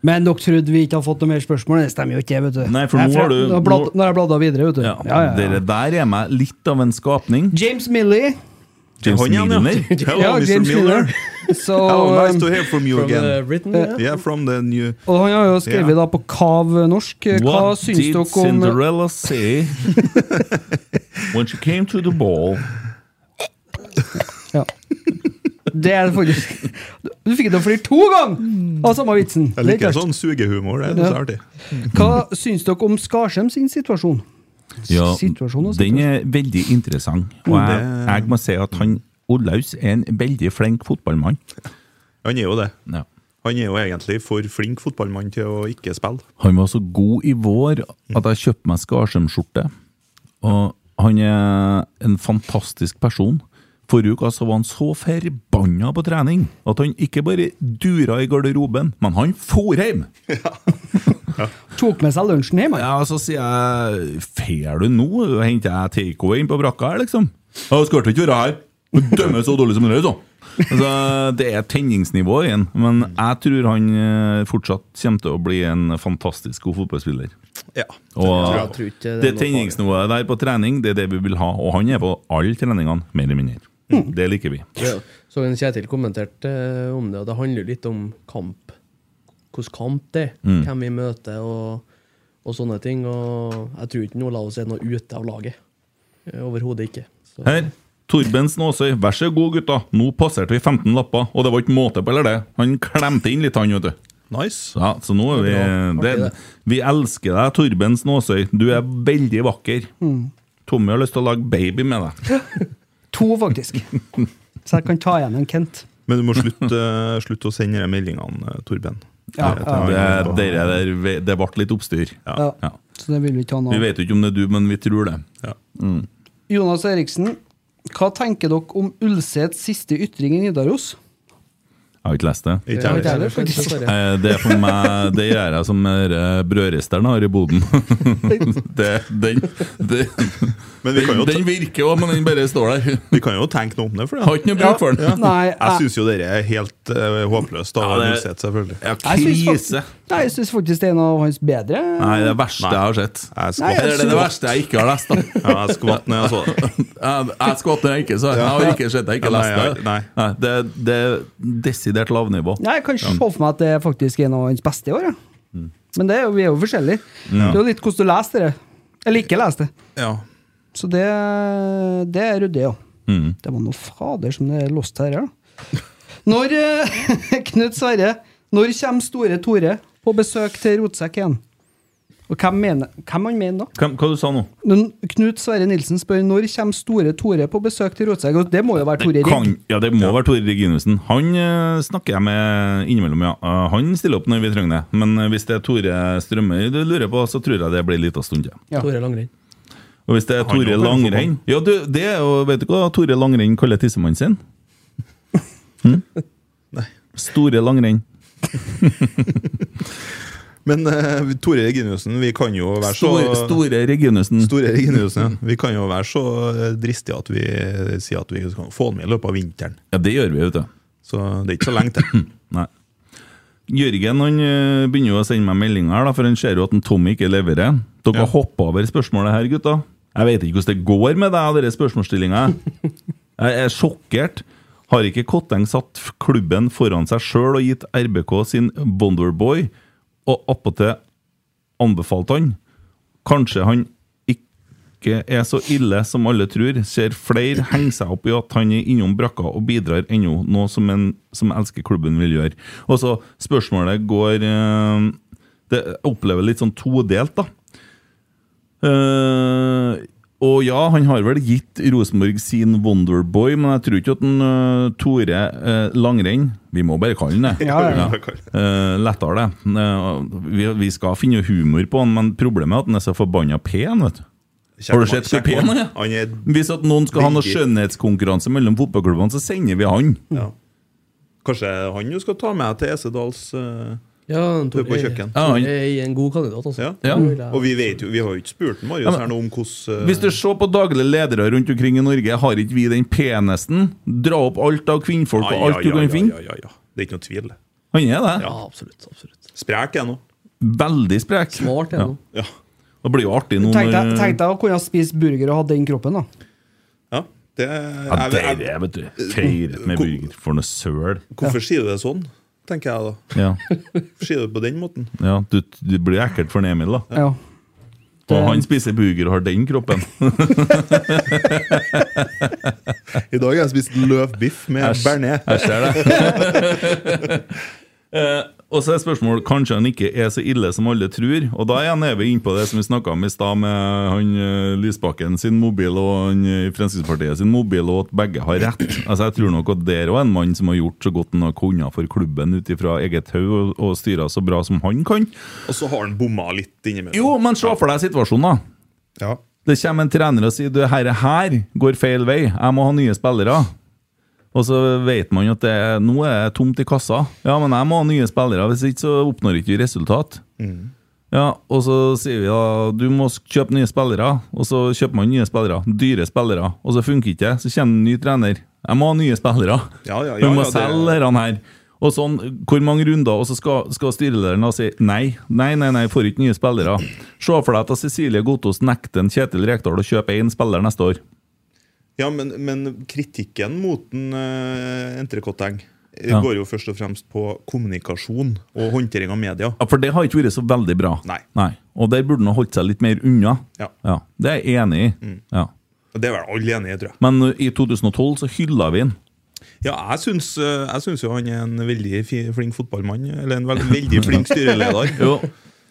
Speaker 7: Men dere trodde vi ikke har fått noe mer spørsmål? Det stemmer jo ikke, vet du.
Speaker 5: Nei, for nå
Speaker 7: Jeg-
Speaker 5: har du-
Speaker 7: Nå har bladd-
Speaker 5: nå-
Speaker 7: nå har jeg bladda videre, vet du.
Speaker 5: ja.
Speaker 7: Ja, ja, ja.
Speaker 5: Dere der er meg litt av en skapning.
Speaker 7: James Milley.
Speaker 5: James
Speaker 6: Han igjen, ja.
Speaker 5: Milner.
Speaker 6: Hello,
Speaker 7: Ja,
Speaker 6: Mr.
Speaker 7: James
Speaker 6: Miller.
Speaker 7: Miller. *laughs* Så,
Speaker 6: Hello, nice
Speaker 7: um,
Speaker 6: to hear from you
Speaker 8: From
Speaker 6: again.
Speaker 8: uh, Britain, ja.
Speaker 6: Yeah, from the new
Speaker 7: og han har jo skrevet
Speaker 6: Ja.
Speaker 7: da på Kav norsk. Eh, Hva
Speaker 5: What
Speaker 7: syns
Speaker 5: did
Speaker 7: dere om *laughs*
Speaker 5: Cinderella say when she came to the ball?
Speaker 7: ja. *laughs* Det er faktisk Du fikk det til å flire to ganger av samme vitsen!
Speaker 6: Jeg
Speaker 7: Det er
Speaker 6: liker
Speaker 7: ikke
Speaker 6: sånn sugehumor. Det er så
Speaker 7: Ja.
Speaker 6: artig.
Speaker 7: verst. Hva syns dere om Skarsheim sin situasjon?
Speaker 5: Ja,
Speaker 7: Situasjonen og
Speaker 5: den er veldig interessant. Og jeg,
Speaker 6: Det-
Speaker 5: jeg må si at han Olaus er en veldig flink fotballmann.
Speaker 6: Han er jo det.
Speaker 5: Ja.
Speaker 6: Han er jo egentlig for flink fotballmann til å ikke spille.
Speaker 5: Han var så god i vår at jeg kjøpte meg Skarsheim-skjorte. Og han er en fantastisk person. Forrige uka så var han så forbanna på trening at han ikke bare dura i garderoben, men han for hjem!
Speaker 7: Tok med seg lunsjen hjem.
Speaker 5: Ja, og så sier jeg Fer du nå? Henter jeg takeaway inn på brakka her, liksom? Ja, skal ikke være her! Du dømmer så dårlig som du gjør, så! Altså, det er tenningsnivå igjen, men jeg tror han eh, fortsatt kommer til å bli en fantastisk god fotballspiller.
Speaker 6: Ja.
Speaker 5: Og
Speaker 8: jeg tror ikke det er
Speaker 5: det
Speaker 8: noe
Speaker 5: tenningsnivået der på trening, det er det vi vil ha. Og han er på alle treningene, mer eller mindre.
Speaker 8: Mm.
Speaker 5: Det liker vi.
Speaker 8: Ja. Så en Kjetil kommenterte eh, om det, og det handler jo litt om kamp. Hvordan kamp det er, hvem vi møter og, og sånne ting. Og jeg tror ikke Olav er noe ute av laget. Eh, Overhodet ikke. Så,
Speaker 5: Her. Torben Snåsøy, vær så god, gutta. Nå passerte vi 15 lapper, og det var ikke måte på, eller det. Han klemte inn litt, han, vet du.
Speaker 6: Nice.
Speaker 5: Ja, så nå er vi det,
Speaker 8: Artig, det.
Speaker 5: Vi elsker deg, Torben Snåsøy. Du er veldig vakker.
Speaker 8: Mm.
Speaker 5: Tommy har lyst til å lage baby med deg.
Speaker 7: To, faktisk. Så jeg kan ta igjen en Kent.
Speaker 6: Men du må slutte, eh, slutte å sende de meldingene, eh, Torben.
Speaker 7: Ja,
Speaker 6: Det-
Speaker 7: ja.
Speaker 5: Det, dere der, det ble litt oppstyr.
Speaker 7: Ja.
Speaker 5: Ja.
Speaker 7: Så det vil vi ikke ha
Speaker 5: Vi
Speaker 7: nå.
Speaker 5: vet jo ikke om det er du, men vi tror det.
Speaker 7: Jonas Eriksen, hva tenker dere om Ulseths siste ytring i Nidaros?
Speaker 5: Jeg har ikke lest det.
Speaker 6: Ikke
Speaker 8: Ja,
Speaker 6: jeg vet.
Speaker 7: heller,
Speaker 8: det er
Speaker 7: faktisk.
Speaker 8: sant, det er.
Speaker 5: Eh, Det er for meg Det gjør jeg som er, eh, brødristeren har i boden. *laughs* det, den, det,
Speaker 6: Men vi kan
Speaker 5: den,
Speaker 6: jo,
Speaker 5: den virker jo, men den bare står der.
Speaker 6: vi kan jo tenke noe om det. for det.
Speaker 5: Har ikke noe bruk for den.
Speaker 7: Nei,
Speaker 6: Jeg syns jo dette er helt eh, håpløst. Da,
Speaker 5: Ja, det-
Speaker 6: Roseth, selvfølgelig.
Speaker 5: Ja,
Speaker 7: jeg syns
Speaker 5: krise.
Speaker 7: fak- Nei, jeg syns faktisk det er en av hans bedre.
Speaker 5: Nei, det er det verste
Speaker 6: Nei.
Speaker 5: jeg har sett.
Speaker 6: Jeg
Speaker 7: Nei,
Speaker 5: Det
Speaker 6: skvatt,
Speaker 5: er det, verste jeg ikke har lest. da. *laughs*
Speaker 6: ja, jeg skvatt altså. når jeg så det.
Speaker 5: Jeg, jeg skvatt når jeg ikke så det. Jeg har ikke sett det, jeg
Speaker 6: Ja,
Speaker 5: har ikke
Speaker 6: nei,
Speaker 5: lest det.
Speaker 6: jeg- nei.
Speaker 5: det, det er desidert lavnivå.
Speaker 7: Nei, Jeg kan se for meg at det er faktisk en av hans beste i år. Ja. Men det er jo, vi er jo forskjellige. Det er jo litt hvordan du leser det. Eller ikke leser det.
Speaker 6: Ja.
Speaker 7: Så det, det er ryddig, ja. Det var noe fader som det er lost her, ja. Når eh, *laughs* Knut Sverre, når kommer Store Tore på besøk til Rotsekk igjen? Og hvem, mener, hvem han mener da?
Speaker 5: Hva, hva du sa nå?
Speaker 7: Men Knut Sverre Nilsen spør når kommer Store Tore på besøk til Rotsekk? Og det må jo være Tore Rigg.
Speaker 5: Kan, ja, det må være Tore Reginussen. Han eh, snakker jeg med innimellom, ja. Eh, han stiller opp når vi trenger det. Men eh, hvis det er Tore Strømøy du lurer på, så tror jeg det blir lita stund til.
Speaker 7: Ja.
Speaker 8: Tore Langrenn.
Speaker 5: Og hvis det er
Speaker 6: Han
Speaker 5: Tore
Speaker 6: jobber for
Speaker 5: Langrenn Ja, du, det er jo, vet du hva Tore Langrenn kaller
Speaker 6: *laughs*
Speaker 5: tissemannen sin? Hm? Store Langrenn.
Speaker 6: Men eh, Tore Reginiussen, vi kan jo være så
Speaker 5: Store, store Reginussen.
Speaker 6: Store Reginiussen, ja. Vi kan jo være så eh, dristige at vi sier at vi skal få han med i løpet av vinteren.
Speaker 5: Ja, det gjør vi, vet du.
Speaker 6: Så det er ikke så lenge til.
Speaker 5: Nei. Jørgen han eh, begynner jo å sende meg meldinger, da, for han ser jo at en Tommy ikke leverer. Dere
Speaker 6: Ja.
Speaker 5: har hoppa over spørsmålet her, gutta. Jeg vet ikke hvordan det går med deg og dere spørsmålsstillinga. Jeg er sjokkert. Har ikke Kotteng satt f- klubben foran seg sjøl og gitt RBK sin Wonderboy, og attpåtil anbefalt han? Kanskje han ikke er så ille som alle tror. Ser flere henge seg opp i at han er innom brakka og bidrar ennå, noe som en som elsker klubben vil gjøre. Og så spørsmålet går eh, Det jeg opplever litt sånn todelt, da. Eh, og ja, han har vel gitt Rosenborg sin Wonderboy, men jeg tror ikke at den, eh, Tore eh, Langrenn Vi må bare kalle han det.
Speaker 7: Ja, ja.
Speaker 5: Eh, lettere, det. Eh, vi, vi skal finne humor på han, men problemet er at han er så forbanna pen. vet du Har du sett hvor pen han er?
Speaker 6: Han er
Speaker 5: Hvis at noen skal ha noe
Speaker 6: Veldig.
Speaker 5: skjønnhetskonkurranse mellom fotballklubbene, så sender vi han.
Speaker 6: ja. Kanskje han jo skal ta med til Esedals eh,
Speaker 8: Ja, han
Speaker 6: Tore
Speaker 8: Tore
Speaker 6: på kjøkken.
Speaker 5: Ja, han-
Speaker 8: er en god kandidat, altså.
Speaker 6: Ja.
Speaker 5: Ja.
Speaker 8: Det vil jeg-
Speaker 6: Og vi vet jo, vi har jo ikke spurt han, Marius
Speaker 5: Ja, men-
Speaker 6: her nå om hvordan eh,
Speaker 5: Hvis du ser på daglige ledere rundt omkring i Norge, har ikke vi den penesten? Dra opp alt av kvinnfolk
Speaker 6: Ai,
Speaker 5: og alt
Speaker 6: ai,
Speaker 5: du
Speaker 6: ai,
Speaker 5: kan
Speaker 6: ai,
Speaker 5: finne.
Speaker 6: ai, ai, ai. Det er ikke noe tvil.
Speaker 5: Han er det.
Speaker 8: ja, absolutt. absolutt.
Speaker 6: Sprek er han nå.
Speaker 5: Veldig sprek.
Speaker 8: Smart er
Speaker 5: Ja.
Speaker 8: han.
Speaker 6: Ja.
Speaker 5: Det blir jo artig nå
Speaker 7: Tenk deg
Speaker 5: når
Speaker 7: tenk deg å kunne spise burger og ha den kroppen, da.
Speaker 6: ja. Det,
Speaker 5: ja,
Speaker 6: jeg,
Speaker 5: det
Speaker 6: jeg,
Speaker 5: er det, vet du. Feiret med
Speaker 6: Hvor-
Speaker 5: burger. For noe søl.
Speaker 6: hvorfor sier du det sånn, tenker jeg da.
Speaker 5: Ja,
Speaker 6: Hvorfor sier du det på den måten?
Speaker 5: ja du, du blir ekkelt for en Emil, da.
Speaker 7: Ja.
Speaker 5: Og han spiser burger og har den kroppen.
Speaker 6: I dag har jeg spist løvbiff med
Speaker 5: Æsj.
Speaker 6: bearnés.
Speaker 5: Jeg ser det. *laughs* Eh, og så er spørsmålet kanskje han ikke er så ille som alle tror. Og da igjen er vi inne på det som vi snakka om i stad, med han eh, Lysbakken sin mobil og han eh, Fremskrittspartiet sin mobil, og at begge har rett. Altså Jeg tror nok at der var en mann som har gjort så godt han har kunnet for klubben ut ifra eget hode, og, og styra så bra som han kan.
Speaker 6: Og så har han bomma litt innimellom.
Speaker 5: Jo, men se for deg situasjonen, da.
Speaker 6: Ja.
Speaker 5: Det kommer en trener og sier du, herre her går feil vei, jeg må ha nye spillere. Og så vet man at det, er- nå er det tomt i kassa. Ja, men jeg må ha nye spillere, hvis ikke så oppnår ikke vi resultat.
Speaker 6: Mm.
Speaker 5: Ja, Og så sier vi da du må sk- kjøpe nye spillere, og så kjøper man nye spillere. Dyre spillere. Og så funker ikke det. Så kommer en ny trener. Jeg må ha nye spillere.
Speaker 6: Ja, ja, ja,
Speaker 5: vi må
Speaker 6: ja, det-
Speaker 5: selge dette her. Og sånn, Hvor mange runder? Og så skal, skal styrelederen da si nei, nei, nei, nei, får ikke nye spillere. Se for deg at Cecilie Gotaas nekter en Kjetil Rekdal å kjøpe én spiller neste år.
Speaker 6: Ja, men, men kritikken mot en uh, entrecôteng eh,
Speaker 5: Ja.
Speaker 6: går jo først og fremst på kommunikasjon og håndtering av media.
Speaker 5: Ja, For det har ikke vært så veldig bra.
Speaker 6: Nei.
Speaker 5: Og der burde han ha holdt seg litt mer unna.
Speaker 6: Ja. Mm.
Speaker 5: Det er jeg enig i. Ja.
Speaker 6: Og Det er vel alle enige i, tror jeg.
Speaker 5: Men uh, i 2012 så hylla vi han.
Speaker 6: Ja, jeg syns, eh, jeg syns jo han er en veldig fi, flink fotballmann. Eller en vel, veldig flink styreleder. *laughs*
Speaker 5: Jo.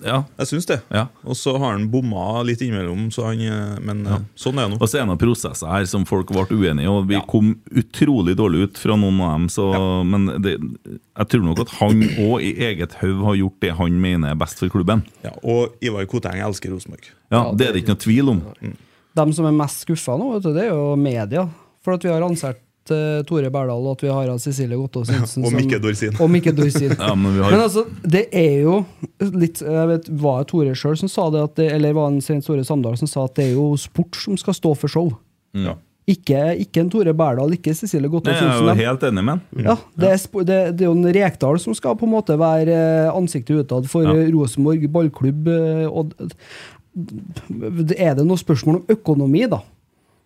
Speaker 5: Ja.
Speaker 6: Jeg syns det.
Speaker 5: Ja.
Speaker 6: Og så har han bomma litt innimellom, så han, eh, men eh, sånn er det nå.
Speaker 5: Og så er det noen prosesser her som folk ble uenige i, og vi kom utrolig dårlig ut fra noen av dem. Så, Men det, jeg tror nok at han òg i eget hode har gjort det han mener er best for klubben.
Speaker 6: Ja, og Ivar Koteng elsker Rosenborg.
Speaker 5: Ja, Det er det ikke noe tvil om. Mm.
Speaker 7: De som er mest skuffa nå, vet du, det er jo media. For at vi har ansett eh, Tore Berdal, og at vi har hatt Cecilie Gottaas Nilsen
Speaker 6: og
Speaker 7: som-
Speaker 6: Mikke Dorsin.
Speaker 7: Og Mikke Dorsin.
Speaker 5: *laughs* Ja, men vi har-
Speaker 7: Men altså, det er jo litt Jeg vet, Var det Tore sjøl som sa det, at det eller var det Svein Tore Samdal som sa at det er jo sport som skal stå for show?
Speaker 6: Ja.
Speaker 7: Ikke, ikke en Tore Berdal, ikke Cecilie
Speaker 5: Nei,
Speaker 7: Gottaas
Speaker 5: jeg er jo
Speaker 7: Nilsen.
Speaker 5: helt enig med han.
Speaker 7: Ja, det, er, spo- det, det er jo en Rekdal som skal på en måte være eh, ansiktet utad for eh, Rosenborg ballklubb. eh, Og d- d- er det noe spørsmål om økonomi, da?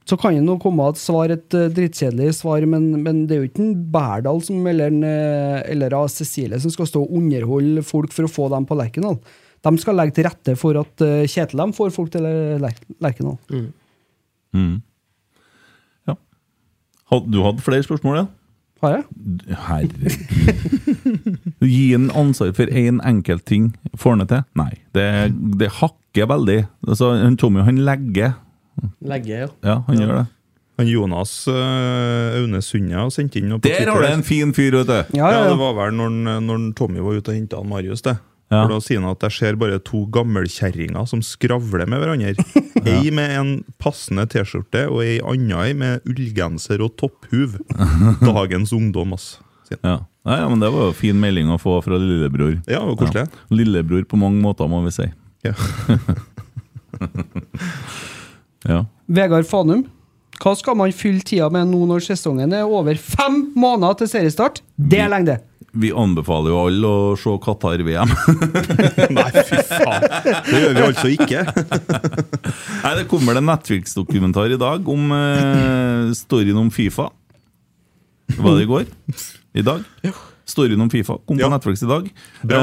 Speaker 7: Så kan det nå komme et svar, et eh, drittkjedelig svar, men, men det er jo ikke en Berdal som, eller, en, eh, eller av Cecilie som skal stå og underholde folk for å få dem på Lerkendal. De skal legge til rette for at eh, Kjetil dem får folk til eh, Lerk- Lerkendal.
Speaker 5: Mm. Had- Du hadde flere spørsmål, ja?
Speaker 7: Har jeg?
Speaker 5: Herregud. Gi en ansvar for én enkelt ting. Får han det til? Nei. Det, det hakker veldig. Altså, han Tommy han legger.
Speaker 8: Legge, ja.
Speaker 5: Ja, han gjør det.
Speaker 6: Han Jonas eh, Aune Sunde sendte inn noe på
Speaker 5: Der har du
Speaker 6: Twitter.
Speaker 5: en fin fyr, vet du!
Speaker 7: Ja, ja,
Speaker 6: Ja, det
Speaker 7: ja.
Speaker 6: var vel når, han- når han Tommy var ute og henta Marius. det
Speaker 5: Ja.
Speaker 6: For Da sier han at jeg ser bare to gammelkjerringer som skravler med hverandre. Ei med en passende T-skjorte og ei anna ei med ullgenser og topphuv. Dagens ungdom, ass. sier han.
Speaker 5: Ja. Nei, ja, men Det var jo fin melding å få fra lillebror.
Speaker 6: Ja, det var koselig.
Speaker 5: Lillebror på mange måter, må vi si.
Speaker 6: Ja.
Speaker 5: Ja.
Speaker 7: Vegard Fanum. Hva skal man fylle tida med nå når sesongen er over fem måneder til seriestart? Det er lenge, det!
Speaker 5: Vi anbefaler jo alle å se Qatar-VM.
Speaker 6: Nei, fy faen! Det gjør vi altså ikke.
Speaker 5: Nei, Det kommer det en Netflix-dokumentar i dag om eh, storyen om Fifa. Var det i går? I dag? Storyen om Fifa kom på
Speaker 6: Ja.
Speaker 5: Netflix i dag.
Speaker 6: Bra.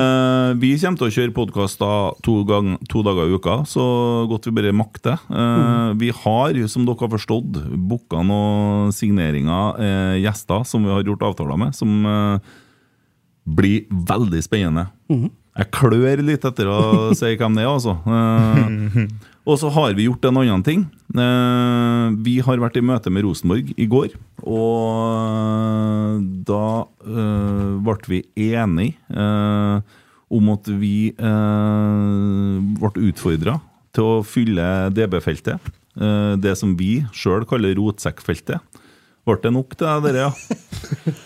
Speaker 5: Eh, vi kommer til å kjøre podkaster to, gang- to dager i uka, så godt vi bare makter. Eh, Vi har, som dere har forstått, booka noen signeringer, eh, gjester, som vi har gjort avtaler med, som eh, blir veldig spennende.
Speaker 6: Mhm.
Speaker 5: Jeg klør litt etter å si hvem det er, altså.
Speaker 6: *laughs*
Speaker 5: Eh, og så har vi gjort en annen ting. Eh, vi har vært i møte med Rosenborg i går. Og da eh, ble vi enige eh, om at vi eh, ble utfordra til å fylle DB-feltet. Eh, det som vi sjøl kaller rotsekkfeltet. Ble det nok til deg, dere? Ja?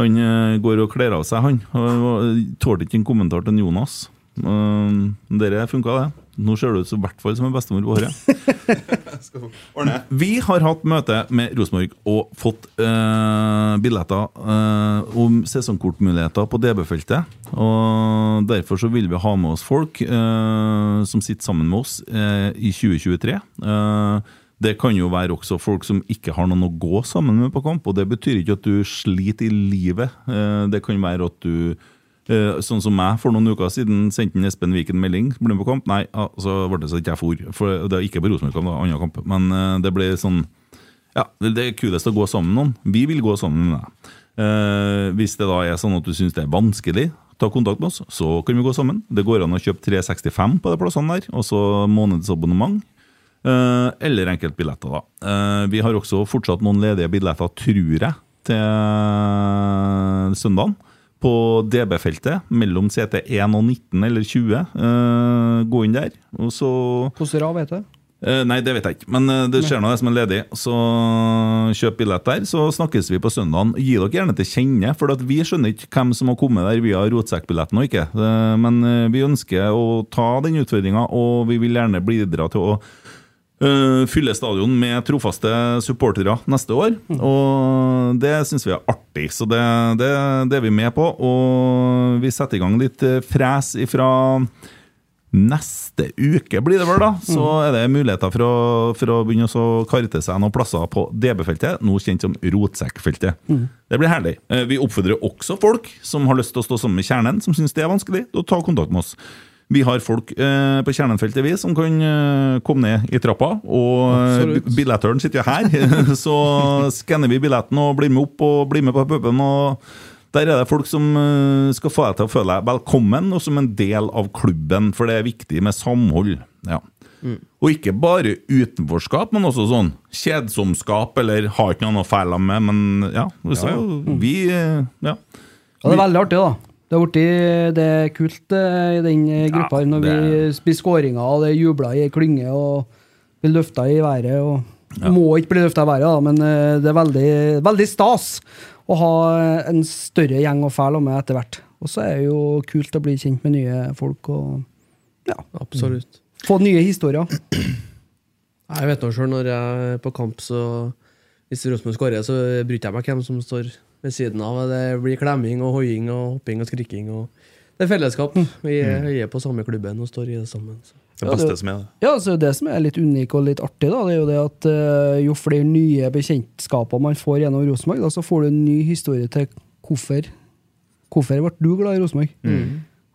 Speaker 5: Han eh, går og kler av seg, han. Han Tålte ikke en kommentar til en Jonas. Uh, dere funka, det. Nå ser du ut som i hvert fall som en bestemor på håret.
Speaker 6: Ordne.
Speaker 5: Vi har hatt møte med Rosenborg og fått eh, billetter eh, om sesongkortmuligheter på DB-feltet. Og Derfor så vil vi ha med oss folk eh, som sitter sammen med oss eh, i 2023. Eh, det kan jo være også folk som ikke har noen å gå sammen med på kamp. Og det betyr ikke at du sliter i livet. Eh, det kan være at du Eh, Sånn som meg, for noen uker siden sendte en Espen Viken melding. Blir du på kamp? Nei, ja, så ble det så ikke jeg for. for det er ikke på Rosenborg-kamp, det er annen kamp. Men eh, det ble sånn Ja, det er kulest å gå sammen med noen. Vi vil gå sammen med deg. Eh, hvis det da er sånn at du syns det er vanskelig, ta kontakt med oss, så kan vi gå sammen. Det går an å kjøpe 365 på de plassene der, og så månedsabonnement. Eh, eller enkeltbilletter, da. Eh, vi har også fortsatt noen ledige billetter, tror jeg, til søndagen. På DB-feltet, mellom CT1 og 19 eller 20. Eh, gå inn der, og så
Speaker 7: Hvordan rad vet du?
Speaker 5: Eh, Nei, det vet jeg ikke, men eh, det skjer noe som er ledig. Så kjøp billett der, så snakkes vi på søndagen. Gi dere gjerne til kjenne, for at vi skjønner ikke hvem som har kommet der via rotsekkbilletten og ikke. Eh, Men eh, vi ønsker å ta den utfordringa, og vi vil gjerne bidra til å eh, fylle stadion med trofaste supportere neste år. Og det syns vi er artig, så det, det, det er vi med på. Og vi setter i gang litt eh, fres ifra Neste uke blir det vel, da. Så er det muligheter for å, for å begynne å karte seg noen plasser på DB-feltet, nå kjent som rotsekkfeltet. Det blir herlig. Eh, Vi oppfordrer også folk som har lyst til å stå sammen med kjernen, som syns det er vanskelig, til å ta kontakt med oss. Vi har folk eh, på kjernenfeltet vi som kan eh, komme ned i trappa, og eh,
Speaker 7: Absolutt.
Speaker 5: bi- billettøren sitter jo her. *laughs* Så skanner vi billetten og blir med opp og blir med på puben. og der er det folk som eh, skal få deg til å føle deg velkommen og som en del av klubben, for det er viktig med samhold. Ja. Og ikke bare utenforskap, men også sånn kjedsomskap eller har ikke noe å feile med, men ja. Så, Vi eh, Ja.
Speaker 7: Ja, det er veldig artig, da. Det har blitt det er kult eh, i den eh, gruppa her når
Speaker 5: det
Speaker 7: vi
Speaker 5: er-
Speaker 7: blir skåringer, og det er jubla i klynge, og blir løfta i været. og Må ikke bli løfta i været, da, men eh, det er veldig, veldig stas å ha eh, en større gjeng å fæle med etter hvert. Og så er det jo kult å bli kjent med nye folk og
Speaker 8: Absolutt.
Speaker 7: få nye historier.
Speaker 8: Jeg vet nå sjøl, når jeg er på kamp, så hvis Rosenborg skårer, så bryr jeg meg hvem som står ved siden av. Det blir klemming og hoiing og hopping og skriking. og Det er fellesskap. Vi
Speaker 6: Mm.
Speaker 8: er, vi er på samme klubben og står i det sammen. Så.
Speaker 6: Det beste som er det.
Speaker 7: Ja, så Det som er litt unik og litt artig, da, det er jo det at eh, jo flere nye bekjentskaper man får gjennom Rosenborg, da, så får du en ny historie til hvorfor Hvorfor ble du glad i Rosenborg.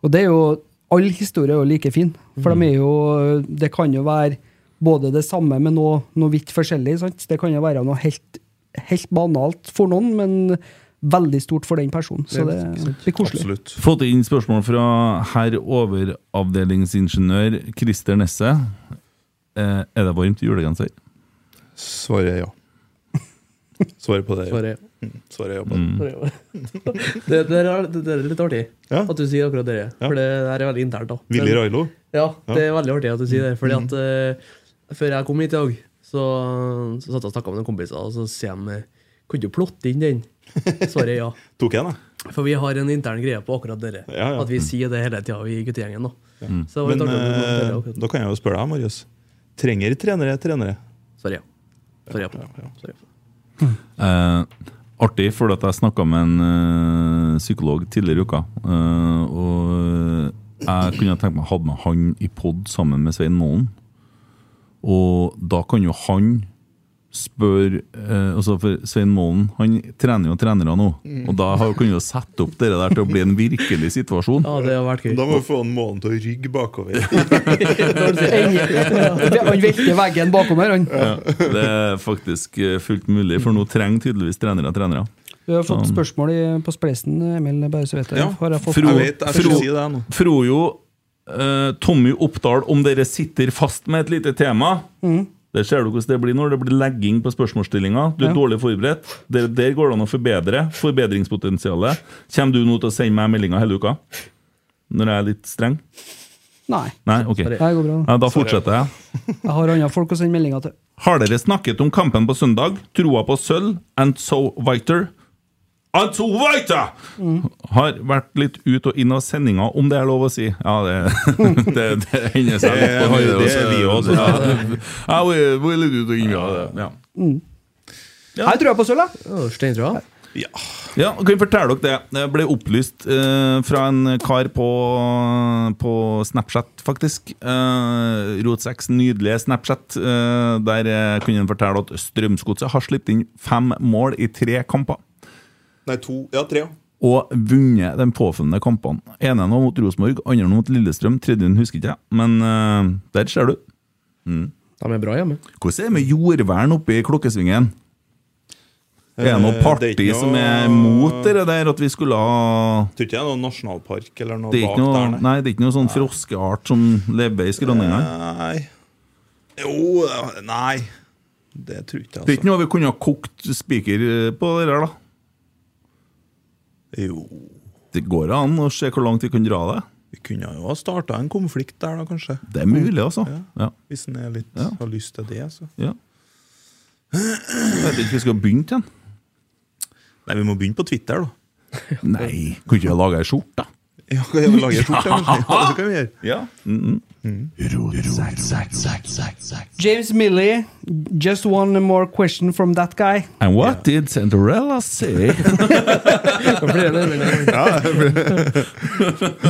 Speaker 7: Og det er jo All historie er jo like fin, for de er jo Det kan jo være både det samme, men noe, noe vidt forskjellig. Sant? Det kan jo være noe helt, helt banalt for noen, men veldig stort for den personen. Så det blir *laughs* koselig.
Speaker 6: Absolutt.
Speaker 5: Fått inn spørsmål fra herr overavdelingsingeniør Christer Nesse. Eh, er det varmt i julegenser?
Speaker 6: Svaret er ja. Svaret på det er ja. Mm.
Speaker 8: Bare,
Speaker 6: Svaret er ja på det.
Speaker 8: bare. *laughs* Det, det, er, det er litt artig
Speaker 6: Ja.
Speaker 8: at du sier akkurat det. For det, her er veldig internt. da.
Speaker 6: Willy Railo?
Speaker 8: Ja, det er veldig artig at du sier det.
Speaker 6: Mm.
Speaker 8: Fordi at eh, Før jeg kom hit i dag, så, så satt jeg og snakka med noen kompiser, og så sier de Kunne du plotte inn den? Svaret er ja.
Speaker 6: Tok jeg den, jeg.
Speaker 8: For vi har en intern greie på akkurat dere.
Speaker 6: Ja, ja.
Speaker 8: At vi sier det hele tida i guttegjengen. Da. Så det
Speaker 6: Men
Speaker 8: var
Speaker 6: eh,
Speaker 8: litt artig at du nevnte det akkurat.
Speaker 6: da kan jeg jo spørre deg, Marius. Trenger trenere trenere?
Speaker 8: Sorry, ja. Sorry, ja. Sorry.
Speaker 5: Eh, artig, for at jeg snakka med en eh, psykolog tidligere i uka. eh, og jeg kunne tenkt meg å ha med han i pod sammen med Svein Målen. Og da kan jo han spørre eh, altså for Svein Målen han trener jo trenere nå. Og da har- kan jo sette opp det der til å bli en virkelig situasjon.
Speaker 8: Ja, det har vært gøy.
Speaker 6: Da må vi få en måned til å rygge bakover.
Speaker 7: Han velter veggen bakom her, han.
Speaker 5: Det er faktisk eh, fullt mulig, for nå trenger tydeligvis trenere trenere.
Speaker 7: Du har
Speaker 8: Sånn.
Speaker 7: fått spørsmål i, på Spleisen, eh, Emil, bare så vet jeg.
Speaker 6: Ja,
Speaker 7: Har jeg fått
Speaker 5: Fro-
Speaker 6: Jeg vet, jeg skal
Speaker 5: Fro-
Speaker 6: si det nå.
Speaker 5: Frojo, eh, Tommy Oppdal, om dere sitter fast med et lite tema Der ser du hvordan det blir når det blir legging på spørsmålsstillinga. Du er dårlig forberedt. Der, der går det an å forbedre. Forbedringspotensialet. Kommer du nå til å sende meg meldinger hele uka? Når jeg er litt streng?
Speaker 7: Nei,
Speaker 5: Nei? Ok.
Speaker 7: det her går bra.
Speaker 5: Ja, da fortsetter jeg.
Speaker 7: Jeg har andre folk å sende meldinger til.
Speaker 5: Har dere snakket om kampen på søndag? Troa på sølv? And so whiter? And so whiter! Har vært litt ut og inn av sendinga, om det er lov å si. Ja, det, *laughs* det, det hender seg. litt på
Speaker 6: Det-
Speaker 5: Nidaros.
Speaker 6: det er vi også.
Speaker 5: Ja, det- Ja, vi vi er litt ut og inn av det. Ja.
Speaker 7: Jeg tror jeg på sølv, jeg.
Speaker 8: Å, Steintrøya?
Speaker 5: Ja, og kan jeg fortelle dere det? Det ble opplyst eh, fra en kar på, på Snapchat, faktisk. Eh, Rotseks nydelige Snapchat. Eh, der eh, kunne han fortelle at Strømsgodset har sluppet inn fem mål i tre kamper.
Speaker 6: Nei, to Ja, tre. ja.
Speaker 5: og vunnet de påfølgende kampene. Ene nå mot Rosenborg, andre nå mot Lillestrøm, tredje nå husker ikke jeg. Men eh, der ser du.
Speaker 8: De er bra hjemme.
Speaker 5: Hvordan er det med jordvern oppe i klokkesvingen? Er det noe
Speaker 6: Eh,
Speaker 5: parti
Speaker 6: det er ikke
Speaker 5: som er
Speaker 6: noe-
Speaker 5: mot det der, at vi skulle ha
Speaker 6: Tror ikke det er noen nasjonalpark eller noe
Speaker 5: Det er
Speaker 6: bak
Speaker 5: ikke noe,
Speaker 6: der,
Speaker 5: nei, det er ikke noe sånn froskeart som lever i skråninga.
Speaker 6: Nei. Jo Nei. Det tror ikke
Speaker 5: Det er
Speaker 6: jeg,
Speaker 5: ikke noe vi kunne ha kokt spiker eh, på det der, da.
Speaker 6: altså. Jo
Speaker 5: Det går an å se hvor langt vi kan dra det.
Speaker 6: Vi kunne jo ha starta en konflikt der, da, kanskje.
Speaker 5: Det er mulig, altså. Ja.
Speaker 6: Hvis en er litt,
Speaker 5: Ja.
Speaker 6: har lyst til det. altså. Så.
Speaker 5: Ja. Jeg vet ikke vi skal begynne igjen.
Speaker 6: Nei, vi må begynne på Twitter, da.
Speaker 5: Nei, kunne ikke vi lage ei skjorte?
Speaker 6: Ja, kan jeg *laughs* lage en skjorte, kanskje? Ja, det kan vi gjøre.
Speaker 5: Ja. Mm -mm.
Speaker 7: James Milley, just one more question from that guy.
Speaker 5: And what did Cinderella say? *laughs*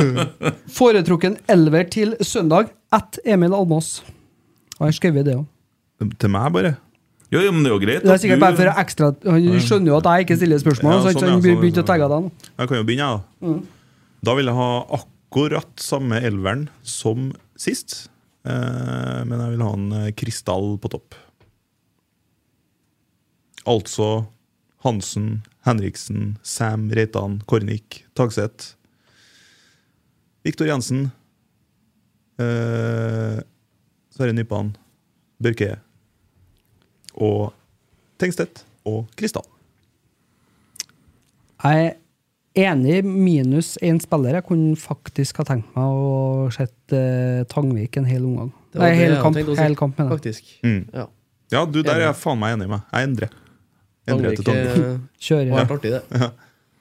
Speaker 7: Foretrukken elver til søndag at Emil Almås. Og jeg skrev det òg.
Speaker 6: Til meg, bare.
Speaker 5: jo, jo, men det er jo greit.
Speaker 7: Det er
Speaker 5: at
Speaker 7: sikkert
Speaker 5: du-
Speaker 7: bare for ekstra Han skjønner jo at jeg ikke stiller spørsmål,
Speaker 6: Ja,
Speaker 7: så han-
Speaker 6: sånn,
Speaker 7: så han
Speaker 6: ja, sånn,
Speaker 7: begynte
Speaker 6: sånn.
Speaker 7: å tagge deg. nå.
Speaker 6: Jeg kan jo begynne, jeg, da. Da vil jeg ha akkurat samme elveren som sist. Eh, men jeg vil ha en eh, krystall på topp. Altså Hansen, Henriksen, Sam, Reitan, Kornik, Tagseth. Viktor Jensen. Eh, Sverre Nypan, Børke. Og Tengstedt og Krystall.
Speaker 7: Jeg er enig, minus én spiller. Jeg kunne faktisk ha tenkt meg å sett eh, Tangvik en hel omgang.
Speaker 8: Det var
Speaker 7: Nei,
Speaker 8: det
Speaker 7: hel
Speaker 8: jeg
Speaker 7: kamp,
Speaker 8: tenkte å si.
Speaker 7: hel kamp mener jeg.
Speaker 8: Faktisk.
Speaker 6: Mm.
Speaker 8: Ja.
Speaker 6: Ja, du, der er jeg faen meg enig med. Jeg endrer. Endrer til
Speaker 8: Tangvik eh,
Speaker 6: Tangvik.
Speaker 7: Kjører.
Speaker 8: var helt artig, *laughs* det.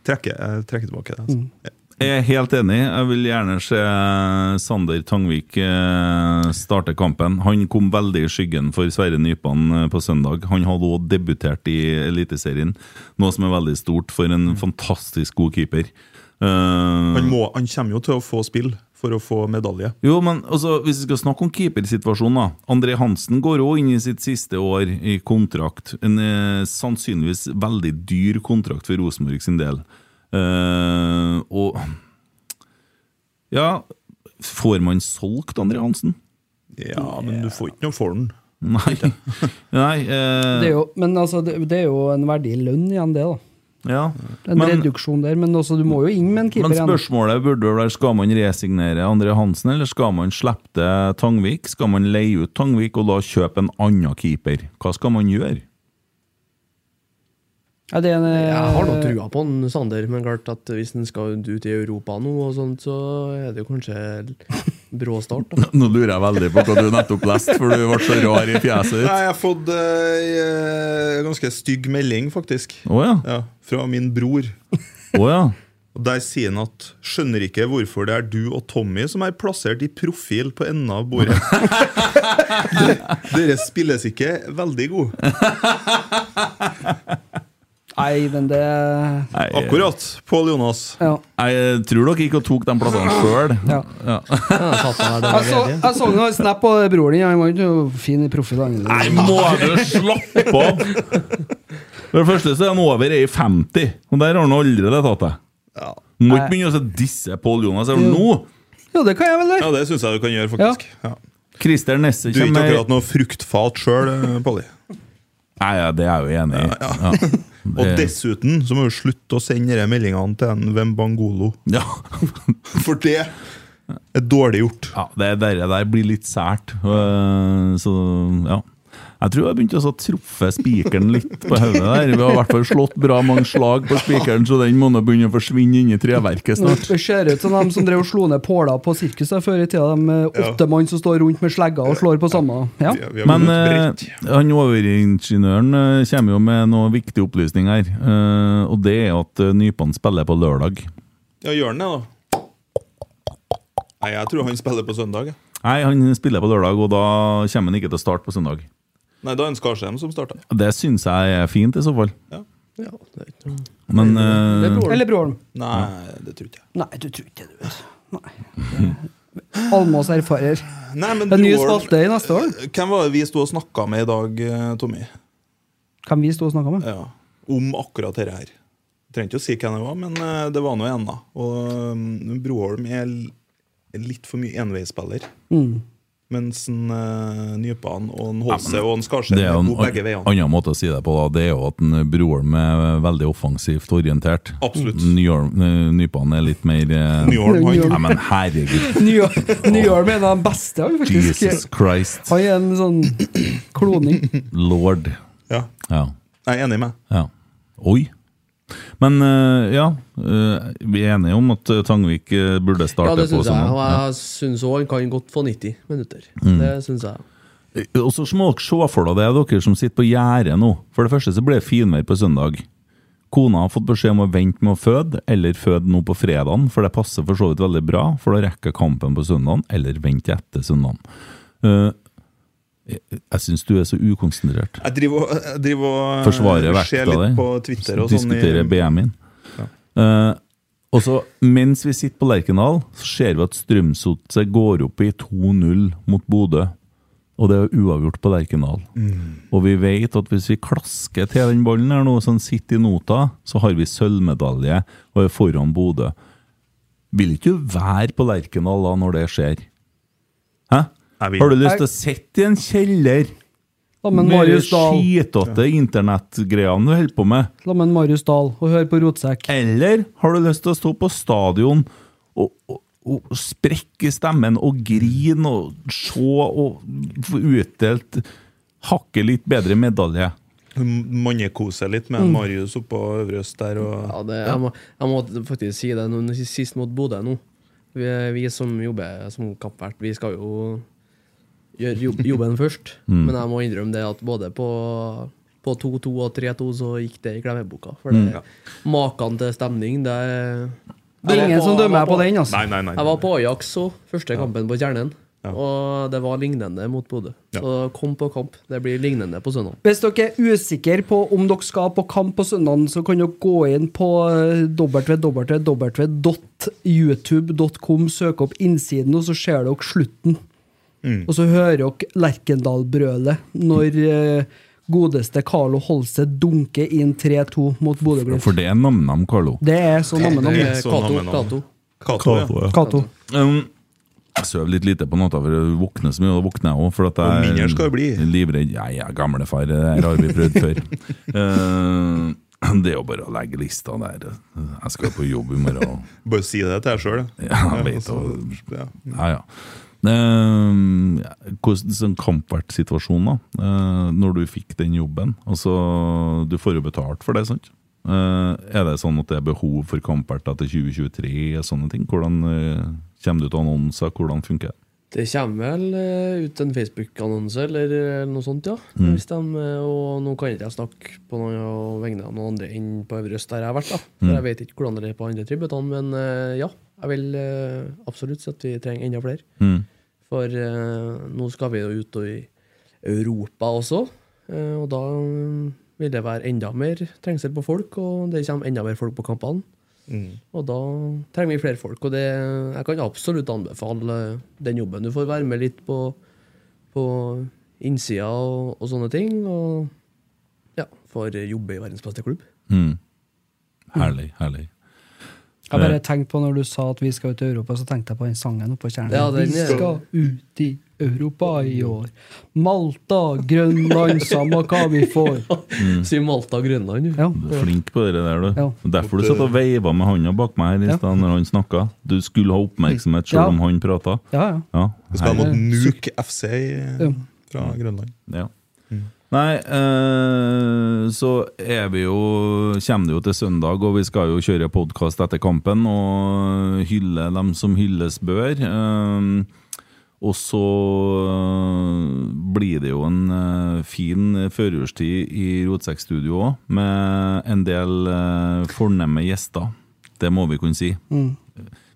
Speaker 6: Trekker, jeg trekker tilbake det. Altså.
Speaker 5: Jeg er helt enig. Jeg vil gjerne se eh, Sander Tangvik eh, starte kampen. Han kom veldig i skyggen for Sverre Nypan eh, på søndag. Han hadde òg debutert i Eliteserien, noe som er veldig stort for en fantastisk god keeper. Eh,
Speaker 6: Han, må, han kommer jo til å få spill for å få medalje.
Speaker 5: jo, men altså, Hvis vi skal snakke om keepersituasjonen da André Hansen går òg inn i sitt siste år i kontrakt. En eh, sannsynligvis veldig dyr kontrakt for Rosenborg sin del. Eh, og Ja, får man solgt André Hansen?
Speaker 6: Ja, men du får ikke noe for den.
Speaker 5: Nei. *laughs* Nei eh,
Speaker 7: Det er jo, men altså, det, det er jo en verdi i lønn igjen, det. da
Speaker 5: ja.
Speaker 7: En
Speaker 5: Men,
Speaker 7: reduksjon der, men også, du må jo inn med en keeper
Speaker 5: men
Speaker 7: igjen.
Speaker 5: spørsmålet burde vel være skal man resignere André Hansen, eller skal man slippe til Tangvik? Skal man leie ut Tangvik og da kjøpe en annen keeper? Hva skal man gjøre?
Speaker 7: Ja, det er en, eh,
Speaker 8: Jeg har nå trua på han, Sander, men klart at hvis han skal ut i Europa nå, og sånt, så er det jo kanskje brå start. da.
Speaker 5: Nå lurer jeg veldig på hva du nettopp leste, for du ble så rar i fjeset
Speaker 6: Nei,
Speaker 5: ditt.
Speaker 6: jeg har fått eh, en ganske stygg melding, faktisk.
Speaker 5: Å ja.
Speaker 6: Ja, fra min bror.
Speaker 5: Å ja.
Speaker 6: Og Der sier han at 'skjønner ikke hvorfor det er du og Tommy som er plassert i profil på enden av bordet'. *laughs* Dere spilles ikke veldig gode.
Speaker 7: Nei, men det
Speaker 5: Nei,
Speaker 6: Akkurat, Pål Jonas.
Speaker 7: ja.
Speaker 5: Jeg tror dere ikke tok de plassene sjøl.
Speaker 7: Ja. Altså-
Speaker 8: Ja, jeg satt meg der,
Speaker 7: Jeg så,
Speaker 8: der nede.
Speaker 7: jeg så noe snap på broren din. Han var ikke noe fin i profil. han.
Speaker 5: Nei, må du slappe av! For det første så er han over ei 50, og der har han allerede tatt deg.
Speaker 6: Ja.
Speaker 5: Du må ikke begynne å disse Pål Jonas eller nå!
Speaker 7: Jo, det kan jeg vel
Speaker 6: ja,
Speaker 7: gjøre.
Speaker 6: det syns jeg du kan gjøre, faktisk. Ja.
Speaker 5: Christer Nesse
Speaker 6: Du er ikke
Speaker 5: kommer
Speaker 6: akkurat noe fruktfat sjøl, Polly.
Speaker 5: Nei, ja, det er jeg jo enig i. Ja.
Speaker 6: Og
Speaker 5: Det-
Speaker 6: dessuten så må du slutte å sende de meldingene til en Vembangolo.
Speaker 5: Ja.
Speaker 6: For det er dårlig gjort.
Speaker 5: ja, det der, der blir litt sært. øh, Så ja. Jeg tror jeg begynte også å truffe spikeren litt på hodet der. Vi har i hvert fall slått bra mange slag på spikeren, så den må nå begynne å forsvinne inni treverket
Speaker 7: Nå
Speaker 5: snart.
Speaker 7: ser det ut som de som drev og slo ned påler på sirkuset før i tida. De eh, åtte mann som står rundt med slegger og slår på samme. Ja.
Speaker 6: Vi har- vi har
Speaker 5: Men
Speaker 6: gått
Speaker 5: eh,
Speaker 6: bredt.
Speaker 5: han overingeniøren eh, kommer jo med noen viktige opplysninger her. eh, og det er at eh, Nypan spiller på lørdag.
Speaker 6: Ja, gjør den det, da? Nei, jeg tror han spiller på søndag. jeg.
Speaker 5: Nei, han spiller på lørdag, og da kommer han ikke til å starte på søndag.
Speaker 6: Nei, da er det Skarsheim som starter.
Speaker 5: Det syns jeg er fint, i så fall.
Speaker 8: Ja, det er ikke noe.
Speaker 5: Men
Speaker 8: Det er
Speaker 5: eh,
Speaker 8: broren.
Speaker 7: Eller broren.
Speaker 6: Nei, det tror ikke jeg.
Speaker 7: Nei, du tror ikke det, du. vet. Nei. Almås erfarer.
Speaker 6: Nei, men
Speaker 7: Det er ny
Speaker 6: broren-
Speaker 7: spalte i neste år.
Speaker 6: Hvem var det vi sto og snakka med i dag, eh, Tommy?
Speaker 7: Kan vi stå og snakke med?
Speaker 6: Ja, om akkurat dette her. Trengte ikke å si hvem det var, men eh, det var nå en,
Speaker 8: Mm.
Speaker 6: da. Og um, Broholm er l- litt for mye enveisspiller. Mens en uh, Nypan og en Holse og en Skarsheim
Speaker 5: Det
Speaker 6: er
Speaker 5: er jo en
Speaker 6: gode begge
Speaker 5: an-
Speaker 6: veiene.
Speaker 5: annen måte å si det på. da Det er jo at en Broholm er veldig offensivt orientert.
Speaker 6: Absolutt.
Speaker 5: Nyholm- eh, Nypan er litt mer eh,
Speaker 6: Nyholm, han-
Speaker 5: Nei, men
Speaker 6: *laughs*
Speaker 5: herregud.
Speaker 7: New York, New York er en av de beste, han, faktisk.
Speaker 5: Jesus Christ.
Speaker 7: Han er en sånn kloning.
Speaker 5: Lord.
Speaker 6: Ja,
Speaker 5: Ja.
Speaker 6: jeg er enig med
Speaker 5: ja. Oi. Men eh, ja, eh, vi er enige om at eh, Tangvik eh, burde
Speaker 8: Ja,
Speaker 5: starte
Speaker 8: det
Speaker 5: på
Speaker 8: syns jeg.
Speaker 5: sånn. Ja.
Speaker 8: Og
Speaker 5: Mm.
Speaker 8: jeg syns òg han kan godt få 90 minutter. Det syns jeg.
Speaker 5: Og så må dere se for dere det er dere som sitter på gjerdet nå. For det første så ble det finvær på søndag. Kona har fått beskjed om å vente med å føde, eller føde nå på fredagen, for det passer for så vidt veldig bra, for da rekker jeg kampen på søndagen, eller vente etter søndagen. Eh, jeg jeg syns du er så ukonsentrert.
Speaker 6: Jeg driver og, jeg driver og eh,
Speaker 5: forsvare
Speaker 6: ser
Speaker 5: vekta
Speaker 6: litt
Speaker 5: di.
Speaker 6: på Twitter og sånn.
Speaker 5: Diskutere
Speaker 6: i-
Speaker 5: BMI-en. Eh, og så, mens vi sitter på Lerkendal, så ser vi at Strømsgodset går opp i 2-0 mot Bodø. Og det er uavgjort på Lerkendal.
Speaker 7: Mm.
Speaker 5: Og vi vet at hvis vi klasker til den ballen her nå, sånn sitter i nota, så har vi sølvmedalje og er foran Bodø. Vil ikke du være på Lerkendal da, når det skjer? Hæ?
Speaker 6: Jeg vil.
Speaker 5: Har du lyst til å sitte i en kjeller
Speaker 7: Sammen med
Speaker 5: med de
Speaker 7: Marius Dahl.
Speaker 5: skitete internettgreiene du holder på med?
Speaker 7: Sammen med Marius Dahl og hør på Rotsekk.
Speaker 5: Eller har du lyst til å stå på stadion og, og, og sprekke stemmen og grine og se og få utdelt hakket litt bedre medalje?
Speaker 6: Mannekose litt med Marius oppå Øvre Øst der. Og,
Speaker 8: Mm. Ja, det, jeg, må, jeg må faktisk si det nå, sist mot Bodø nå. Vi, vi som jobber som kappvert, vi skal jo gjøre jobb,
Speaker 5: *laughs*
Speaker 8: jobben først.
Speaker 5: Mm.
Speaker 8: Men jeg må innrømme det at både på på 2-2 og 3-2 så gikk det i glemmeboka. For
Speaker 5: Mm.
Speaker 8: det, Maken til stemning, det
Speaker 7: Det er ingen som dømmer meg på den, altså.
Speaker 6: Nei, nei, nei.
Speaker 8: Jeg var på Ajax òg, første kampen på Kjernen. Og det var lignende mot Bodø. Så kom på kamp. Det blir lignende på søndag.
Speaker 7: Hvis dere er usikre på om dere skal på kamp på søndagen, så kan dere gå inn på eh, www.youtube.com, søke opp innsiden, og så ser dere slutten. Og så hører dere Lerkendal-brølet når eh, godeste Carlo Holse dunker inn 3-2 mot Bodø-Glimt.
Speaker 5: For det er nam-nam, Carlo.
Speaker 7: Det er så nammen om
Speaker 6: Det
Speaker 8: Eh,
Speaker 6: er sånn
Speaker 8: Cato,
Speaker 6: han mener.
Speaker 8: Cato.
Speaker 6: Kato, ja.
Speaker 7: Cato.
Speaker 5: Um, jeg sover litt lite på natta, for jeg våkner så mye. Og da våkner jeg også, for at
Speaker 6: Og
Speaker 5: jeg
Speaker 6: mindre skal det bli.
Speaker 5: livredd. Nei, jeg er gamlefar, det her har vi prøvd før.
Speaker 6: *laughs*
Speaker 5: Eh, det er jo bare å legge lista der. Jeg skal på jobb i morgen.
Speaker 6: Bare si det til deg sjøl.
Speaker 5: Ja, jeg vet det.
Speaker 6: altså, ja.
Speaker 5: Ja, ja. Ehm, ja, hvordan sånn kampvertsituasjon, da? eh, når du fikk den jobben? Altså, du får jo betalt for det, sant? Eh, er det sånn at det er behov for kampverter til 2023 og sånne ting? Hvordan eh, kommer du til annonser? Hvordan funker det?
Speaker 8: Det kommer vel eh, ut en Facebook-annonse eller eh, noe sånt, ja. Hvis de, eh, og nå kan ikke jeg snakke på noen vegne av noen andre enn på Øvre Øst, der jeg har vært. da. For Jeg vet ikke hvordan det er på andre tributene, men eh, ja. Jeg vil eh, absolutt si at vi trenger enda flere.
Speaker 5: Mm.
Speaker 8: For eh, nå skal vi jo ut og i Europa også, eh, og da mm, vil det være enda mer trengsel på folk, og det kommer enda mer folk på kampene.
Speaker 6: Mm.
Speaker 8: Og da trenger vi flere folk. Og det, jeg kan absolutt anbefale eh, den jobben. Du får være med litt på, på innsida og, og sånne ting. Og ja, får jobbe i verdens beste klubb.
Speaker 5: Mm. Herlig, herlig.
Speaker 7: Jeg bare tenkte på når du sa at vi skal ut i Europa, så tenkte jeg på den sangen oppå kjernen.
Speaker 8: Ja, den
Speaker 7: vi
Speaker 8: er-
Speaker 7: skal ut i Europa i år. Malta, Grønland, samme hva vi får.
Speaker 6: Mm.
Speaker 8: Si Malta og Grønland. du.
Speaker 7: Ja.
Speaker 5: Du er flink på det der, du.
Speaker 7: Ja.
Speaker 5: Derfor du satt og veiva med handa bak meg her i
Speaker 7: Ja.
Speaker 5: stad når han snakka. Du skulle ha oppmerksomhet
Speaker 7: Ja.
Speaker 5: selv om han prata.
Speaker 7: Ja, ja.
Speaker 5: Ja,
Speaker 6: Vi skal
Speaker 5: herlig.
Speaker 6: mot Nuke FC
Speaker 7: Ja.
Speaker 6: fra Grønland.
Speaker 5: Ja. Nei, eh, så er vi jo Kommer det jo til søndag, og vi skal jo kjøre podkast etter kampen og hylle dem som hylles bør. Eh, og så eh, blir det jo en eh, fin førjulstid i Rotsekkstudio òg, med en del eh, fornemme gjester. Det må vi kunne si.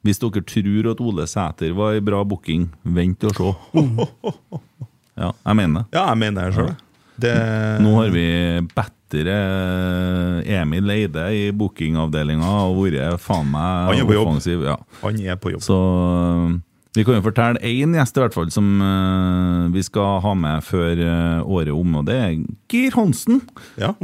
Speaker 5: Hvis dere tror at Ole Sæter var ei bra booking, vent og se. *laughs* Ja, jeg mener det.
Speaker 6: Ja, jeg mener det sjøl. Det
Speaker 5: Nå har vi bedre Emil Eide i bookingavdelinga og vært faen meg
Speaker 6: Han er på jobb.
Speaker 5: offensiv. Ja.
Speaker 6: Han er på jobb.
Speaker 5: Så eh, Vi kan jo fortelle én gjest i hvert fall som eh, vi skal ha med før eh, året om, og det er Geir Hansen.
Speaker 6: Ja.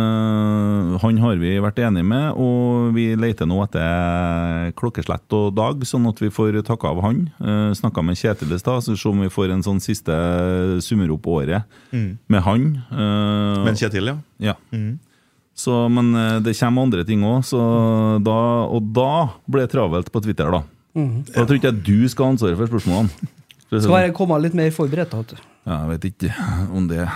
Speaker 5: Eh, han har vi vært enige med, og vi leter nå etter klokkeslett og dag, sånn at vi får takke av han. Uh, Snakka med Kjetil i stad, så vi får se om vi får en sånn siste summer opp året med han. Eh,
Speaker 6: Mm. Men Kjetil, Mm. ja.
Speaker 5: ja. Så, men eh, det kommer andre ting òg, og da ble det travelt på Twitter, da.
Speaker 6: Mm.
Speaker 5: Da tror ikke jeg du skal ha ansvaret for spørsmålene. For å si det
Speaker 7: Så har
Speaker 5: sånn.
Speaker 7: jeg kommet litt mer forberedt. da, vet du.
Speaker 5: Ja, jeg vet ikke om det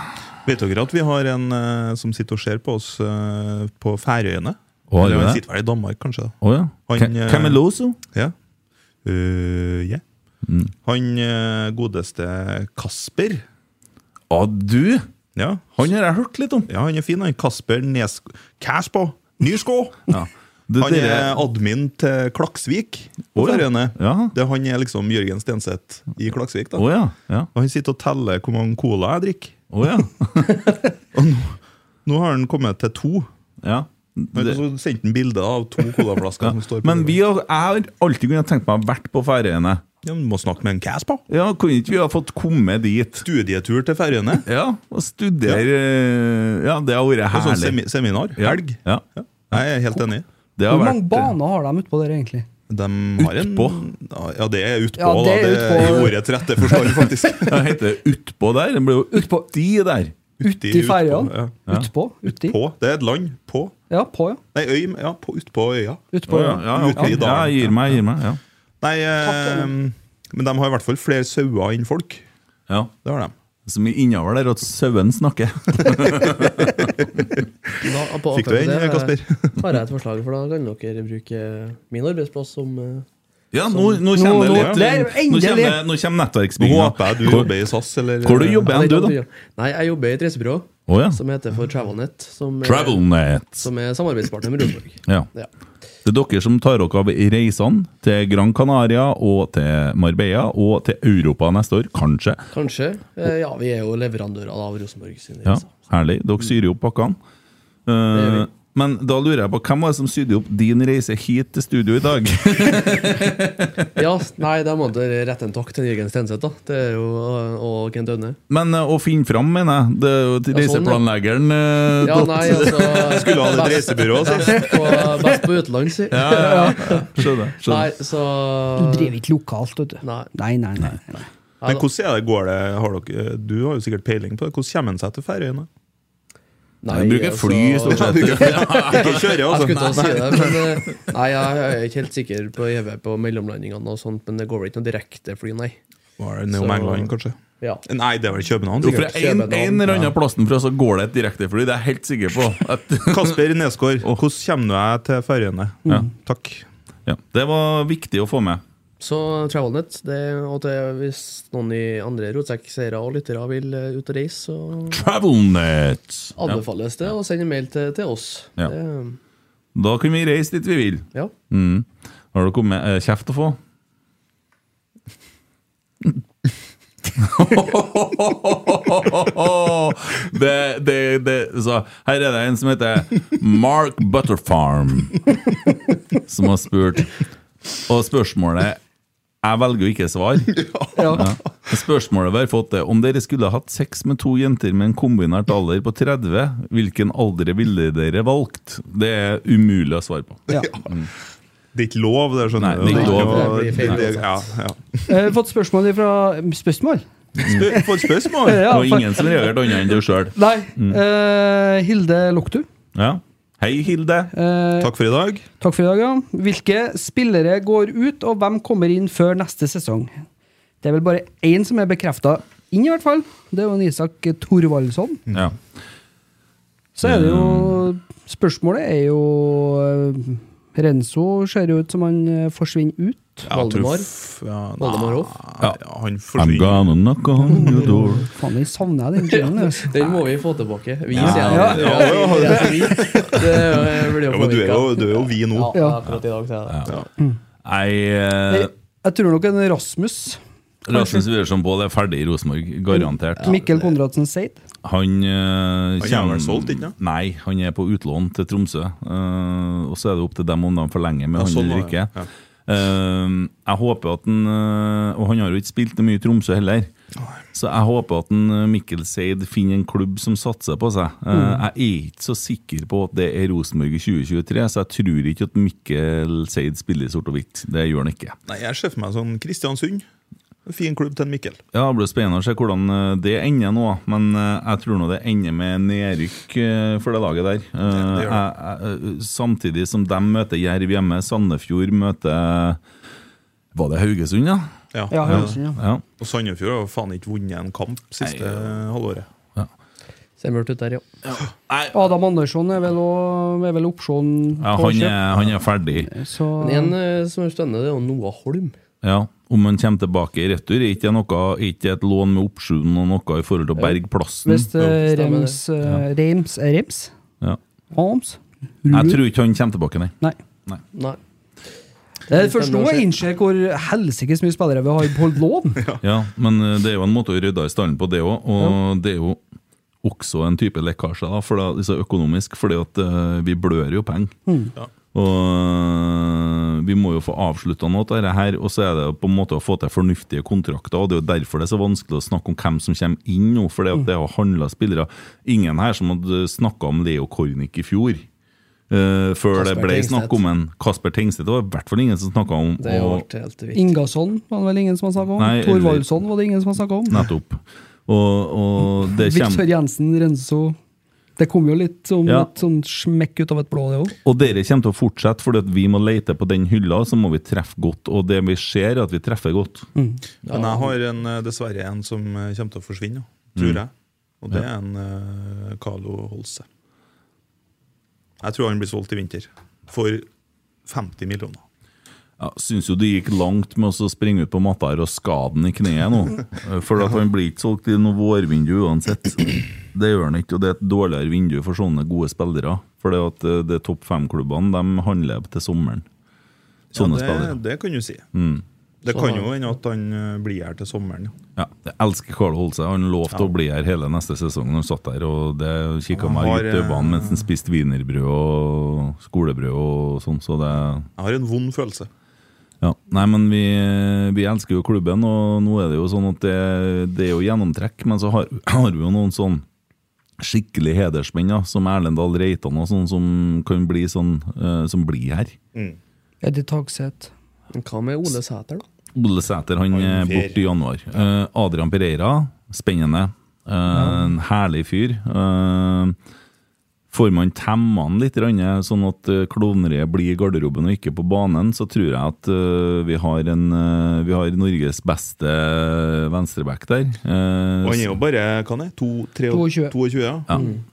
Speaker 6: Vet dere at vi har en eh, som sitter og ser på oss eh, på Færøyene?
Speaker 5: Å, har vi
Speaker 6: Eller han
Speaker 5: det?
Speaker 6: sitter vel i Danmark, kanskje? da.
Speaker 5: Å ja.
Speaker 6: Han,
Speaker 5: Ke-
Speaker 6: eh,
Speaker 5: Cameloso?
Speaker 6: Ja. Eh, ja.
Speaker 5: Mm.
Speaker 6: Han eh, godeste Kasper
Speaker 5: Å, du!
Speaker 6: Ja,
Speaker 5: Han har jeg hørt litt om.
Speaker 6: ja han er fin, han. Kasper Nes... Kasper Nysko!
Speaker 5: Ja. Det,
Speaker 6: Han er
Speaker 5: dere-
Speaker 6: admin til Klaksvik på
Speaker 5: Å, ja.
Speaker 6: Færøyene.
Speaker 5: Ja.
Speaker 6: Det Han er liksom Jørgen Stenseth i Klaksvik. da.
Speaker 5: Å ja. ja.
Speaker 6: Og Han sitter og teller hvor mange cola jeg drikker.
Speaker 5: Å ja.
Speaker 6: Nå har han kommet til to. *laughs*
Speaker 5: ja.
Speaker 6: Men
Speaker 5: Det,
Speaker 6: så sendte han bilde av
Speaker 5: *laughs*
Speaker 6: to colaflasker
Speaker 5: ja.
Speaker 6: som står på
Speaker 5: Men vi har, jeg har alltid kunnet tenkt meg å ha vært på Færøyene.
Speaker 6: ja, men Du må snakke med en Caspa.
Speaker 5: Ja, kunne ikke vi ha fått komme dit?
Speaker 6: Studietur til Færøyene.
Speaker 5: Ja, og studere eh, Ja, det har vært
Speaker 6: Og sånn semi
Speaker 5: herlig.
Speaker 6: seminar.
Speaker 5: Ja.
Speaker 6: Helg.
Speaker 5: Ja.
Speaker 6: Jeg er helt enig.
Speaker 5: Det har
Speaker 7: Hvor
Speaker 5: vært eh,
Speaker 7: mange
Speaker 5: *laughs*
Speaker 7: baner har de utpå der, egentlig?
Speaker 6: De har en,
Speaker 5: Utpå.
Speaker 6: Ja, det er utpå.
Speaker 7: Ja, det er
Speaker 6: da. Det er
Speaker 7: utpå.
Speaker 6: i ordets rette forstand, faktisk.
Speaker 7: *laughs*
Speaker 5: Hva heter det? Utpå der? Det blir jo
Speaker 7: Utpå.
Speaker 5: uti der.
Speaker 6: Uti,
Speaker 7: Til
Speaker 6: utpå,
Speaker 7: Færøyene?
Speaker 6: ja.
Speaker 7: Utpå? Uti?
Speaker 6: På. Det er et land. På.
Speaker 7: Ja, på, ja.
Speaker 6: Nei, øy. Ja, på, utpå øya.
Speaker 7: Utpå,
Speaker 5: ja,
Speaker 7: ja.
Speaker 5: ja, ok.
Speaker 6: Uti i dalen.
Speaker 5: ja, jeg gir meg, jeg gir meg. Ja.
Speaker 6: Nei, eh, men de har i hvert fall flere sauer enn folk.
Speaker 5: ja.
Speaker 6: Det har de.
Speaker 5: Så mye innover der at sauen snakker.
Speaker 8: Da, på
Speaker 6: Fikk du
Speaker 8: akkurat
Speaker 6: den,
Speaker 8: det,
Speaker 6: Kasper?
Speaker 8: tar jeg et forslag, for da kan dere bruke min arbeidsplass som eh,
Speaker 5: *laughs* Ja, nå, nå kommer det
Speaker 7: Nå-
Speaker 5: litt
Speaker 7: nå- der,
Speaker 5: Nå
Speaker 7: endelig!
Speaker 5: kommer, det- nå kommer
Speaker 6: Nå
Speaker 5: nettverksbygginga.
Speaker 6: håper jeg du
Speaker 5: Hvor-
Speaker 6: jobber i SAS, eller
Speaker 5: Hvor du jobber hen, du, da?
Speaker 8: Nei, jeg jobber i et reisebyrå
Speaker 5: Å ja.
Speaker 8: som heter for Travelnet, som er,
Speaker 5: Travelnet.
Speaker 8: som er samarbeidspartner med Rosenborg.
Speaker 5: Ja.
Speaker 8: Ja.
Speaker 5: Det er dere som tar dere av reisene til Gran Canaria og til Marbella og til Europa neste år, kanskje.
Speaker 8: Kanskje. Eh, Ja, vi er jo leverandører av Rosenborg sine
Speaker 5: Ja,
Speaker 8: reiser.
Speaker 5: Herlig. Dere syr jo opp pakkene.
Speaker 8: gjør
Speaker 5: Eh,
Speaker 8: vi.
Speaker 5: men da lurer jeg på hvem var det som sydde opp din reise hit til studio i dag? *laughs*
Speaker 8: Ja, nei, da må dere rette en takk til Jørgen Stenseth, da. Det er jo, og Kent Aune.
Speaker 5: Men eh, å finne fram, mener jeg. Det er jo til
Speaker 8: Ja, sånn, ja.
Speaker 5: reiseplanleggeren. eh,
Speaker 8: Ja,
Speaker 5: dot- *laughs*
Speaker 8: nei, altså
Speaker 6: Skulle ha et reisebyrå,
Speaker 5: altså.
Speaker 6: si.
Speaker 8: Best på, best på utenland, si. *laughs*
Speaker 5: Skjønner.
Speaker 8: Nei,
Speaker 5: skjønner.
Speaker 8: så
Speaker 7: Du driver ikke lokalt, vet du.
Speaker 8: Nei.
Speaker 7: Nei, nei, nei. nei.
Speaker 6: Men hvordan er det, går det har dere, eh, Du har jo sikkert peiling på det. Hvordan kommer en seg til Færøyene?
Speaker 5: Jeg bruker fly,
Speaker 8: altså-
Speaker 5: stort
Speaker 8: *laughs*
Speaker 5: sett.
Speaker 6: Ikke kjører,
Speaker 8: Jeg skulle til å
Speaker 6: altså.
Speaker 8: si det, men eh, Nei, jeg er ikke helt sikker på EV på mellomlandingene og sånt, men det går vel ikke noe direkte fly, nei.
Speaker 6: Var det Neom
Speaker 8: Så-
Speaker 6: England, kanskje?
Speaker 8: Ja.
Speaker 6: Nei, det er vel København,
Speaker 5: Jo, fra
Speaker 6: sikkert.
Speaker 5: en,
Speaker 8: Kjøbenhavn,
Speaker 5: en eller
Speaker 8: ja.
Speaker 5: annen plassen fra så går det et direktefly, det er jeg helt sikker på.
Speaker 8: *laughs*
Speaker 5: At, *laughs*
Speaker 6: Kasper Nesgaard, hvordan kommer jeg til Færøyene? Takk.
Speaker 5: ja, det var viktig å få med.
Speaker 8: Så Travelnet, det, og det, hvis noen i andre rotsekkseere og lyttere vil eh, ut og reise, så
Speaker 5: Travelnet! Ja,
Speaker 8: anbefales det å sende mail til, til oss.
Speaker 5: Ja.
Speaker 8: Det,
Speaker 5: da kan vi reise dit vi vil.
Speaker 8: ja.
Speaker 5: Mm. Har du kommet eh, kjeft å få? *laughs* det, det, det, så her er det en som heter Mark Butterfarm, som har spurt. Og spørsmålet Jeg velger å ikke svare. Ja. Spørsmålet vi har fått, er om dere skulle hatt sex med to jenter med en kombinert alder på 30, hvilken alder ville dere valgt? Det er umulig å svare på. Mm.
Speaker 6: Det er ikke lov, det skjønner
Speaker 5: Nei, det er ikke lov.
Speaker 6: Og-
Speaker 8: Det blir feil
Speaker 6: det- Ja, ja.
Speaker 7: Jeg har Eh, fått spørsmål fra Spørsmål?
Speaker 6: Spør- Får spørsmål!
Speaker 8: *laughs*
Speaker 7: Ja,
Speaker 5: og ingen som reagerte annet enn du sjøl.
Speaker 7: Nei. Eh, Hilde Loktu.
Speaker 5: Ja. Hei, Hilde.
Speaker 7: Eh,
Speaker 6: Takk for i dag.
Speaker 7: Takk for i dag, ja. Hvilke spillere går ut, og hvem kommer inn før neste sesong? Det er vel bare én som er bekrefta inn, i hvert fall. Det er jo en Isak Thorvaldsson.
Speaker 5: Ja.
Speaker 7: Så er det jo Spørsmålet er jo eh, Renzo ser jo ut som han eh, forsvinner ut.
Speaker 6: Ja, jeg tror
Speaker 8: Valdemar.
Speaker 6: f- ja,
Speaker 8: Valdemar Hoff.
Speaker 6: nei, Han
Speaker 5: I'm
Speaker 6: forsvinner.
Speaker 5: gonna knock on your door.
Speaker 7: Faen, den savner jeg, den jinglen. altså.
Speaker 8: Den må vi få tilbake. Vi,
Speaker 5: Ja.
Speaker 8: sier
Speaker 7: Ja.
Speaker 8: jeg. Det er vi. Det er- blir
Speaker 6: Ja,
Speaker 8: jo
Speaker 6: men du er
Speaker 8: påvirket.
Speaker 6: jo, du er jo vi nå.
Speaker 8: Ja, akkurat i dag, sier jeg det.
Speaker 5: Nei, eh,
Speaker 7: Jeg, jeg tror nok en Rasmus.
Speaker 5: Rasmus Widersen Pål er ferdig i Rosenborg, garantert.
Speaker 7: Mikkel Konradsen Seid.
Speaker 5: Han eh,
Speaker 6: er
Speaker 5: kjem-
Speaker 6: vel solgt, ikke sant?
Speaker 5: Nei, han er på utlån til Tromsø. Eh, og så er det opp til dem om de forlenger med
Speaker 6: Ja,
Speaker 5: han
Speaker 6: sånn
Speaker 5: eller
Speaker 6: var det, ja.
Speaker 5: ikke. Eh, Eh, jeg håper at han eh, Og han har jo ikke spilt mye i Tromsø heller. Så jeg håper at en eh, Mikkel Seid finner en klubb som satser på seg. Eh,
Speaker 6: Mm.
Speaker 5: Jeg er ikke så sikker på at det er Rosenborg i 2023, så jeg tror ikke at Mikkel Seid spiller i sort og hvitt. Det gjør han ikke.
Speaker 6: Nei, jeg ser for meg sånn Kristiansund. Fin klubb til en Mikkel.
Speaker 5: Ja, Det blir spennende å se hvordan eh, det ender nå, men eh, jeg tror nå det ender med nedrykk eh, for det laget der. Eh,
Speaker 6: det
Speaker 5: jeg- jeg- eh, Samtidig som de møter Jerv hjemme, Sandefjord møter Var det Haugesund, ja?
Speaker 6: Ja.
Speaker 7: Ja, Haugesund, ja.
Speaker 5: ja.
Speaker 6: Og Sandefjord har jo faen ikke vunnet en kamp siste halvåret.
Speaker 9: Ser mørkt ut der, ja.
Speaker 7: Adam Andersson er vel, også, er vel opsjon
Speaker 5: ja
Speaker 7: på
Speaker 5: han,
Speaker 7: kjøp,
Speaker 5: er, han er ferdig.
Speaker 7: så
Speaker 9: Men en eh, som er spennende, det er jo Noah Holm.
Speaker 5: Ja. Om han kommer tilbake i retur, er ikke det noe, er ikke det et lån med opsjon og noe i forhold til å berge plassen?
Speaker 7: Hvis eh,
Speaker 9: Mm. Jo, stemmer
Speaker 7: Reims eh, Reims er Reims?
Speaker 5: Ja.
Speaker 7: Holmes?
Speaker 5: Jeg tror ikke han kommer tilbake, nei.
Speaker 7: Nei.
Speaker 9: Nei.
Speaker 7: Det er først nå jeg innser hvor helsikes mye spillere vi har holdt *laughs* lån.
Speaker 5: Ja, men eh, det er jo en måte å rydde i stallen på det òg, og det er jo også en type lekkasje da, for da, altså økonomisk, fordi at eh, vi blør jo penger.
Speaker 9: Mm.
Speaker 5: Og eh, vi må jo få avslutta noe av dette her, og så er det jo på en måte å få til fornuftige kontrakter. og Det er jo derfor det er så vanskelig å snakke om hvem som kommer inn nå, for
Speaker 9: Mm.
Speaker 5: det har handla spillere. Ingen her som hadde snakka om Leo Kornic i fjor. eh, før det
Speaker 9: Kasper
Speaker 5: ble
Speaker 9: Tengstedt.
Speaker 5: snakk om en Kasper Tengstedt. Det var i hvert fall ingen som snakka om
Speaker 9: Det er jo
Speaker 5: og-
Speaker 9: alt helt vilt.
Speaker 7: Ingasson var det vel ingen som har snakka om.
Speaker 5: Nei, eller-
Speaker 7: Thorvaldsson var det ingen som har snakka om.
Speaker 5: Nettopp. Og, og det kommer
Speaker 7: Victor Jensen, Renzo Det kom jo litt som
Speaker 5: Ja.
Speaker 7: et sånn smekk ut av et blå, det òg.
Speaker 5: Og dere kommer til å fortsette, fordi at vi må lete på den hylla, så må vi treffe godt. Og det vi ser, er at vi treffer godt.
Speaker 6: Men jeg har en, eh, dessverre en som eh, kommer til å forsvinne, ja, tror jeg. Og det er en eh, Carlo Holse. Jeg tror han blir solgt i vinter. For 50 millioner.
Speaker 5: Jeg syns jo det gikk langt med å springe ut på matta her og skade den i kneet nå. Eh, For at han blir ikke solgt i noe vårvindu uansett. Det gjør han ikke, og det er et dårligere vindu for sånne gode spillere. For det at eh, det topp fem-klubbene de handler til sommeren. Sånne
Speaker 6: ja, det,
Speaker 5: spillere.
Speaker 6: det kan du si. Det kan jo hende at han eh, blir her til sommeren. ja.
Speaker 5: Ja, jeg elsker Karl Holse. Han lovte å bli her hele neste sesong. Han satt der og det kikka
Speaker 6: Han
Speaker 5: meg
Speaker 6: har, eh,
Speaker 5: ut i øynene mens han spiste wienerbrød og skolebrød og sånn, så det
Speaker 6: Jeg har en vond følelse.
Speaker 5: Ja. Nei, men vi, vi elsker jo klubben, og nå er det jo sånn at det, det er jo gjennomtrekk, men så har, *clears throat* har vi jo noen sånn skikkelig hedersmenn, da, som Erlend Dahl Reitan og sånn, som kan bli sånn, eh, som blir her.
Speaker 7: Eddie Tagseth.
Speaker 9: Men hva med Ole Sæter, da?
Speaker 5: Ole Sæter han er
Speaker 6: fer.
Speaker 5: borte i januar. Eh, Adrian Pereira, spennende. Eh, En herlig fyr. Eh, får man temma han litt, grann, sånn at eh, klovneriet blir i garderoben og ikke på banen, så tror jeg at eh, vi, har en, eh, vi har Norges beste venstreback der. Eh,
Speaker 6: Og han er jo bare hva han er, to, tre,
Speaker 7: 22.
Speaker 6: 22 ja.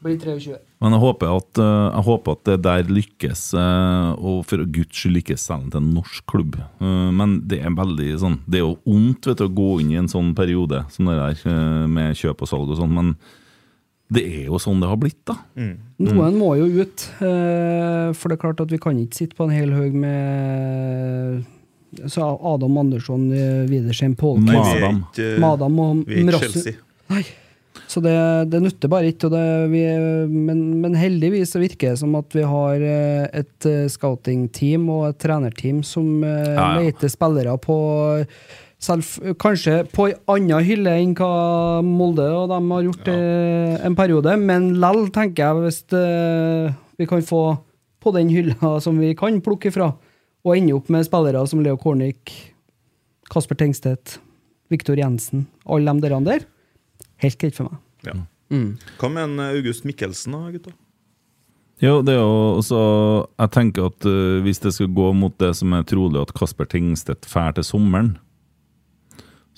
Speaker 7: Blir 23.
Speaker 5: Men jeg håper at, eh, jeg håper at det der lykkes, eh, og for guds skyld lykkes selv til en norsk klubb. Eh, Men det er veldig sånn Det er jo ondt vet du, å gå inn i en sånn periode som det der, eh, med kjøp og salg og sånn, men det er jo sånn det har blitt, da.
Speaker 7: Noen må jo ut. eh, For det er klart at vi kan ikke sitte på en hel haug med eh, så Adam Andersson, eh, Widersen, Polk
Speaker 6: Nei, vi er
Speaker 5: Madam.
Speaker 6: ikke, eh,
Speaker 7: Madam og
Speaker 6: Vi er ikke
Speaker 7: Mrasu.
Speaker 6: Chelsea.
Speaker 7: Nei. Så det, det nytter bare ikke. Og det, vi, men, men heldigvis så virker det som at vi har eh, et eh, scouting-team og et trenerteam som eh,
Speaker 5: Ja, ja.
Speaker 7: leter spillere på selv, Kanskje på ei anna hylle enn hva Molde og dem har gjort eh, en periode, men lell, tenker jeg, hvis eh, vi kan få på den hylla som vi kan plukke fra, og ende opp med spillere som Leo Kornic, Kasper Tengstedt, Viktor Jensen, alle de der der. Helt greit for meg.
Speaker 6: Ja. Hva med en eh, August Mikkelsen, da, gutta?
Speaker 5: Jo, det er jo også Jeg tenker at eh, hvis det skal gå mot det som er trolig at Kasper Tingstedt drar til sommeren,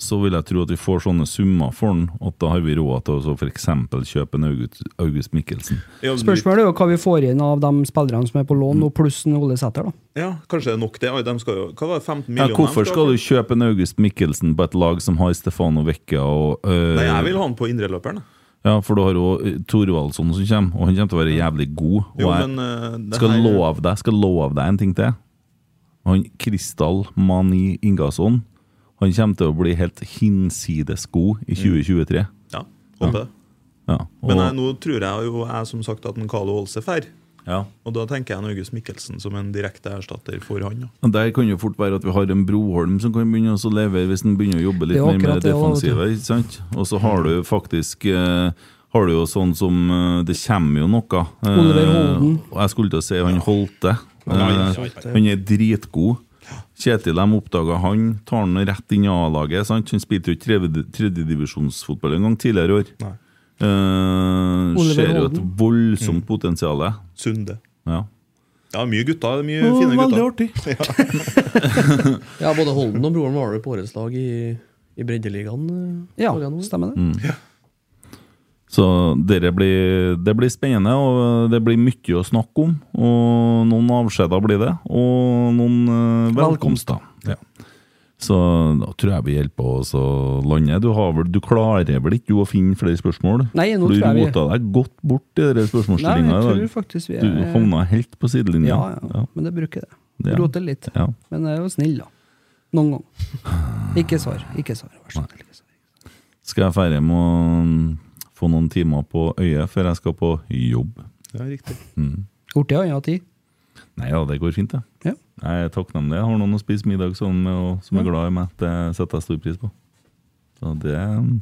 Speaker 5: så vil jeg tro at vi får sånne summer for den, at da har vi råd til å f.eks. kjøpe en August, August Mikkelsen.
Speaker 6: Ja, du-
Speaker 7: Spørsmålet er jo hva vi får inn av de spillerne som er på lån, og pluss en Ole Sæter, da.
Speaker 6: Ja, kanskje det er nok det. Oi, de skal jo, hva var det, 15
Speaker 5: Ja,
Speaker 6: millioner?
Speaker 5: hvorfor skal du kjøpe en August Mikkelsen på et lag som har Stefano Vecchia og øh,
Speaker 6: Nei, Jeg vil ha han på indreløperen. jeg.
Speaker 5: Ja, for du har jo øh, Thorvaldsson som kommer, og han kommer til å være jævlig god. Og
Speaker 6: Jo,
Speaker 5: jeg
Speaker 6: men, eh, det
Speaker 5: skal
Speaker 6: her-
Speaker 5: love deg Skal love deg en ting til. Han Kristall Mani Ingasson Han kommer til å bli helt hinsides god
Speaker 6: Mm.
Speaker 5: i 2023.
Speaker 6: Ja, håper det.
Speaker 5: Ja, og,
Speaker 6: Men jeg, nå tror jeg jo jeg som sagt at en Carlo Holse drar.
Speaker 5: Ja.
Speaker 6: Og da tenker jeg en August Mikkelsen som en direkte erstatter for han. da.
Speaker 5: Men Der kan jo fort være at vi har en Broholm som kan begynne å levere hvis han begynner å jobbe litt
Speaker 7: Det er
Speaker 5: mer med
Speaker 7: akkurat
Speaker 5: det
Speaker 7: det, og-
Speaker 5: defensive. ikke sant? Og så har du faktisk eh, har du jo sånn som eh, Det kommer jo noe. Eh,
Speaker 7: Oliver Holden.
Speaker 5: og Jeg skulle til å si han
Speaker 6: Ja,
Speaker 5: Holte.
Speaker 6: ja,
Speaker 5: Eh, Han er dritgod. Kjetil de oppdaga han, tar han rett inn i A-laget. sant? Han spilte jo ikke tredje- tredjedivisjonsfotball en gang tidligere i år.
Speaker 6: Nei.
Speaker 5: Eh,
Speaker 7: Oliver
Speaker 5: ser jo et
Speaker 7: Holden.
Speaker 5: voldsomt potensial.
Speaker 6: Sunde.
Speaker 5: Ja.
Speaker 6: Ja, mye gutter. Mye fine gutter.
Speaker 5: artig.
Speaker 9: Ja, både Holden og broren var jo på årets lag i, i breddeligaen. eh,
Speaker 7: Ja,
Speaker 9: lagene våre.
Speaker 7: stemmer det.
Speaker 5: Mm. Så dere blir, det blir spennende, og det blir mye å snakke om. Og noen avskjeder blir det, og noen eh, velkomster. Ja. Så da tror jeg vi hjelper oss å lande. Du, har vel, du klarer vel ikke du å finne flere spørsmål?
Speaker 7: Nei, nå
Speaker 5: For du
Speaker 7: tror jeg vi-
Speaker 5: rota deg godt bort i de
Speaker 7: Nei, jeg
Speaker 5: spørsmålsstillingene i
Speaker 7: tror
Speaker 5: dag.
Speaker 7: faktisk vi er
Speaker 5: Du havna helt på sidelinja.
Speaker 7: ja, ja, men det bruker det.
Speaker 5: Ja.
Speaker 7: Roter litt.
Speaker 5: Ja.
Speaker 7: Men jeg er jo snill, da. Noen gang. Ikke svar. Ikke svar. Vær så snill. ikke svar.
Speaker 5: Skal jeg feire med å mm, få noen timer på øyet før jeg skal på jobb?
Speaker 6: Ja, riktig.
Speaker 7: Borti ei anna tid.
Speaker 5: Nei ja, det går fint, det.
Speaker 7: Ja.
Speaker 5: Jeg er takknemlig. Jeg har noen å spise middag sammen med og som er glad i meg. Det setter jeg stor pris på. Så det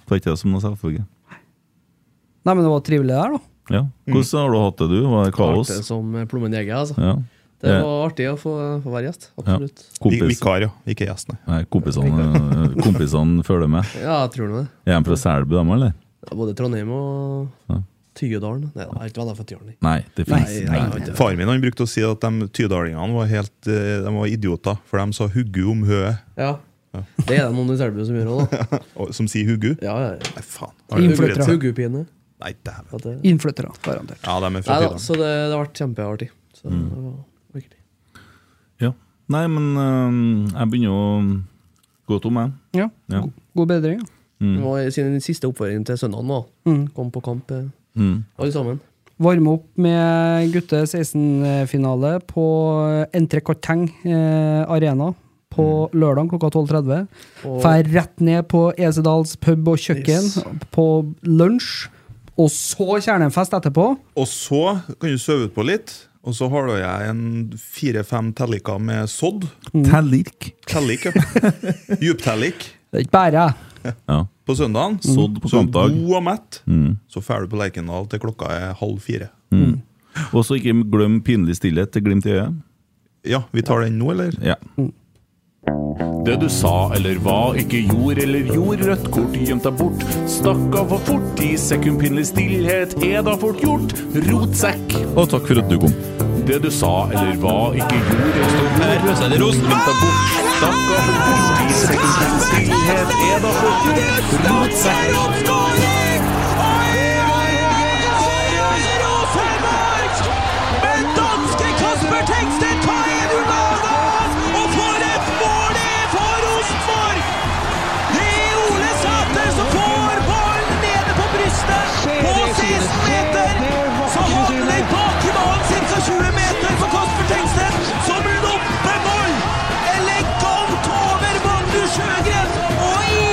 Speaker 5: tar ikke jeg som noe selvfølge.
Speaker 7: Nei, men det var trivelig der, da.
Speaker 5: Ja. Hvordan har du hatt det, du? Var det kaos?
Speaker 9: Artig som eh, plommen jeger, altså.
Speaker 5: Ja.
Speaker 9: Det
Speaker 5: Ja.
Speaker 9: var artig å få, få være gjest. Absolutt.
Speaker 6: Vi-
Speaker 5: Kompis.
Speaker 6: Vikar, ja. Ikke gjest, nei.
Speaker 5: Nei, kompisene, eh, kompisene følger med.
Speaker 9: Ja, jeg tror nå det.
Speaker 5: Er de fra Selbu, dem, eller?
Speaker 9: Ja, Både Trondheim og
Speaker 5: Ja.
Speaker 9: Tyedalen. Nei, jeg er ikke venner fra Tyren. jeg.
Speaker 5: Nei, det fins.
Speaker 9: Nei, nei, nei.
Speaker 6: Faren min han brukte å si at de tydalingene var helt eh, De var idioter, for de sa 'huggu om høet',
Speaker 9: Ja. Det er det noen i Selbu som gjør òg, da.
Speaker 6: og- som sier 'huggu'.
Speaker 9: Ja, ja, ja.
Speaker 5: *laughs*
Speaker 6: Nei, faen.
Speaker 7: Innflyttere.
Speaker 9: Huggepine.
Speaker 6: Nei, dæven.
Speaker 9: At det...
Speaker 7: Innflyttere, garantert.
Speaker 6: Ja, de er
Speaker 9: Nei
Speaker 6: fra
Speaker 9: da,
Speaker 6: Tydalen.
Speaker 9: så det, det har vært kjempeartig. Så
Speaker 5: Mm.
Speaker 9: det var virkelig.
Speaker 5: Ja. Nei, men øhm, jeg begynner å mm, gå tom, jeg.
Speaker 7: Ja.
Speaker 5: Ja.
Speaker 7: God, god bedring. Ja.
Speaker 5: Mm.
Speaker 9: Det var sin siste oppføring til søndagen nå. Kom på kamp, eh,
Speaker 5: Mm.
Speaker 9: alle sammen.
Speaker 7: Varme opp med gutte 16-finale på Entrecoteng eh, Arena på lørdag klokka 12.30.
Speaker 9: Mm. Og-
Speaker 7: Fær rett ned på Esedals pub og kjøkken
Speaker 9: Yes.
Speaker 7: på lunsj. Og så kjernefest etterpå.
Speaker 6: Og så kan du sove utpå litt, og så har da jeg en fire-fem tallika med sodd.
Speaker 5: Tellirk.
Speaker 6: Tellik, ja.
Speaker 5: *laughs*
Speaker 6: Djuptellik.
Speaker 7: Det er ikke bare jeg.
Speaker 5: Ja.
Speaker 6: På søndagen,
Speaker 5: Sodd Mm. på
Speaker 6: så
Speaker 5: kampdag.
Speaker 6: god og mett,
Speaker 5: Mm.
Speaker 6: så drar du på Lerkendal til klokka er halv fire.
Speaker 5: Og så ikke glem pinlig stillhet til glimt i øyet.
Speaker 6: Ja, vi tar den nå, eller?
Speaker 5: Ja.
Speaker 1: Det du sa eller hva, ikke gjorde eller gjorde, rødt kort gjemt deg bort. Stakk av for fort i sekundpinlig stillhet, er da fort gjort. Rotsekk.
Speaker 5: Og takk for at du kom.
Speaker 1: Det du sa eller hva, ikke gjorde eller gjorde, rødt kort gjemt deg bort. Stakk av for fort i sekundpinlig stillhet, er da fort gjort. Rotsekk.
Speaker 2: Rosenborg! Men danske Kasper Tengstedt tar en Ronaldas! Og for et mål det er for Rosenborg! Det er Ole Sæter som får ballen nede på brystet på 16 meter! Så havner den bak i banen ca. 20 meter for Kasper Tengstedt, som loppeball! Elegant over Magnus Sjøgren og i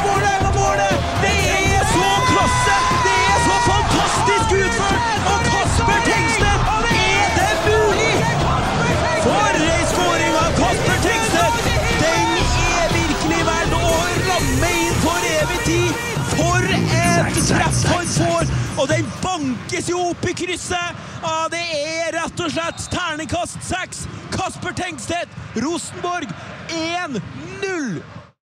Speaker 2: Vålerenga-målet! Det er så klasse! Det er så fantastisk utført! Og Kasper Tengstedt, er det mulig? For ei skåring av Kasper Tengstedt! Den er virkelig verd å ramme inn for evig tid! For et treff han får! Og den bankes jo opp i krysset! Ja, det er rett og slett ternekast seks! Kasper Tengstedt, Rosenborg 1-0!